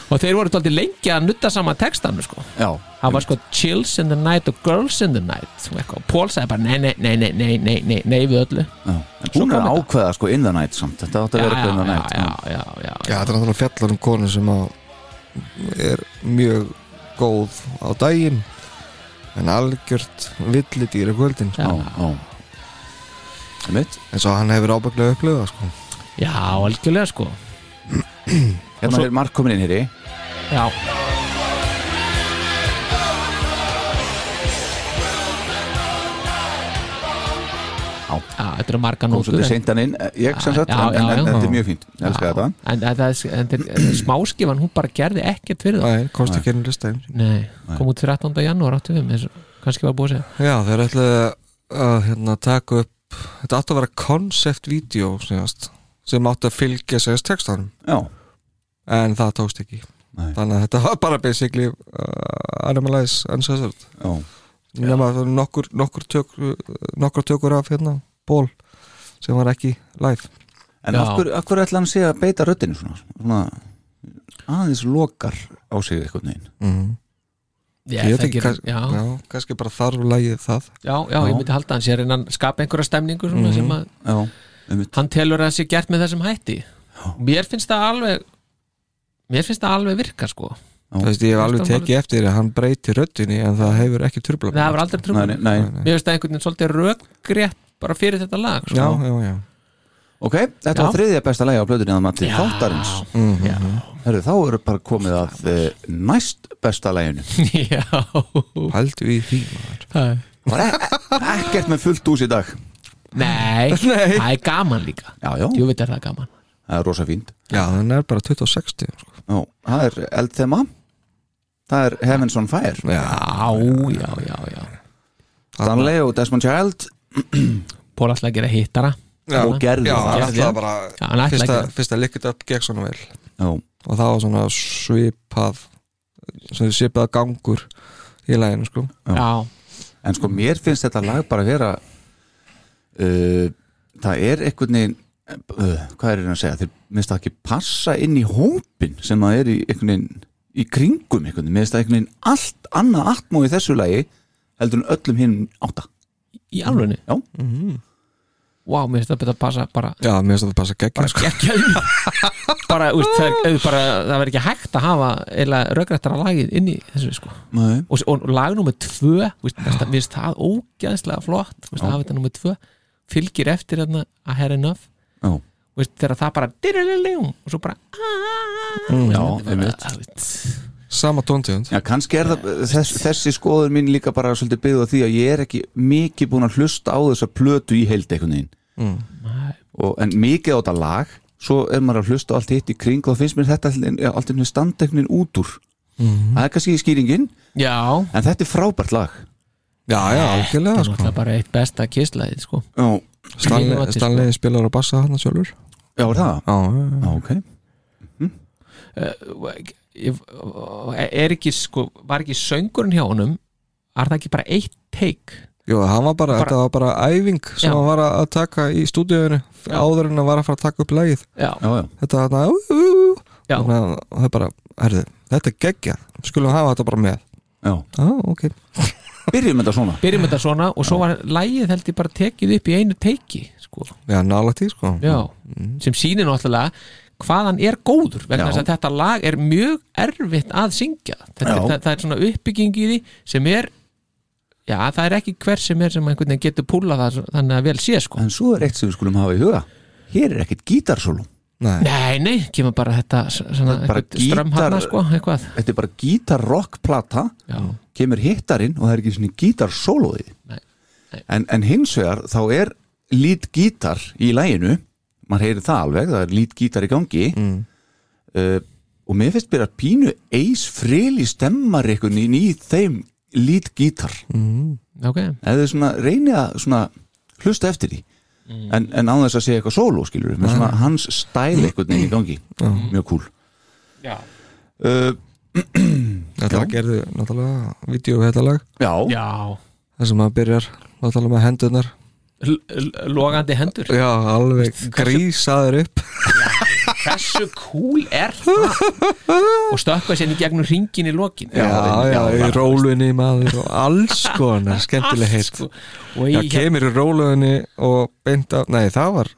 og þeir voru tóldi lengi að nutta saman textan sko. já það var sko chills in the night og girls in the night og eitthvað. Paul sagði bara nei, nei, nei, nei, nei, nei, nei, nei við öllu já. En Svo Hún er kom að þetta. ákveða sko in the night samt Þetta átti að vera eitthvað in the night já, já, já, já, Já, þetta er náttúrulega fjallar um konu sem að er mjög góð á daginn en algjört villidýr á kvöldin sko. Já, já Um mitt eins og hann hefur ábygglega upplifað sko. já, algjörlega sko Hérna er Mark komin inn hér í já, já, þetta eru marga Kom nótur svolítið en, seint hann inn eh, Ég sem Já, sagt já, en- já, En en já. þetta er mjög fínt Ég Elskar en, þetta en, það er- en, en, en smáskifan, hún bara gerði ekkert fyrir það Nei, komst ekki inn í lista einu. nei, kom út 13. janúar 85 eins og kannski var búið að segja Já, þeir ætlaði að hérna, taka upp þetta átti að vera concept-vídeó síðast, sem átti að fylgja segjast textanum Já, en það tókst ekki Nei. þannig að þetta var bara basically uh, Animalize Uncensored já nema það eru nokkur, nokkur, tök, nokkur tökur af hérna ból sem var ekki live En Já. af hverju- af hverju ætla hann sé að beita röddinu svona, svona aðeins lokar á sig eitthvað neginn Mhm. Já, Ég veit það ekki, gerir- kann- já, já, kannski bara þarf lagið það já, já, ég myndi halda að hann sé að reyna að skapa einhverja stemningu svona, sem að Já, um mitt hann telur að það sé gert með þessum hætti mér finnst það alveg mér finnst það alveg virka sko Þú veist, ég hef alveg Þetta var- tekið eftir að hann breyti röddinni en það hefur ekki trubla það hefur aldrei Nei, trúið nei, nei. mér finnst það einhvern veginn svolítið röggrétt bara fyrir þetta lag sko. Já, já, já Ok, þetta Já. var þriðja besta lægi á blöðunni að mati þáttarins já, Herru, þá eru bara komið að eh, næst besta læginu já. Haldu í því maður Það- Var e- ekkert með fullt ús í dag nei, Nei. það er gaman líka Já, já, jú veit er það gaman það er rosa fínt Já, hann er bara 26 stíðum, sko. Já, það er eldþema Það er Heavens on Fire Já, á, já, já, já Stanley og Desmond Child Pól ætla að gera hittara já og gerði Já, það hann gerði ætlaði það. bara Já, hann ætlaði fyrsta, að gera. fyrsta likkit upp gegn svona vel Já, og það var svona svipað svona svipað gangur í læginu sko já, En sko, mér finnst þetta lag bara að vera uh, Það er einhvern veginn uh, Hvað er það að segja? Þeir minnst það ekki passa inn í hópin sem það er í einhvern veginn í kringum einhvern veginn, minnst það einhvern veginn allt annað atmó í þessu lagi heldur en öllum hinn átta í alvegni Já. wow, mér finnst það betur að passa bara Já, mér finnst þetta passa gegn bara sko. geggjaður bara, úst, það, er, ef bara, það verður ekki hægt að hafa eða röggrættara lagið inn í þessu sko. Nei. og, og lag nummer tvö úst, það, mér finnst það ógæðslega flott úst, að hafa þetta nummer tvö fylgir eftir þarna að herra enough Já. úst, þegar það bara dirililjum, og svo bara mm, já, einmitt. bara, úst, Sama tóntegund Já, kannski er það, þess, þessi skoður mín líka bara svolítið byggð á því að ég er ekki mikið búin að hlusta á þessa plötu í heild einhvern veginn og, en mikið á þetta lag svo er maður að hlusta á allt hitt í kring og þá finnst mér þetta allt einhvern standeknin út úr það er kannski skýringin já, en þetta er frábært lag Já, já, það algjörlega er sko. náttúrulega bara eitt besta kisslaðið sko. Já, Ég var Stanley, til, sko. Stanley spilar á bassa hann sjálfur já er það? Já, já, já. Já, ok Uh, Ég- er ekki sko, var ekki söngurinn hjá honum er það ekki bara eitt take Jú, hann var bara, þetta var bara æfing sem Já. hann var að taka í stúdíuinu áður en hann var að fara að taka upp lagið já, Já, já, Þetta var það já. Þannig að það er bara, herðu, þetta er geggjað Skulum hafa þetta bara með já Já, ok Byrjum þetta svona byrjum þetta svona og svo var lægið held ég bara tekið upp í einu teiki sko. Já, nálægt í sko já, sem sýnir náttúrulega hvað hann er góður Mm. vegna Já. þess að þetta lag er mjög erfitt að syngja þetta, Já. það, það er svona uppbygging í því sem er já, það er ekki hver sem er sem einhvern veginn getur púlað það svo- þannig að vel sé sko en svo er eitt sem við skulum hafa í huga hér er ekkert gítarsólum Nei, Nei, nei, kemur bara þetta s- svona, Bara einhvern ström gítar- hana sko, eitthvað þetta er bara gítarrockplata Já, kemur hittarinn og það er ekki svona gítarsólóði Nei, nei. en, en hins vegar þá er lít gítar í læginu maður heyri það alveg, það er lít gítar í gangi Mm. uh, og mér finnst byrja pínu eis frili stemmar einhvern í nýð þeim lít gítar Mm. ok eða svona reynið að svona hlusta eftir því Mm. en, en á þess að segja eitthvað sóló skilur við, með svona hans stæl einhvern veginn í gangi mjög cool Já. uh, þetta gerði náttúrulega vídeo við þetta lag já, Já, þar sem maður byrjar náttúrulega með hendurnar L- l- logandi hendur Já, alveg grísaður upp Hversu cool er það? Og stökkva sérni gegnum ringin í lokin Já, já, í já, rólunni maður og alls konar, skemmtileg heitt sko. Og Já, ég hérna kemur í rólunni og beint af, nei það var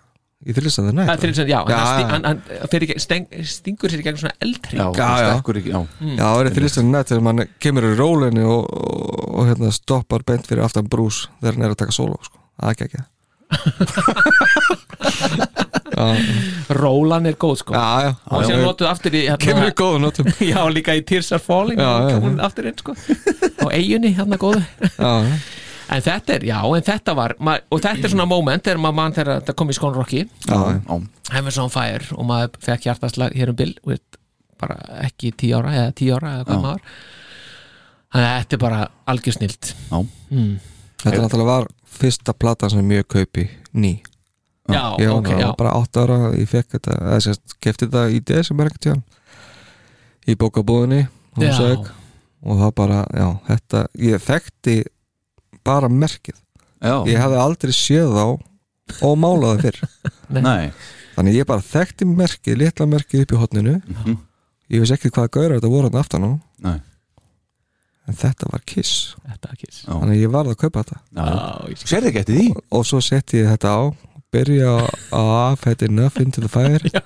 í þrjusandi nætt Það er þrjusandi, já, Já, já, já. hann, hann, hann fer í gegn- steng, stingur sér í gegn svona eldring já, Já, já. stekkur ekki, já Já, það er þrjusandi nætt þegar mann kemur í rólunni og, og, og hérna, stoppar beint fyrir aftan brús þegar hann er að taka sóló sko. Það er ekki ekki Já, Rólan er góð sko já, já Og sér notuð aftur í Kemur í hérna, góðum notum Já, líka í Tears are Falling Já, já, já. hún Aftur einn sko Á eigunni, hérna góðu Já, já, En þetta er, já, en þetta var ma- Og þetta er svona moment þegar maður mann þegar þetta kom í skónrokki já, já. hann var svona fire og maður fekk hjartaslag hér um bil og þetta bara ekki tíu ára eða tíu ára eða hvað Já. maður þannig að þetta er bara algjör snilt mm. Þetta náttúrulega var fyrsta platan sem ég kaupi ný já, Ég var ok, já, náttúrulega bara 8 ára ég fekk þetta, eða sérst, kefti þetta í desember ekkert tján í bókabúðinni á já, Húsavík. og það bara, já, þetta ég þekkti bara merkið Já, ég hefði aldrei séð þá og málaði fyrr nei, þannig ég bara þekkti merkið, litla merkið upp í hotninu ég veist ekki hvað gaurar þetta voru hann aftan á Mhm. Nei. en þetta var kiss þetta er kiss Já. þannig að ég varð að kaupa þetta já. Já, ég sé. Sérðu ekki eftir því? og svo setti ég þetta á byrja að fætti Enough into the Fire Já.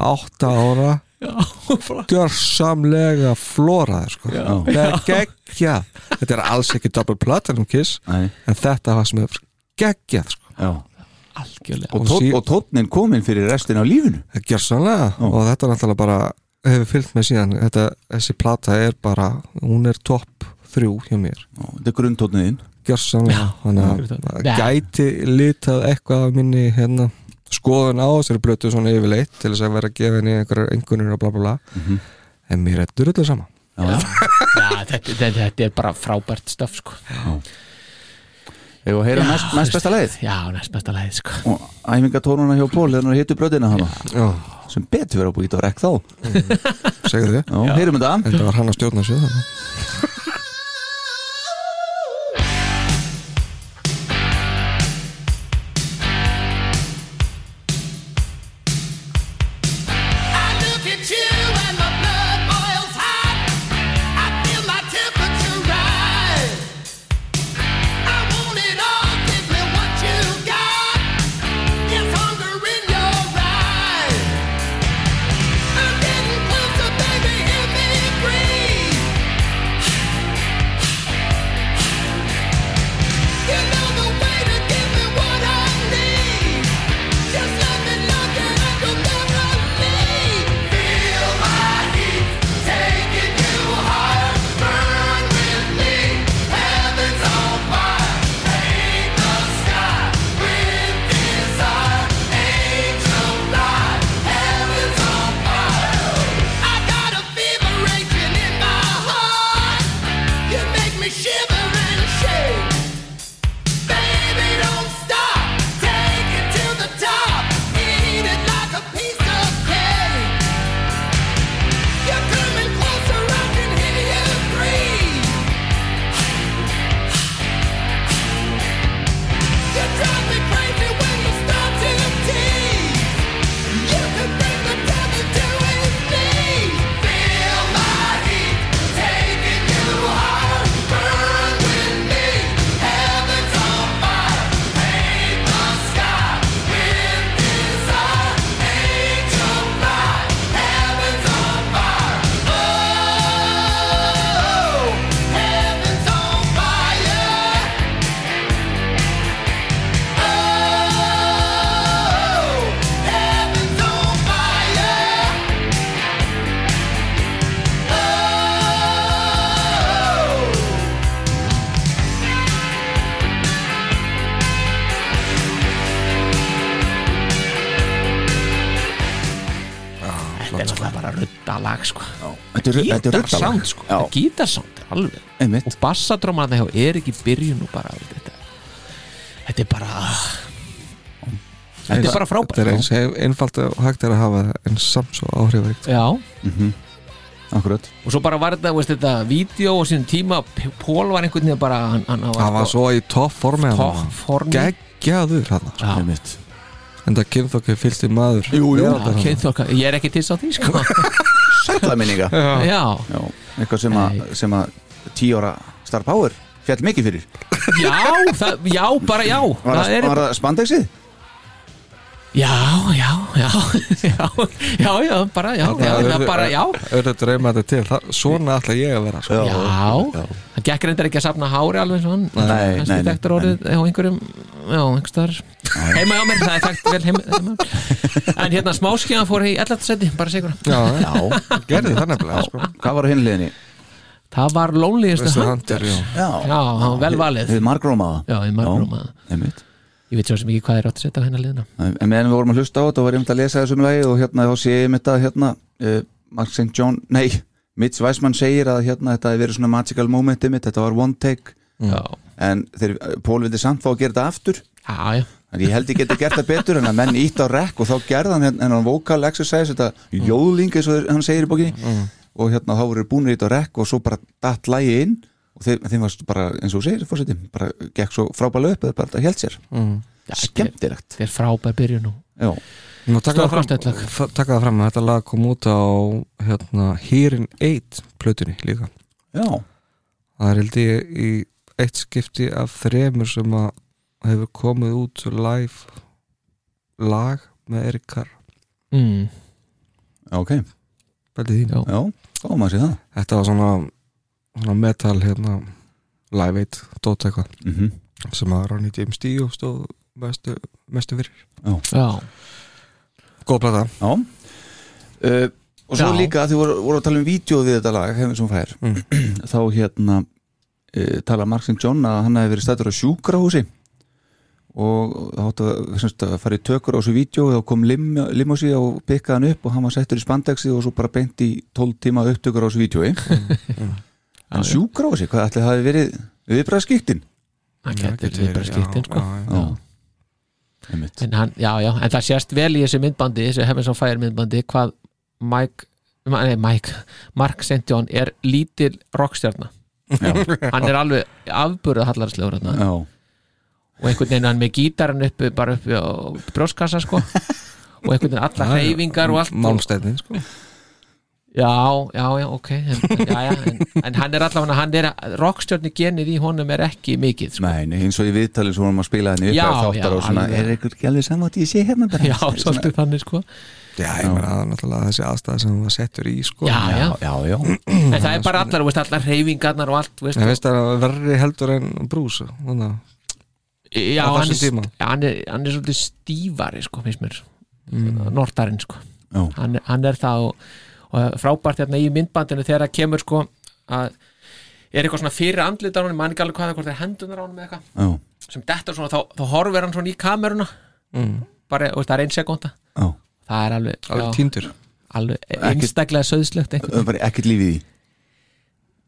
átta ára Já, bara- gjörsamlega floraður sko. Já. það er geggja þetta er alls ekki double platinum kiss Nei, en þetta var sem er geggjað sko. já. algjörlega Og, Og tó sí- og tónnin komin fyrir restin af lífinu Það er gjörsamlega og þetta er náttúrulega bara hefur fyllt með síðan þetta, þessi plata er bara, hún er topp þrjú hjá mér, Já, Þetta er grunntónnið þinn gjörsamlega Já. þannig að það gæti litað eitthvað af minni hérna skoðun á þessari blötu svona yfirleitt til þess að vera að gefa henni einhverjar engunir og bla bla bla Mhm. en mér er drullu sama já. Já, þetta, þetta, þetta er bara frábært stöf sko. Ég var að heyra næst, næst besta leið já, næst besta leið sko. Og æfingatórnuna hjá Ból Þegar hann hittu bröðina hana Já, Sem betur verið að búið á rekk þá Já, segðu þið heyrum þetta Þetta var hann að stjórna sér þannig I look at you and my blood boils hot. I feel my temperature rise. I want it all, give me what you got. Yes, hunger in your eyes. I'm getting closer, baby, hear me breathe. Oh, Oh, Oh. það lag sko sko. Þetta er- þetta er Gítarsound ruddalag. sko, Já. þetta er gítarsound alveg Einmitt. Og bassadróman það hjá er ekki byrjun og bara þetta, þetta er bara Þetta er bara Þetta er frábært eins einfalt og hægt er að hafa það en samt svo áhrifaríkt Já, Akkurat og svo bara var þetta, veist þetta Vídeó og sínum tíma, P- Pól var einhvern veginn bara Hann, hann Það var svo í topp formi topp formi. Geggjaður hann Já. Einmitt En það kynþokki fylgdi maður Jú, jú. Já, Já, kynþokka, ég er ekki til sá því sko Sætla minninga Já, Já, eitthvað sem að, sem að tíu ára Star Power fjall mikið fyrir já, það, já, bara já Var það, það er, var það spandexið? Já, já, já Já, já, já, bara já, já, já bara já Öðru drauma þetta til, það, svona ætla ég að vera sko. Já. Já, hann gekk reyndar ekki að safna hári alveg eins og hann Nei, Kannski nei, nei. þekktur orðið á einhverjum Já, einhverstaðar Heima hjá mér, það er þekkt vel heima, heima. En hérna smáskíðan fór í 11. seti Bara sigur Já, já. gerði það nefnilega sko. Hvað var á hinliðinni? Það var lónlýðist Veistu, Hunter, já. Já, Já, hann var vel valið Þið margrómaða Já, við margrómaða. Já, einmitt Ég veit svo sem ekki hvað er átt að setja á hennar liðina En meðan við vorum að hlusta á þetta var ég um að lesa þessum lagi og hérna þá sé ég mitt að hérna uh, Mark St. John, nei Mitch Weissmann segir að hérna þetta hefur verið svona magical moment mitt, þetta var one take Já, en þeir, Pól vildi samt fá að gera þetta aftur já, já en ég held ég geti gert það betur en að menn ítt á rekk og þá gerði hann hérna hann vocal exercise, þetta jóðling eins og þeir- hann segir í bókinni og hérna þá voru búinir ítt á rekk og svo bara datt lagi inn og þeim, þeim varst bara eins og þú segir fórseti, bara gekk svo frábælega upp eða bara þetta held sér, Mm. Já, skemmtilegt Þetta er frábær byrjun og já, Nú, taka, það Stórkostlegt fram, lag. f- taka það fram að þetta lag kom út á hérna, Hearing Aid plötunni líka já, Það er held ég í eitt skipti af þremur sem að hefur komið út live lag með Erik Carr mm, ok Pælið í því. Já. já, góðum að sé það Þetta var svona, svona metal hérna, live aid dót eitthvað mm sem að Ronny James Dio stóð mestu, mestu fyrir Já, Góð plata já uh, og svo Já. líka að þið voru, voru að tala um vídeo við þetta lag, hefum sem fær Mm. þá hérna uh, tala Mark St. John að hann hefði verið stættur á sjúkrahúsi og þá áttu að, semst, að fara í tökur á þessu vídeo og þá kom lim, limosíða og pikkaði hann upp og hann var settur í spandexi og svo bara beint í 12 tíma upptökur á þessu vídeoi en sjúkrahúsi, hvað ætli það hafi verið viðbræðskiktin það getur við bara skiptin sko já, Já. já. einmitt, en hann, já, já, en það sést vel í þessu myndbandi þessu Heavens on Fire myndbandi hvað Mike, ma- nei Mike Mark St. John er lítil rockstjarna hann er alveg afbúrða hallarslegur hann já, og einhvern veginn hann með gítarinn uppi bara uppi á brjóskassa sko og einhvern veginn alla hreyfingar og allt og- Málmsteinni sko já, já, já, ok en, en, já, já, en, en hann er allavega hann er rockstjarni genið í honum er ekki mikið sko. nei, nei, eins og í viðtalið svo vorum að spila henni upp Já, að þáttar já, og svona, alveg. er ykkur ekki alveg saman að ég sé hérna bara já, svolítið þannig sko Já, ég meina það er náttúrulega þessi aðstæða sem hún var settur í sko. já, já, já, já, en það er bara allar, þú veist, allar hreyfingarnar og allt, veist, En veist það er verri heldur en brús Þannig að Já, á hann þessum er, tíma? st- hann, er, hann er svolítið stífari sko, finnst mér mm. nortarinn sko. Já. hann, er- hann er það og, og frábært hérna í myndbandinu þegar það kemur sko, að er eitthvað svona fyrir andlit á hann mann ekki alveg hvað það er, hvort það er hendunar á hann með eitthvað já, sem dettur svona, þá, þá horfir hann svona í kameruna Mm. bara, þú veist, það er ein sekunda já það er alveg, alveg já, týndur alveg einstaklega söðslegt einhvern- Það er bara ekkert lífið í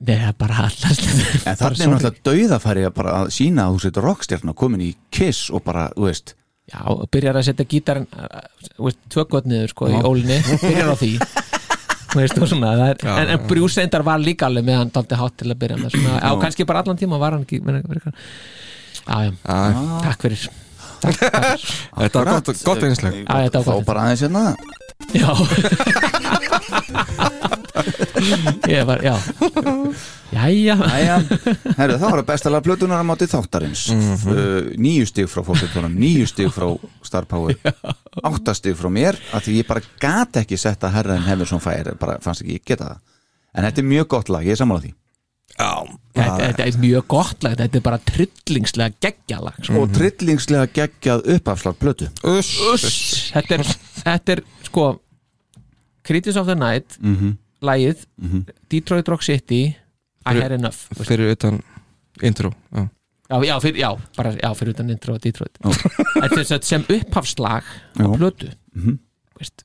Nei, það er bara allast En þarna er náttúrulega dauðafæri að bara að sína að þú setur rockstjarn og komin í kiss og bara, þú veist Já, og byrjar að setja gítarinn uh, þú veist, tvökot niður sko í ólinni byrjar á því Þú veist, og svona, það er, Já, en, en Bruce Endar var líka alveg með hann daldi hátt til að byrja með svona, á kannski bara allan tíma var hann ekki meina, meina, meina. Já, já, takk fyrir Þetta var gott, gott einsleg Já, þetta var Þá gott. bara aðeins hérna Já Ég var, já Jæja, Æja, herru, það var að besta lag plötunar á móti þáttarins Mhm. uh, Níu stig frá fórsetunum, níu stig frá Star Power Átta stig frá mér að Því ég bara gat ekki setta herra en hefur svona færi Bara fannst ekki, ég geta það En þetta er mjög gott lag, ég er sammála því þetta, þetta er mjög gott lag þetta er bara trillingslega geggjalag sko. Og trillingslega geggjað uppafslag plötu Uss, þetta er, þetta er sko Critics of the Night lagið, Mhm. Detroit Rock City I had enough Fyrir utan intro Já, já, já, fyrir, já, bara, já, fyrir utan intro og Detroit Þetta er sem sagt sem upphafslag á Já. plötu Mhm. Veist,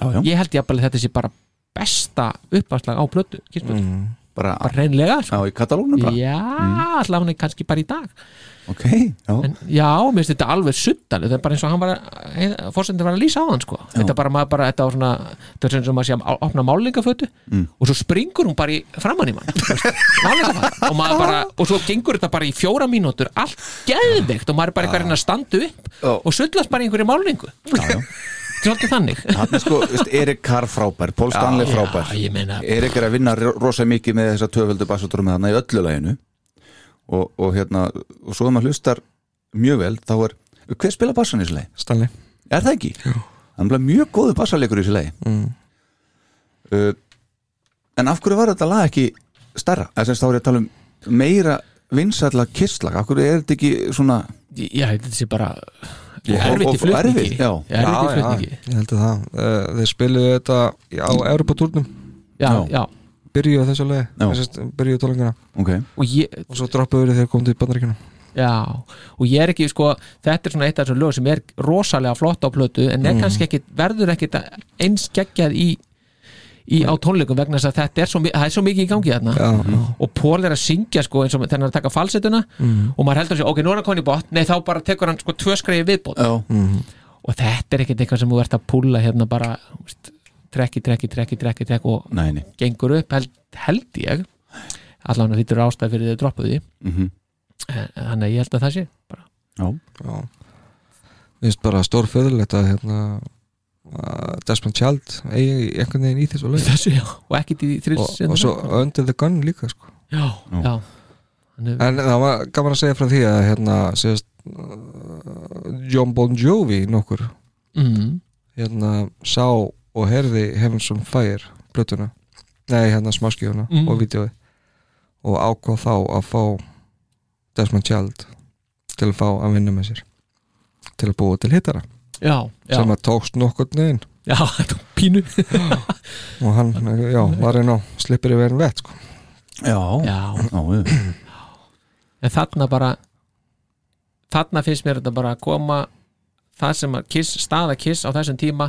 Já, já, ég held jafnvel að þetta sé bara besta uppvarslag á plötu Kiss-plötu. bara bara reynlega sko. á í katalónum Mm. bara Mm. já, allavega hann er kannski bara í dag ok, já, en já, mér finnst þetta alveg suttalið það er bara eins og hann var fórsendur var að lýsa á hann sko. þetta bara, maður bara, þetta var svona þetta var svona sem að sé að opna málingafötu Mm. og svo springur hún bara í framann í mann þú veist, málingafötu. og maður bara og svo gengur þetta bara í fjóra mínútur allt geðveikt og maður er bara eitthvað að reyna að standa upp og sullast bara í einhverju málingu já, já. svolítið þannig Hann er sko, veist, Erik Carr frábær, Paul Stanley Já, frábær ég meina- Erik er að vinna ro- rosa mikið með þessa töföldu bassatrómi þarna í öllu læginu og, og hérna, og svo ef maður hlustar mjög vel, þá er hver spila bassan í þessu lagi? Stanley Er það ekki? Já. Hann er mjög góðu bassalegur í þessu lagi mm. uh, En af hverju var þetta lag ekki starra? Þess að þá er ég að tala um meira vinsætla kisslag, af hverju er þetta ekki svona já, þetta sé bara Já, og- og erfitt í erfitt, flutningi já. erfitt í flutningi ég held að það uh, þeir spiluðu þetta í- á Europatúrnum já, Já. já, byrjuðu þessu leið, Já. þessast, byrjuðu tólinguna Ok, og ég, og svo droppuðu þeir þegar komum til bandaríkina Já, og ég er ekki, sko, þetta er svona eitt af þessum lög sem er rosalega flott á plötu en er kannski ekki, verður ekki eins geggjað í, í á tónleikum vegna þess að þetta er svo, mi- það er svo mikið í gangi þarna Já. og Pól er að syngja, sko, eins og þegar hann er að taka falsetuna og maður heldur sér, ok, nú er hann komin í bótt nei, þá bara tekur hann, sko, tvö skreiði viðbótt já, og þetta er ekkit eitthvað sem þú ert að púla hérna bara, þú veist, trekki, trekki, trekki, trekki, trekki og næni gengur upp held, held ég allan að þetta eru ástæð fyrir þau droppuði mm -hmm. þannig að ég held að það sé bara Já, Já. Mér finnst bara stórföðurlegt að hérna, að Desmond Child eigi einhvern veginn í þessu lög þessu já og ekkit í og, þrills og svo Under the Gun líka sko. já, já. Þannig, en það var gaman að segja frá því að hérna, sést, uh, John Bon Jovi nokkur mm, hérna, sá og herði Heavens on Fire blötuna nei hérna smaskjóna Mm. og vídeoði og ákvað þá að fá Desmond Child til að fá að vinna með sér til að búa til hittara já, já, sem að tókst nokkurn veginn já, þetta var pínu og hann, já, var einn á slippir yfir enn vett sko. já, já, já, já. en þarna bara þarna finnst mér þetta bara að koma það sem að kiss, staða kiss á þessum tíma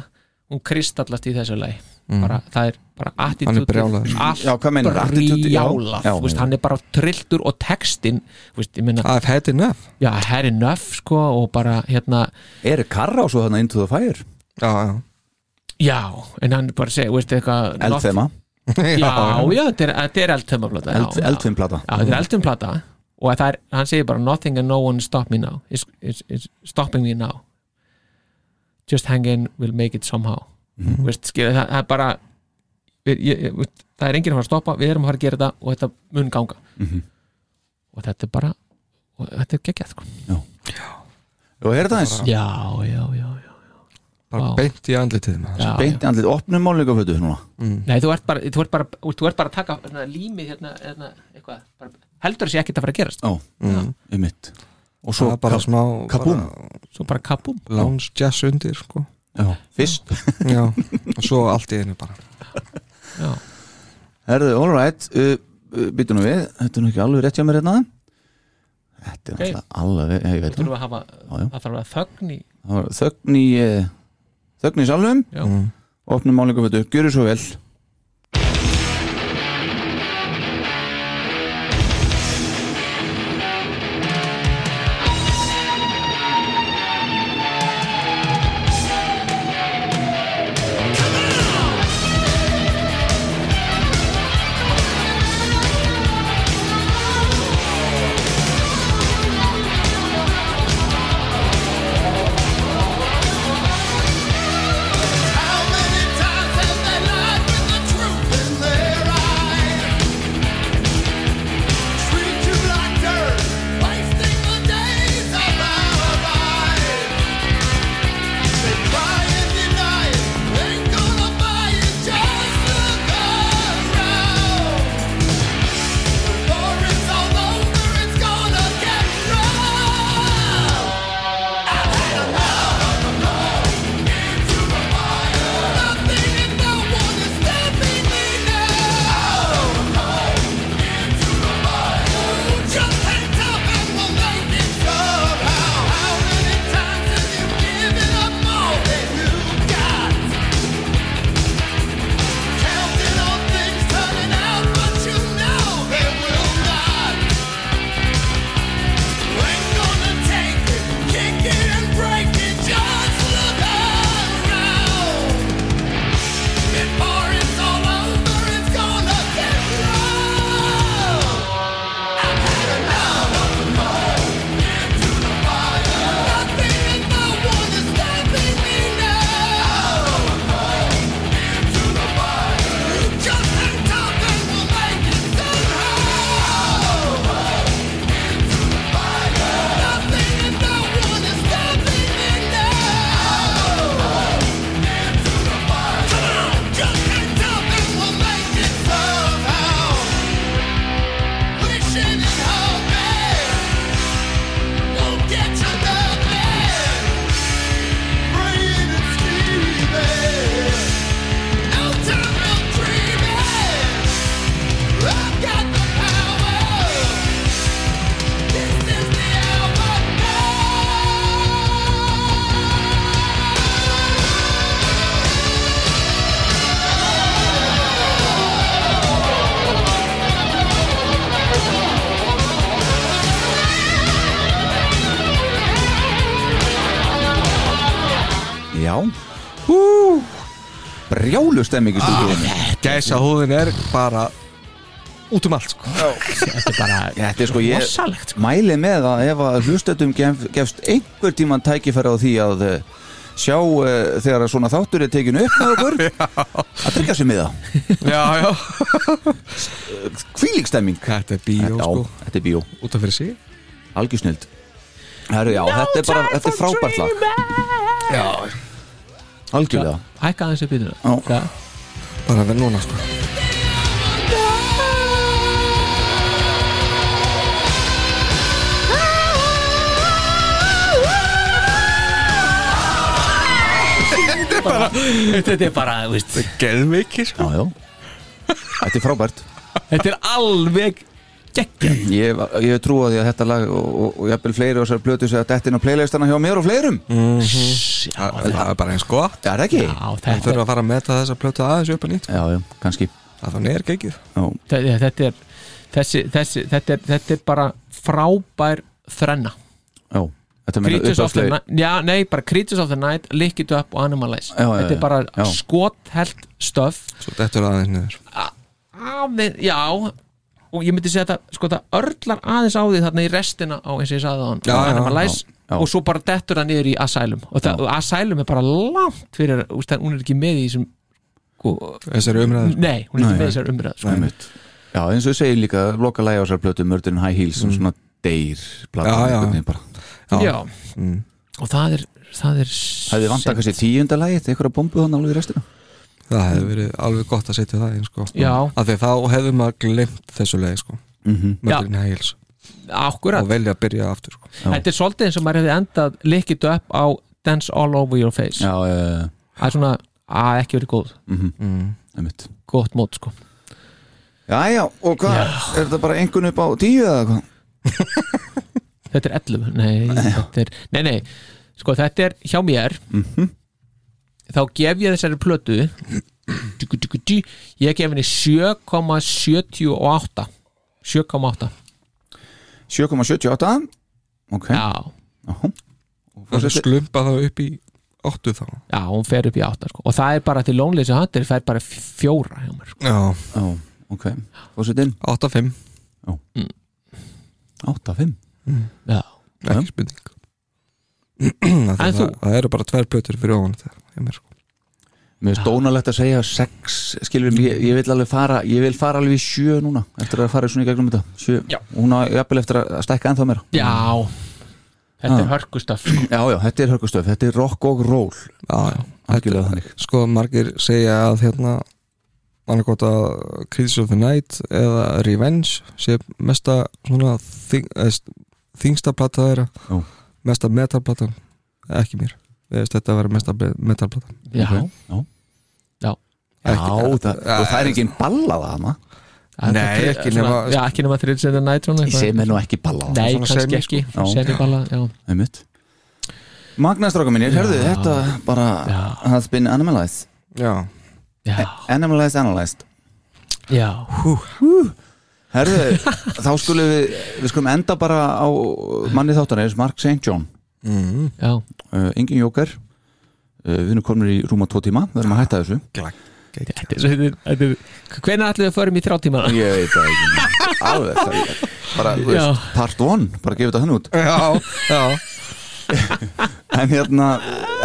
hún kristallast í þessu lagi bara, það er bara attitúti Mm. Hann er brjálaður. allt Já, hvað meinar, attitude, já. brjálað, Já, þú veist, já. hann er bara trilltur og textin, þú veist, ég meina I've had enough já, herri nöf, sko, og bara hérna, Erik Carr á svo þarna Into the Fire já, já. já, en hann bara segja, veist, eitthvað loft- Eldfema, já, já, þetta er, þetta er eldtömmaplata Eld, já, eldfemplata já, þetta er eldtömmaplata og það er, hann segir bara nothing and no one stop me now is, is, is stopping me now just hang in, we'll make it somehow mm. Vist, skil, það, það er bara ég, ég, ég- veist, það er enginn að fara að stoppa við erum að fara að gera þetta og þetta mun ganga og þetta er bara og þetta er geggjað sko. Og er það eins, já, já, já, já. bara Vá. beint í andlitið með já, beint í andlið, opnum málingafötu núna já. Nei, þú ert bara, þú ert bara, þú ert bara að taka svona, límið hérna, hérna eitthvað, bara, heldur þessi ekkert að fara að gerast Ó, um mitt Og Mm. það svo er bara ka- smá kabúm. bara svo bara kapum lounge jazz undir sko. já, Fyrst, já. og svo allt í einu bara herðu, all right uh, uh, Býtu nú við, þetta er nú ekki alveg rétt hjá mér hérna Þetta er Ok. náttúrulega alveg, ég veit þurfum að hafa, já. það þarf að vera þögn í það var Þögn í, uh, þögn í salum Já. Mm. Opnum málingafötu, gjöru svo vel How many times have they lied with brjálu stemmingi ah, Gæsa húðin er bara út um allt sko. Þetta er bara Þetta er sko ég rosalegt sko. mæli með að ef að hlustatum gef, gefst einhver tíman tækifæri á því að eh, sjá uh, þegar að svona þáttur er tekinu upp með okkur að tryggja sér miða Já, já hvílík stemming Þetta er bíó Þetta- sko, á, þetta er bíó, út af fyrir sig algjörsnild Herru, já, þetta er bara, þetta er frábært lag Já Algjörlega Hækka aðeins upp í Já. þetta Bara verð núna sko Þetta er bara, þú veist Geðmiki sko Já, já Þetta er frábært Þetta er alveg geggja Ég, ég trú að því að þetta lag og, og, og jafnvel fleiri og þessar blötu sér að dettin á playlistana hjá mér og fleirum Það er bara eins gott Það er ekki? Já, Það þetta, þurfa að fara að meta þess að plöta aðeins upp að nýtt Já, já, kannski Það þannig er Já, geggið þetta, þetta er þessi, þessi, þetta, er, þetta er bara frábær þrenna já Þetta meina Creatures of the upphafslega- Night Já, nei, bara Creatures of the Night, Lick It Up og Animalize Já, já, já, Þetta er bara já. skothelt stöf Svo dettur það aðeins niður aðeins, já og ég myndi segja þetta, sko þetta örlar aðeins á því þarna í restina á eins og ég sagði Já, já, það hann já, já. og svo bara dettur það niður í Asylum og, það, og Asylum er bara langt fyrir, úst, hún er ekki með í þessum sko, Þessari umræður nei, hún Nei, er ekki með nei. í þessar umræð sko. Einmitt. Já, eins og ég segi líka loka lægi á þessar blötu Mördurin High Heels sem svona deyr platan, Já, já. einhvern veginn bara. Já. Mm. já, og það er það er Hefði vant að kannski tíunda lægi til einhverja bombu þannig alveg í restina Það hefði verið alveg gott að setja það einn sko Mm. Já. Af því þá hefði maður glemt þessu leið sko Mhm. Mörðurinn Hægils akkurat, Og velja að byrja aftur sko þetta er svolítið eins og maður hefði endað Lick It Up á Dance All Over Your Face Já, já, já, það er svona, að ekki verið góð einmitt gott mót sko Já, já, og hvað, er þetta bara einhvern upp á tíu eða hvað? þetta er 11 nei, þetta er, nei, nei, sko þetta er hjá mér þá gef ég þessari plötu tjúku, tjúku, tjú, ég gef henni 7,78 7,8 7,78 Ok, já, Það Forseti- slumpa það upp í óttu þá já, hún fer upp í 8 sko. og það er bara til lónleysi hattir fer bara f- fjóra hjá mér sko. Já, já, ok Fórsetin, 8-5 8,5 já, ekki spurning Það- En þú? það, það eru bara tvær plötur fyrir ofan þetta hjá mér, sko. Mér er stónalegt að segja 6 Skilur, ég, ég vil alveg fara Ég vil fara alveg í 7 núna Eftir að fara svona í gegnum þetta 7 Já. Hún á jafnvel eftir að að stækka ennþá meira já þetta Ah. er hörkustaf sko. Já, já, þetta er hörkustöf, þetta er rock og roll Já, já. Algjörlega þannig Sko, margir segja að hérna annarkot að Creeds of the Night eða Revenge sé mesta svona þing, eðst, þingsta plata þeirra Já. mesta metalplata ekki mér, eðst, þetta verður mesta be- metalplata já, já. já Já, Ekki- það, og það er engin ballaða hana Það er Nei, bara- ekki svona- nema- já, ekki nema þriðs eða nætrún sem er nú ekki ballaða nei, svona kannski semi, ekki, Já. semiballa já, einmitt Magnastráka mínir, hörðu þetta bara Já. has been animalized Já, já, animalized, analyzed já. Herðu, þá skulum við við skulum enda bara á manni þáttanir, Mark St. John já. uh, Engin Jóker uh, við erum komin í rúma tvo tíma við erum að hætta þessu Þetta er svo- þetta er- þetta er- Hvenær ætlum við að förum í þrjá tíma? ég veit það ekki alveg það er bara, þú Já. veist, part one, bara gefið þetta hann út já, já en hérna,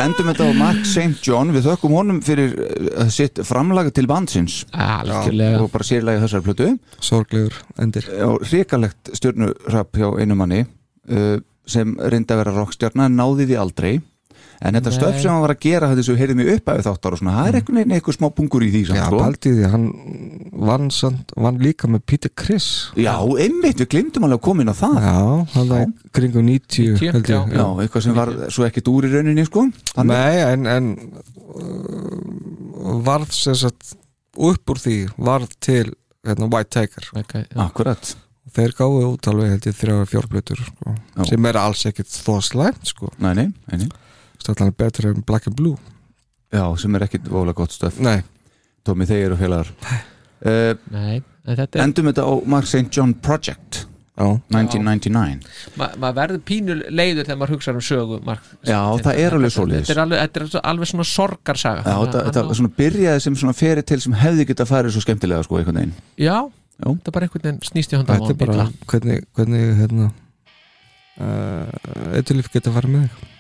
endum þetta á Mark St. John, við þökkum honum fyrir uh, sitt framlag til bandsins Algjörlega og bara sérlega þessar plötu sorglegur endir Já, hrikalegt stjörnurrapp hjá einu manni uh, sem reyndi að vera rockstjörna en náði því aldrei en þetta Nei. Mm. stöf sem hann var að gera þetta sem við heyrðum í uppæðu þáttar og svona það er einhvern veginn eitthvað smá pungur í því samt, Já, sko. pældi í því, hann vann, samt, vann líka með Peter Criss já, einmitt, við glimtum alveg að koma inn á það já, Já, hann var í kringum 90, 90, held ég já. eitthvað sem var svo ekkert úr í rauninni sko. Þannig- Nei, en, en uh, varð sem sagt upp úr því varð til hérna, White Tiger okay, já. akkurat þeir gáðu út alveg held ég þrjá fjórblötur sko, Já. sem er alls ekkit þó slæmt sko, nei, nei, nei, nei. stætlan er betra en Black and Blue já, sem er ekkert vola gott stöf Nei, Tómi, þeir eru félagar uh, Nei, en þetta er endum þetta á Mark St. John Project já, 1999 Ma, maður verður pínu leiður þegar maður hugsar um sögu Mark, Já, það er alveg svoleiðis. þetta er alveg, þetta er alveg, alveg svona sorgarsaga Já, þetta, Hann- þetta svona byrjaði sem svona ferið til sem hefði geta farið svo skemmtilega sko einhvern veginn já, Já. þetta er bara einhvern veginn snýst í handa þetta er bara hvernig, hvernig hérna uh, eitthulíf geta að fara með þig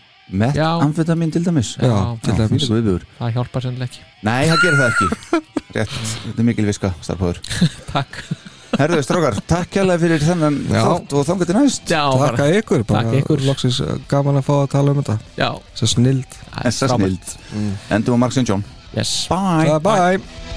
Mett Já. amfetamin til dæmis Já, til fyrir dæmis guðbjör það hjálpar sennileg ekki Nei, það gerir það ekki Rétt, þetta er mikil viska, starfhóður takk, Herðu, strákar, takk hérlega fyrir þennan Já. þátt og þangar til næst já, bara, Takka ykkur, bara Takk ykkur. loksins uh, gaman að fá að tala um þetta já Svo snild Þessa frábært. snild Endum á Mark St. John yes Bye Bye bye